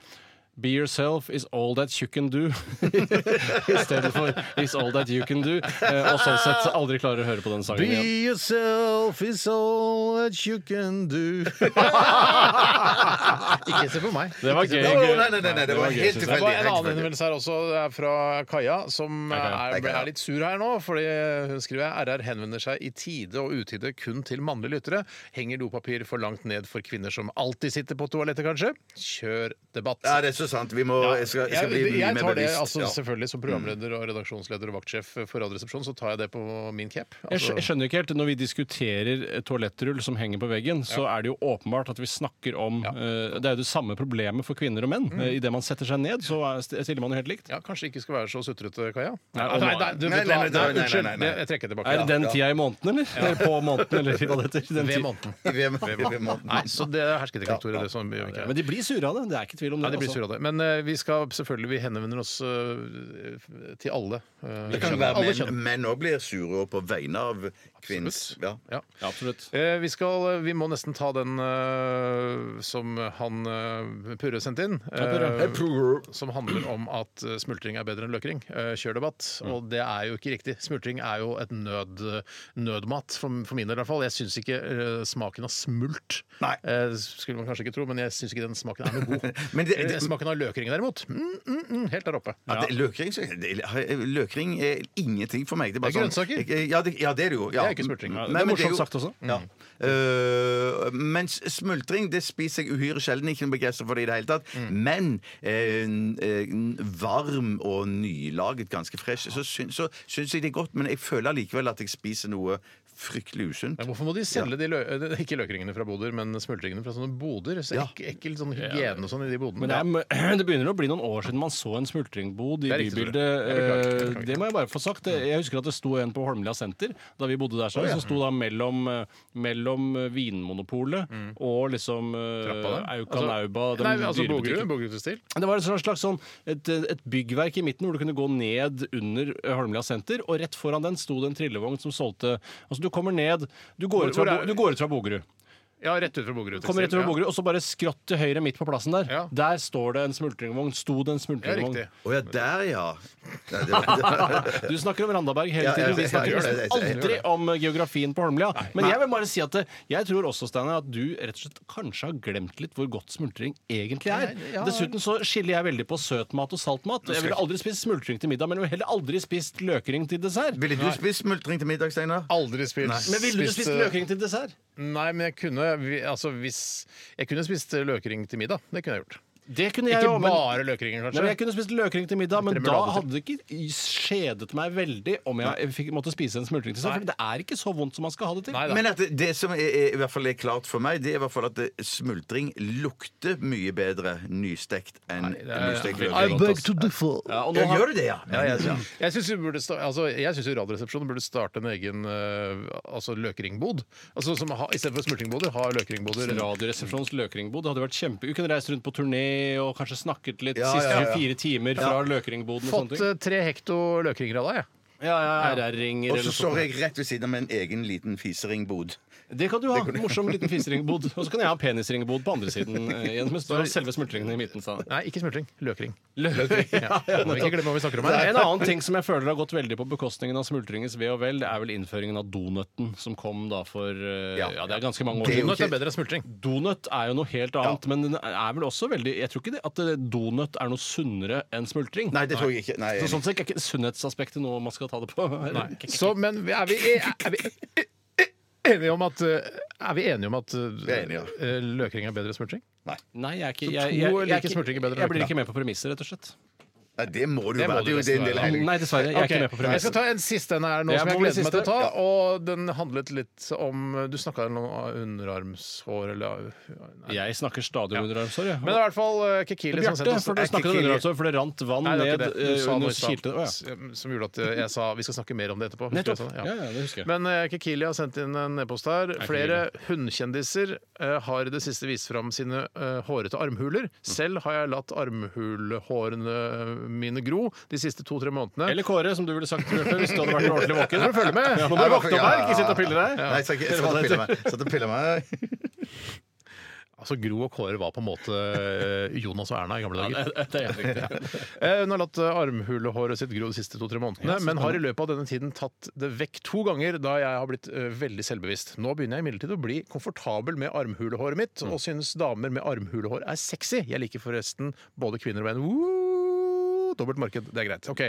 Be yourself is all that you can do. I stedet for is all that you can do. Eh, Og sånn sett aldri klarer å høre på den sangen igjen. yourself is all that you can do. Ikke se på meg. Det var gøy. Å, nei, gøy. nei, nei, nei, det var helt Det var en annen tilfeldig. henvendelse her også, det er fra Kaja, som Hei, Kaja. er, Hei, Kaja. er litt sur her nå. Fordi hun skriver RR henvender seg i tide og utide kun til mannlige lyttere. Henger dopapir for langt ned for kvinner som alltid sitter på toalettet, kanskje? Kjør debatt. Ja, det er så sant. Vi må, jeg skal, jeg skal bli jeg, mye jeg mer tar det bevisst. altså, Ja. Mm. selvfølgelig som programleder og redaksjonsleder og vaktsjef for Radioresepsjonen, så tar jeg det på min cap. Jeg skj- Altså, jeg skjønner ikke helt, Når vi diskuterer eh, toalettrull som henger på veggen, så er det jo åpenbart at vi snakker om eh, Det er jo det samme problemet for kvinner og menn. Eh, I Idet man setter seg ned, så er- st- stiller man jo helt likt. Mm. ja, kanskje ikke skal være så sutrete, Kaja? Nei, du, og- vet Nei, du nei, hva? nei, nei, nei, nei, unnskyld. nei, nei. det- Jeg trekker det tilbake. Er det Ja. den tida i måneden, eller? Eller på måneden, eller hva det heter. Den Ved tida. måneden. I VM- VM-måten. Nei, så det er hersketekniktorer, det som gjør ikke Men de blir sure av det. Det er ikke tvil om Nei, det. de blir altså. sure av det. Men eh, vi skal selvfølgelig vi henvender oss eh, f- til alle. eh, Det kan kjønn. være alle menn- kjønn. Menn òg blir sure på vegne av kvinns. Ja. Ja. Ja, absolutt. Eh, Vi, skal, eh, vi må nesten ta den eh, som han eh, Purre sendte inn. eh, som handler om at eh, smultring er bedre enn løkring. Eh, Kjør debatt. Mm. Og det er jo ikke riktig. Smultring er jo et nød, eh, nødmat, for, for min del i hvert fall. Jeg syns ikke eh, smaken av smult Nei. eh, Skulle man kanskje ikke tro, men jeg syns ikke den smaken er noe god. Men det- Eh, Smaken av løkring derimot, mm, mm, mm, helt der oppe. Ja. det- Løkring, så- det- løkring er ingenting for meg. Det er, bare Det er sånn- grønnsaker. Jeg- Ja, det, ja, det er det jo. Ja. Det er ikke smultring. Ja, Nei, det er men morsomt jo- sagt også. Ja. Øh, mens smultring det spiser jeg uhyre sjelden. Ikke noe begeistret for det i det hele tatt. Men eh, n- eh, n- varm og nylaget, ganske fresh, så, syn, så syns jeg det er godt. Men jeg føler likevel at jeg spiser noe fryktelig usunt. Men hvorfor må de selge de lø eh, ikke løkringene fra boder, men smultringene fra sånne boder? Så Ja. ek ekkel sånn hygiene og sånn i de bodene. Men det, er, mø- det begynner å bli noen år siden man så en smultringbod i Det er riktig, bybildet. Tore. Jeg beklager, jeg Eh, beklager. Det må jeg bare få sagt. Jeg husker at det sto en på Holmlia senter da vi bodde der. Så, så sto da mellom, eh, mellom Vinmonopolet og liksom Mm. Trappa der? Aukan Auba. Altså- den Nei, altså Bogerud. dyrebutikken. Bogerudstil. Det var et slags, slags sånn, et, et byggverk i midten hvor du kunne gå ned under eh, Holmlia senter, og rett foran den sto det en trillevogn som solgte Altså, du kommer ned Du går ut Hvor- fra, hvor er- Bo- du går ut fra Bogerud. Ja, rett ut fra Bogerud. Kommer rett over Bogerud, og så bare skrått til høyre midt på plassen der. Ja. Der står det en smultringvogn. Sto det en Ja, smultringvogn. riktig. Å ja, der, ja. Nei, det var, Du snakker om Randaberg hele Ja, tiden. jeg- Vi jeg snakker gjør det, nesten jeg- jeg- jeg aldri gjør om eh, geografien på Holmlia. Men jeg vil bare si at det- jeg tror også, Steinar, at du rett og slett kanskje har glemt litt hvor godt smultring egentlig er. Dessuten så skiller jeg veldig på søtmat og saltmat. Jeg ville aldri spist smultring til middag, men jeg ville heller aldri spist løkring til dessert. ville du spist smultring til middag, Steinar? Aldri spist Men ville du spist eh, løkring til dessert? Nei, men jeg kunne vi- altså, hvis, Jeg kunne spist eh, løkring til middag. Det kunne jeg gjort. Det kunne jeg Ikke jo, men- bare løkringer, Nei, men jeg kanskje? kunne spist løkring til middag, men Etter da remulade til. hadde det ikke skjedet meg veldig om jeg fikk, måtte spise en smultring til. seg, For det er ikke så vondt som man skal ha det til. Nei da. Men at det, det som er, er, i hvert fall er klart for meg, det er i hvert fall at det- smultring lukter mye bedre nystekt enn det er- nystekt I løkring. to differ. Ja, og nå Ja, har- gjør du det, ja? ja, ja, ja. Jeg syns altså, jeg synes jo Radioresepsjonen burde starte en egen eh, altså, løkringbod. Altså, som ha, Istedenfor smultringboder, ha løkringboder. Radioresepsjonens løkringbod. Det hadde vært kjempe... Vi kunne reist rundt på turné og kanskje snakket litt Ja, siste ja, ja. 24 timer fra løkringboden og Fått sånne ting. eh, tre hekto løkringer av deg, jeg. Ja, ja, RR-ringer Og så eller står sånt. jeg rett ved siden av en egen liten fiseringgbod. Det kan du ha. Morsom liten fiseringbodd. Og så kan jeg ha penisringbod på andre siden. eh, igjen, Mens du har selve smultringene i midten. sa han. Nei, ikke smultring. Løkring. Løkring. Ja, ja, Må ikke glemme hva vi snakker om Det er her. en annen ting som jeg føler har gått veldig på bekostningen av smultringens ve og vel, det er vel innføringen av donøtten, som kom da for eh, Ja. Ja, det er ganske mange år Det er jo siden. Nøtt er bedre enn smultring. Donut er jo noe helt annet, men den er vel også veldig Jeg tror ikke det, at eh, donut er noe sunnere enn smultring. Nei, det tror jeg ikke. Nei, Så sånn sett er ikke sunnhetsaspektet noe man skal ta det på. Så, men er vi, e- er vi enige om at eh, Er vi enige om at Vi er enige, ja. eh, løkring er bedre enn smultring? Nei, jeg er ikke Så jeg, to jeg, jeg, er liker ikke- smultring er bedre enn jeg blir løkring. ikke med på premisser, rett og slett. Nei, det må du Det må være. du Det er jo det nesten en del være. av hele Nei, dessverre. Jeg er ikke med på Ok, Jeg skal premisser. ta en siste en her nå, Jeg som må jeg bli gleder meg til å siste. ta. Og den handlet litt om Du snakka om underarmshår eller nei. Jeg snakker stadig om underarmshår, jeg. Men sånn det er i hvert fall eh, Kekili som har sendt Bjarte, oss for du snakket om Kikili. underarmshår, for det rant vann Nei, det var ned ikke det. Du eh, sa noe i under stad kilten. Å, ja. s- som gjorde at eh, jeg sa vi skal snakke mer om det etterpå. Husker du jeg sa Nettopp. det? Ja, ja, det husker jeg. Men eh, Kikili har sendt inn en e-post her. Flere hundkjendiser eh, har i det siste vist fram sine eh, hårete armhuler. Selv har jeg latt armhulehårene eh, mine gro de siste to-tre månedene. Eller Kåre, som du ville sagt Bjarte, hvis du hadde vært ordentlig våken. Nå må du følge med. nå må Nei, du våkne opp ja, ja, her, ikke sitte og pille ja. deg. Nei, jeg skal ikke jeg skal ikke pille meg. Jeg Satt og pille meg. Altså, Gro og Kåre var på en måte eh, Jonas og Erna i gamle dager. Det det er helt riktig. Eh, Hun har latt eh, armhulehåret sitt gro de siste to-tre månedene, men har i løpet av denne tiden tatt det vekk to ganger, da jeg har blitt eh, veldig selvbevisst. Nå begynner jeg imidlertid å bli komfortabel med armhulehåret mitt, og synes damer med armhulehår er sexy. Jeg liker forresten både kvinner og menn. Woo! Dobbelt marked, det er greit. Ok.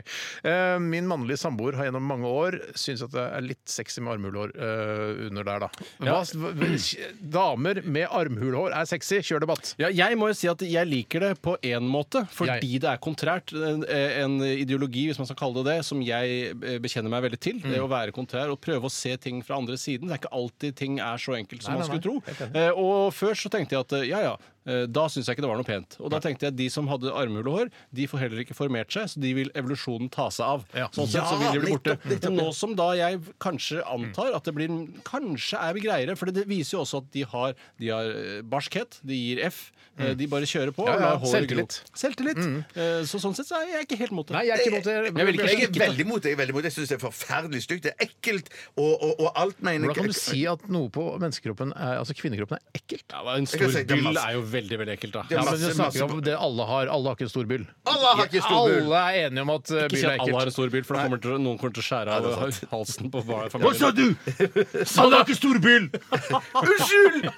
Eh, Min mannlige samboer har gjennom mange år syntes at det er litt sexy med armhulehår eh, under der, da. Hva, hva- damer med armhulehår er sexy, kjør debatt! Ja, jeg må jo si at jeg liker det på én måte, fordi det er kontrært. En, en ideologi, hvis man skal kalle det det, som jeg eh, bekjenner meg veldig til. Det å være kontrær og prøve å se ting fra andre siden. Det er ikke alltid ting er så enkelt som man skulle tro. Eh, Og før så tenkte jeg at eh, ja ja, eh, da syns jeg ikke det var noe pent. Og da tenkte jeg at de som hadde armhulehår, de får heller ikke formert seg, så de vil evolusjonen ta seg av. Ja. Sånn sett så vil de bli borte. Men nå som da jeg kanskje antar at det blir Kanskje er vi greiere, for det viser jo også at de har, de har eh, barskhet, de gir F. eh, De bare kjører på. Ja, og ja, lar håret gro. selvtillit. Selvtillit. Eh, Så sånn sett så er jeg ikke helt mot det. Nei, jeg er ikke imot det. Jeg vil ikke- Jeg er veldig imot det. Jeg, er veldig imot det. jeg syns det er forferdelig stygt. Det er ekkelt, og, og, og alt mener Hvordan kan du si at noe på menneskekroppen er, altså kvinnekroppen er ekkelt? Ja, men en kan stor si det er byll masse- er jo veldig veldig ekkelt, da. Det er Ja, men masse- Vi snakker masse- om det alle har. Alle har ikke en stor byll. Alle har ikke stor bull! Alle er enige om at uh, Ikke byll si er at alle har en ekkelt. stor byll, for da kommer til, noen kommer til å skjære av halsen på bar- Hva sa familien. du?! Sa du ikke storbyll?! Unnskyld!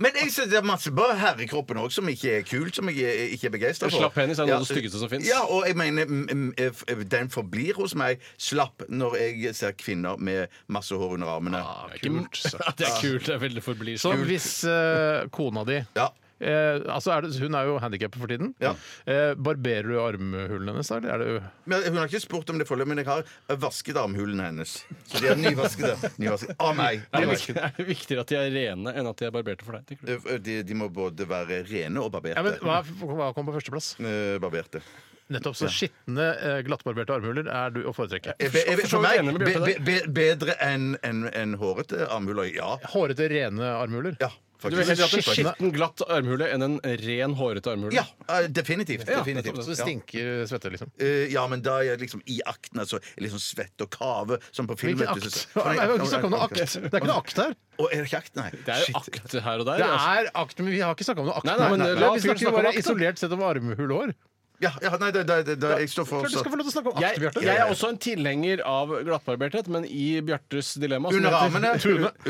Men jeg synes det er masse bare herrekroppen òg som ikke er kult, som jeg er- ikke er begeistra for. Slapp penis er noe av det styggeste som finnes. Ja, og jeg mener mm, mm, f- den forblir hos meg slapp når jeg ser kvinner med masse hår under armene. Ah. Kult. altså. Ja, det er kult. Det er veldig forblir. Så hvis uh, kona di Ja. Eh, altså er det, Hun er jo handikappet for tiden. Ja. Eh, barberer du armhulene hennes, da? Eller er det jo Men Hun har ikke spurt om det foreløpig, men jeg har vasket armhulene hennes. Så de er nyvaskede. nyvaskede. Av meg. er Av det meg. viktig- er det viktigere at de er rene enn at de er barberte for deg? tenker du? De, de må både være rene og barberte. ja, men, hva, er- hva kom på førsteplass? Eh, barberte. Nettopp. Så skitne, eh, glattbarberte armhuler er du å foretrekke. Eh, be- eh, for så For vidt meg enig med be, Bjarte be, be, bedre enn enn- enn hårete armhuler. Ja. Hårete, rene armhuler? ja Du vil heller ha en Faktisk. skitten, glatt armhule enn en ren, hårete armhule? Ja, eh, definitivt. definitivt. Så det sånn Ja. stinker svette, liksom. Eh, ja, men da er jeg liksom i akten. Altså, jeg er liksom svett og kave. Som på film. Hvilken vet du, akt? så- Nei, vi har ikke snakket om noe akt. Det er ikke noe akt her. Å, er det ikke akt? Nei. Det er jo Shit. akt her og der. Det altså. er akt, men vi har ikke snakka om noe akt. Nei, nei, men Nei, nei, nei. Vi la fyren snakker snakke om bare akt, da. isolert sett om armhulehår. Ja, ja, nei, da, da, da, da, jeg står Klart du skal for få lov til å snakke om akt, Jeg, Bjarte. jeg er også en tilhenger av glattbarberthet, men i Bjartes dilemma som Under heter- armene.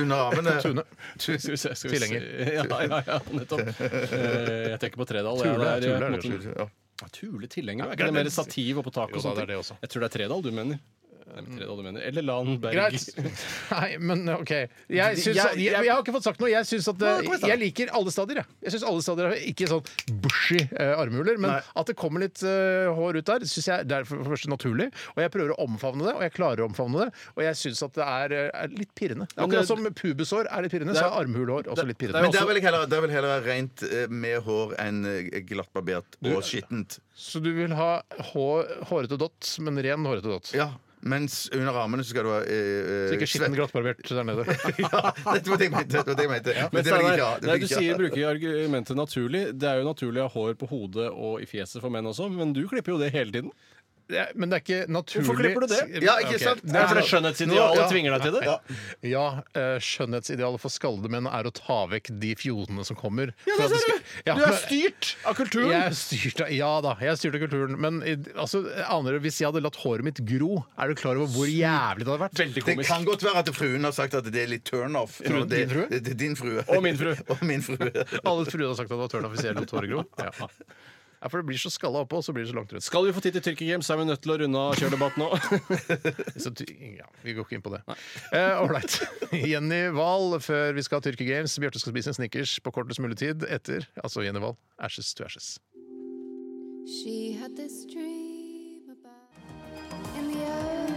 Under armene. Tune. Skal vi se, skal vi se. Tilhenger. Ja, ja, ja, nettopp. Eh, Jeg tenker på Tredal. jeg. Tule, Det er, tule er eh, det på en måte- Ja. Tule tilhenger? Er ikke det mer stativ og på tak Jo og da, sånt? det er det også. Jeg tror det er Tredal du mener. Nemtrede Oddemønner. Eller Lan Berg. Greit. Nei, men OK. Jeg, syns, Jeg- jeg, jeg- jeg, har ikke fått sagt noe. Jeg syns at eh, Jeg liker alle stadier, jeg. Jeg syns alle stadier har ikke sånn bushy eh, armhuler, men Nei. at det kommer litt eh, hår ut der, syns jeg det er for, for det første naturlig. Og jeg prøver å omfavne det, og jeg klarer å omfavne det. Og jeg syns at det er, eh, er litt pirrende. Akkurat som pubeshår er litt pirrende, så er armhulehår også litt Men pirrende. der vil jeg heller, der vil jeg heller ha rent eh, med hår enn eh, glattbarbert og skittent. Så du vil ha hår, hårete dott, men ren hårete dott. Ja, mens under armene så skal du ha eh, Så ikke skitten svett- glattbarbert der nede. ja, dette var det jeg mente. Dette var det jeg mente. Men Men det vil jeg ikke ha. Steinar, det vil jeg nei, du ikke ha. sier bruker argumentet naturlig. Det er jo naturlig å ha hår på hodet og i fjeset for menn også, men du klipper jo det hele tiden. Det er- Men det er ikke naturlig Hvorfor klipper du det? Ja, ikke Ok. sant? Det er fordi Nå- skjønnhetsidealet ja. tvinger deg til det. Ja, eh, skjønnhetsidealet for skaldede menn er å ta vekk de fjodene som kommer. For at det skal- Ja, men- styrt av Jeg er styrt av, ja da, jeg er styrt av kulturen. Men i- altså, aner du, hvis jeg hadde latt håret mitt gro, er du klar over hvor jævlig det hadde vært? Veldig Det komisk. kan godt være at fruen har sagt at det er litt turn-off. Fruen- din Det- frue? Det, det, din frue. Og min frue. Og min frue. Alle fruer hadde sagt at det var tørn offisiell lot håret gro. Ja. Ja, for det blir så skalla oppå, og så blir det så langt rundt. Skal vi få tid til Tyrkia Games, så er vi nødt til å runde av kjørdebatten nå. Så, ty- ja, vi går ikke inn på det. Ålreit. Jenny Wahl før vi skal ha Tyrkia Games. Bjarte skal spise en Snickers på kortest mulig tid etter. Altså Jenny Wahl. Ashes to ashes. She had this dream about in the earth.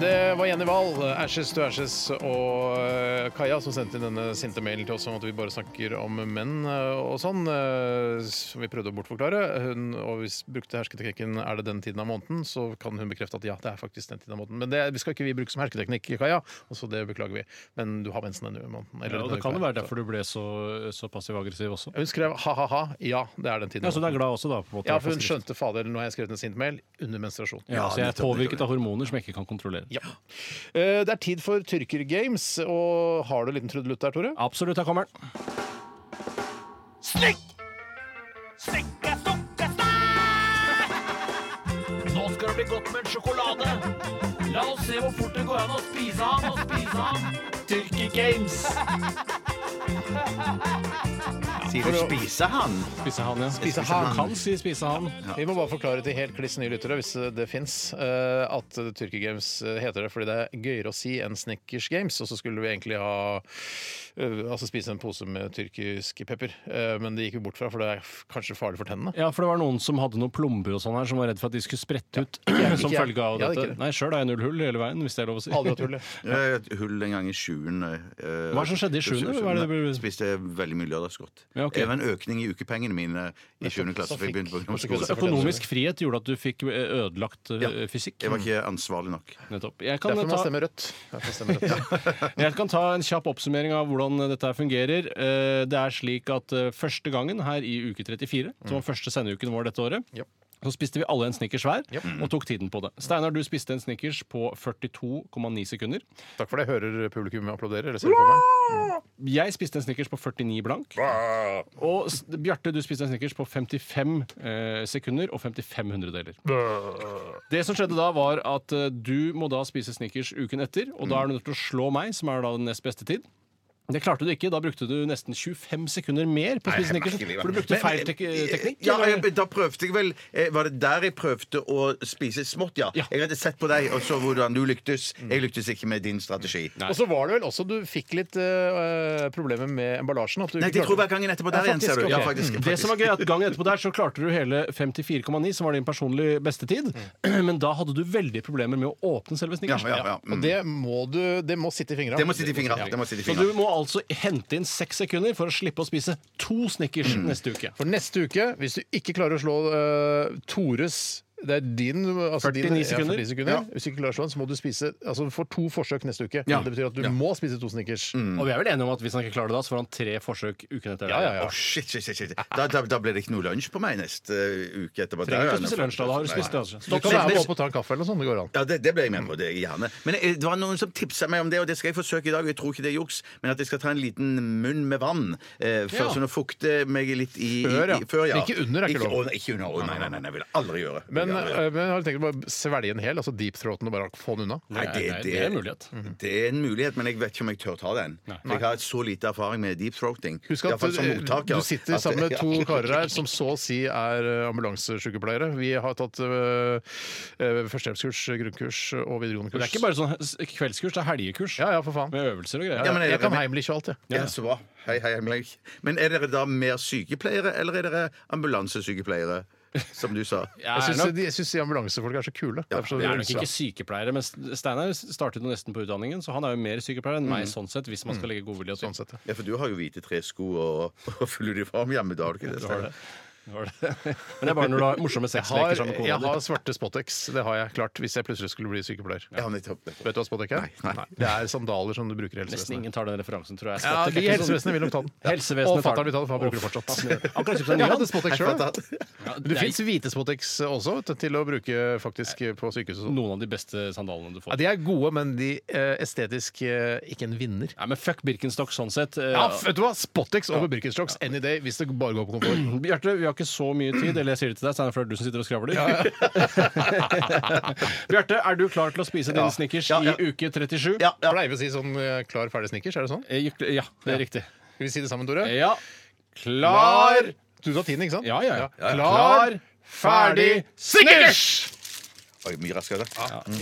Det var Jenny Wahl, Ashes to Ashes og eh, Kaja som sendte inn denne sinte mailen til oss om at vi bare snakker om menn eh, og sånn, eh, som vi prøvde å bortforklare. Hun, og vi s- brukte hersketeknikken 'er det den tiden av måneden', så kan hun bekrefte at ja, det er faktisk den tiden av måneden. Men det vi skal ikke vi bruke som hersketeknikk, Kaja, og så det beklager vi. Men du har mensen denne måneden. eller Ja, og denne det kan uka. jo være derfor du ble så, så passiv-aggressiv også. Hun skrev ha-ha-ha, ja, det er den tiden. av Ja, Så du er måneden. glad også, da? på en måte. ja, for hun skjønte fader, nå har jeg skrevet en sint mail under menstruasjon. Ja, så jeg er påvirket av hormoner som jeg ikke kan kontrollere. Ja. Eh, Det er tid for Tyrker Games, og har du en liten trudelutt der, Tore? Absolutt, her kommer den. Snikk! Snikka, stukka, Nå skal det bli godt med en sjokolade. La oss se hvor fort det går an å spise ham og spise ham. Tyrki Games. Sier du 'spise han'? Spise han, ja. Spise han. Du kan si spise han. Vi må bare forklare til helt kliss nye lyttere, hvis eh, det fins, at Tyrker Games eh, heter det fordi det er gøyere å si enn Snickers Games. Og så skulle vi egentlig ha eh, altså spise en pose med tyrkisk pepper, eh, men det gikk vi bort fra, for det er f- kanskje farlig for tennene. Ja, for det var noen som hadde noen plomber og sånn her, som var redd for at de skulle sprette ut som ikke jeg. følge av Jeg hadde ikke det. dette. Nei, sjøl har jeg null hull hele veien, hvis det er lov å si. Aldri hatt hull. jeg. Jeg har et hull en gang i sjuende. eh, Hva er det som skjedde i sjuende? Hva er det det ble- Spiste veldig mye lørdagsgodt. Ja, ok. Det var en økning i ukepengene mine i sjuende klasse. Så for jeg begynte på fikk- ungdomsskole. så Økonomisk frihet gjorde at du fikk eh, ødelagt eh, Ja. fysikk. Jeg var ikke ansvarlig nok. Nettopp. Jeg kan, Derfor må man ta, stemme rødt. Derfor man stemmer rødt. jeg kan ta en kjapp oppsummering av hvordan dette her fungerer. Eh, Det er slik at eh, første gangen her i uke 34, som Mm. var første sendeuken vår dette året, Ja. så spiste vi alle en Snickers hver Ja. og tok tiden på det. Steinar, du spiste en Snickers på 42,9 sekunder. Takk for det. Hører publikum applauderer? Eller ser du på meg? Jeg spiste en Snickers på 49 blank. Og s- Bjarte, du spiste en Snickers på 55 eh, sekunder og 55 hundredeler. Det som skjedde da, var at eh, du må da spise Snickers uken etter, og da er du nødt til å slå meg, som er da den nest beste tid. Det klarte du ikke. Da brukte du nesten 25 sekunder mer på å spise Snickers. For du brukte feil tek teknikk. eh, Ja, eller? jeg, da prøvde jeg vel eh, Var det der jeg prøvde å spise smått, ja? Ja. Jeg hadde sett på deg og så hvordan du lyktes. Jeg lyktes ikke med din strategi. Nei. Og så var det vel også du fikk litt eh, problemer med emballasjen? At du Nei, ikke de tror klarte- hver gangen etterpå der Ja, igjen, ser du. faktisk, Ja, ok. faktisk, Det som var gøy, at gangen etterpå der så klarte du hele 54,9, som var din personlige bestetid. Men da hadde du veldig problemer med å åpne selve Mm. Ja, Snickers. ja, ja. Og Mm. det må, du, det må sitte i fingra. Det må sitte i fingra. Det må sitte i Så fingra. du må altså hente inn seks sekunder for å slippe å spise to Snickers Mm. neste uke. For neste uke, hvis du ikke klarer å slå eh, Tores det er din, altså 49 din- sekunder. Ja, 49 sekunder. Hvis du ikke klarer å slå den, så må du spise Altså du får to forsøk neste uke. Ja. Det betyr at du må spise to snickers. Mm. Og vi er vel enige om at hvis han ikke klarer det da, så får han tre forsøk uken Mm. etter. Ja, ja, ja. Å, shit, shit, shit, shit. Da, da, da ble det ikke noe lunsj på meg neste eh, uke etterpå. Trenger Der, ikke å spise Anne. lunsj da, da har du Nei. spist det. Altså. Du Stopp. kan være med opp og ta en kaffe eller noe sånt. Det går an. Ja, det, det ble jeg med på. det er jeg gjerne Men eh, det var noen som tipsa meg om det, og det skal jeg forsøke i dag. og Jeg tror ikke det er juks, men at jeg skal ta en liten munn med vann. Eh, før, Ja. Sånn å fukte meg litt i, i, Før, ja. i før, ja. Ikke under er ikke lov. å, nei, ikke under. Å, nei, nei, nei, nei, vil jeg aldri gjøre. Men eh, men jeg har tenkt å bare svelge en hel, altså deep throaten og bare få den unna. Nei, det, Nei, det er en mulighet. Mm. Det er en mulighet, men jeg vet ikke om jeg tør ta den. For jeg har så lite erfaring med deep throating. Husk at i hvert fall som eh, mottaker, du sitter at- sammen med to karer her som så å si er eh, ambulansesykepleiere. Vi har tatt øh, øh, førstehjelpskurs, grunnkurs og videregående Det kurs. er ikke bare sånn kveldskurs, det er helgekurs. Ja, ja, for faen. Med øvelser og greier. Ja, men- Jeg kan Heimlich og alt, jeg. Ja, så bra. Hei, hei, Heimleik. Men er dere da mer sykepleiere, eller er dere ambulansesykepleiere, som du sa? Jeg Jeg er syns nok- de, jeg synes de ambulansefolk er så kule. Derfor så Vi er nok Ja. ikke sykepleiere, men Steinar startet jo nesten på utdanningen, så han er jo mer sykepleier enn meg, sånn sett, hvis man skal legge godvilje til. Mm. Sånn sett, ja. Ja, for du har jo hvite tresko og, og full uniform hjemme, da har du ikke det? Steinar? Var det- Men det er bare når du har morsomme Jeg har, sexleker sammen med jeg sånn kona har di. svarte Spotex, det har jeg klart, hvis jeg plutselig skulle bli sykepleier. Ja, nettopp. nettopp. Vet du hva Spotex er? Nei, nei. Det er sandaler som du bruker i Nesten helsevesenet. ingen tar den referansen, tror jeg. Ja, Spotek er de i ikke sånn. helsevesenet vil nok ta den. Helsevesenet og tar fatter'n den. vil ta den, for han bruker det fortsatt. sånn- Akkurat kjøpt seg en ny Jeg hadde en. Spotex Jeg sjøl. fatter at- Ja, det Det er fins hvite Spotex også vet du, til å bruke faktisk på sykehuset. og sånn. noen av de beste sandalene du Ja, får. de er gode, men de eh, estetisk eh, ikke en vinner. Nei, men fuck Birkenstock sånn sett. Eh, Ja, vet du hva? Spotex over Birkenstocks any day hvis det bare går på komfort. Bjarte, vi har ikke så mye tid, eller jeg sier det til deg, Steinar, for det er du som sitter og skravler. Bjarte, er du klar til å spise din snickers Ja, ja. i uke 37? Ja, ja. Pleier vi å si sånn eh, klar, ferdig snickers? Er det sånn? Eh, gikk- Ja, det er riktig. Skal vi si det sammen, Tore? Ja. Klar Du sa tiden, ikke sant? Eh, Ja, ja, ja. Klar, ferdig, snickers! Oi, mye raskere.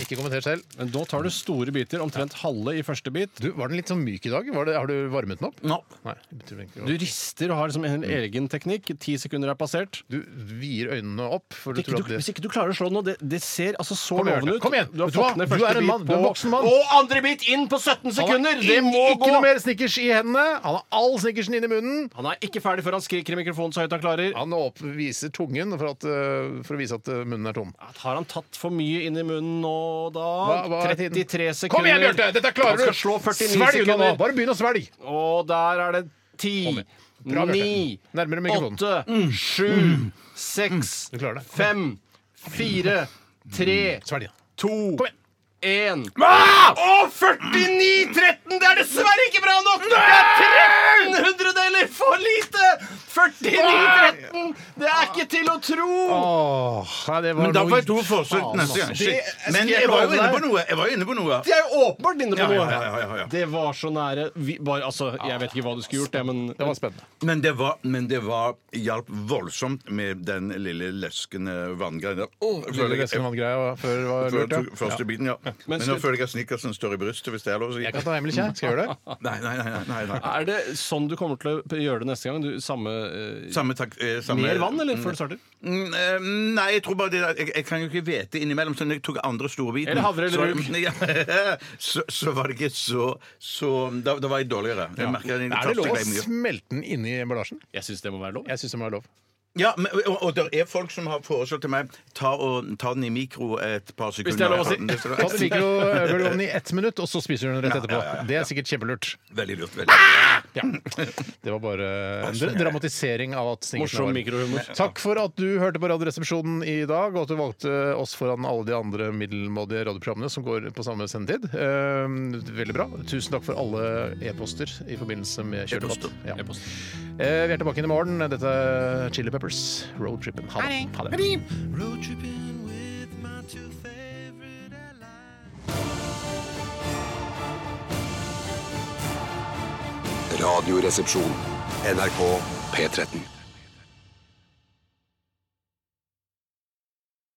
Ikke kommenter selv. Men nå tar du store biter, omtrent halve i første bit. Du, var den litt sånn myk i dag? Var det, har du varmet den opp? Nå. Nei. det betyr egentlig Du ikke noe. rister og har liksom en egen teknikk. Ti sekunder er passert. Du, du vier øynene opp. For du Hvis ikke tror du, at det... hvis ikke du klarer å slå den nå, det, det ser altså så Kom igjen, lovende Bjarte. ut. Kom igjen. Du, har Vet du hva? fått ned Du første er en bit mann. Du er på- en voksen mann. Og andre bit inn på 17 Han sekunder! har Det må ikke gå! noe mer snickers i hendene! Han har all snickersen inni munnen. Han er ikke ferdig før han skriker i mikrofonen så høyt han klarer. Han opp, viser tungen for, at, øh, for å vise at øh, munnen er tom. Har han tatt for mye inn i munnen nå, da? Hva- hva er tiden? 33 sekunder. Kom igjen, Bjarte! Dette klarer du! Han skal slå 49 Svelg unna nå! sekunder. Bare begynn å svelge! Og der er det Kom 10, igjen. Bra, Bjarte. 9, Nærmere mikrofonen. Mm. 8, 7, 6, Du klarer det. 5, 4, 3, Svelg. ja. 2, Kom igjen. 1 Å, 49-13! Det er dessverre ikke bra nok! Det er 13 hundredeler for lite! 49-13! Det er ikke til å tro! Åh, nei, det var Men da noe- får jeg to forsøk Faen, neste gang. altså. Shit. skal Men jeg jeg var jo love inne deg? på noe. Jeg var jo inne på noe. De er jo åpenbart inne på noe! Ja, ja, ja, ja, ja. Det var så nære. Vi, bare, altså, jeg vet ikke hva du skulle gjort, jeg, men Det var spennende. Men det var, men det var hjalp voldsomt med den lille løskende vanngreia. Oh, Føler jeg nesten vanngreia før var Før lurt, jeg tok ja. første biten, ja. Men nå føler jeg at snickersen står i brystet, hvis det er lov å si. Jeg kan ta hemmelig kjær. Skal jeg gjøre det? Nei, nei, nei. nei, nei. Er det sånn du kommer til å gjøre det neste gang? Du, samme, eh, Samme tak... eh, Samme, mer vann, eller? Før du starter? Mm, eh, Nei, jeg tror bare det der, jeg, jeg kan jo ikke vete innimellom, så når jeg tok andre store biten Eller havre eller så- rug. Ja, så, så var det ikke så, så da, da var jeg dårligere. Jeg merker at jeg Er det lov å ble mye. smelte den inni emballasjen? Jeg syns det må være lov. Jeg syns det må være lov. Ja, men, og, og det er folk som har foreslått til meg ta, og, ta den i mikro et par sekunder. Hvis det er lov å si. Hvis det er Ta lov å den si. i mikroovnen eh, i ett minutt, og så spiser du den rett etterpå. ja, ja, ja. Det er sikkert kjempelurt. Veldig lurt. veldig lurt. Ja. Det var bare en dra- dramatisering av at snickersen Morsom var varm. mikrohumor. Takk for at du hørte på Radioresepsjonen i dag, og at du valgte oss foran alle de andre middelmådige radioprogrammene som går på samme sendetid. Eh, veldig bra. Tusen takk for alle e-poster i forbindelse med kjøledebatt. E-poster. Ja. Eh, vi er tilbake inn i morgen. Dette er Chili Peppers, Roadtrippen. Ha det. Ha det. Radioresepsjon. NRK P13.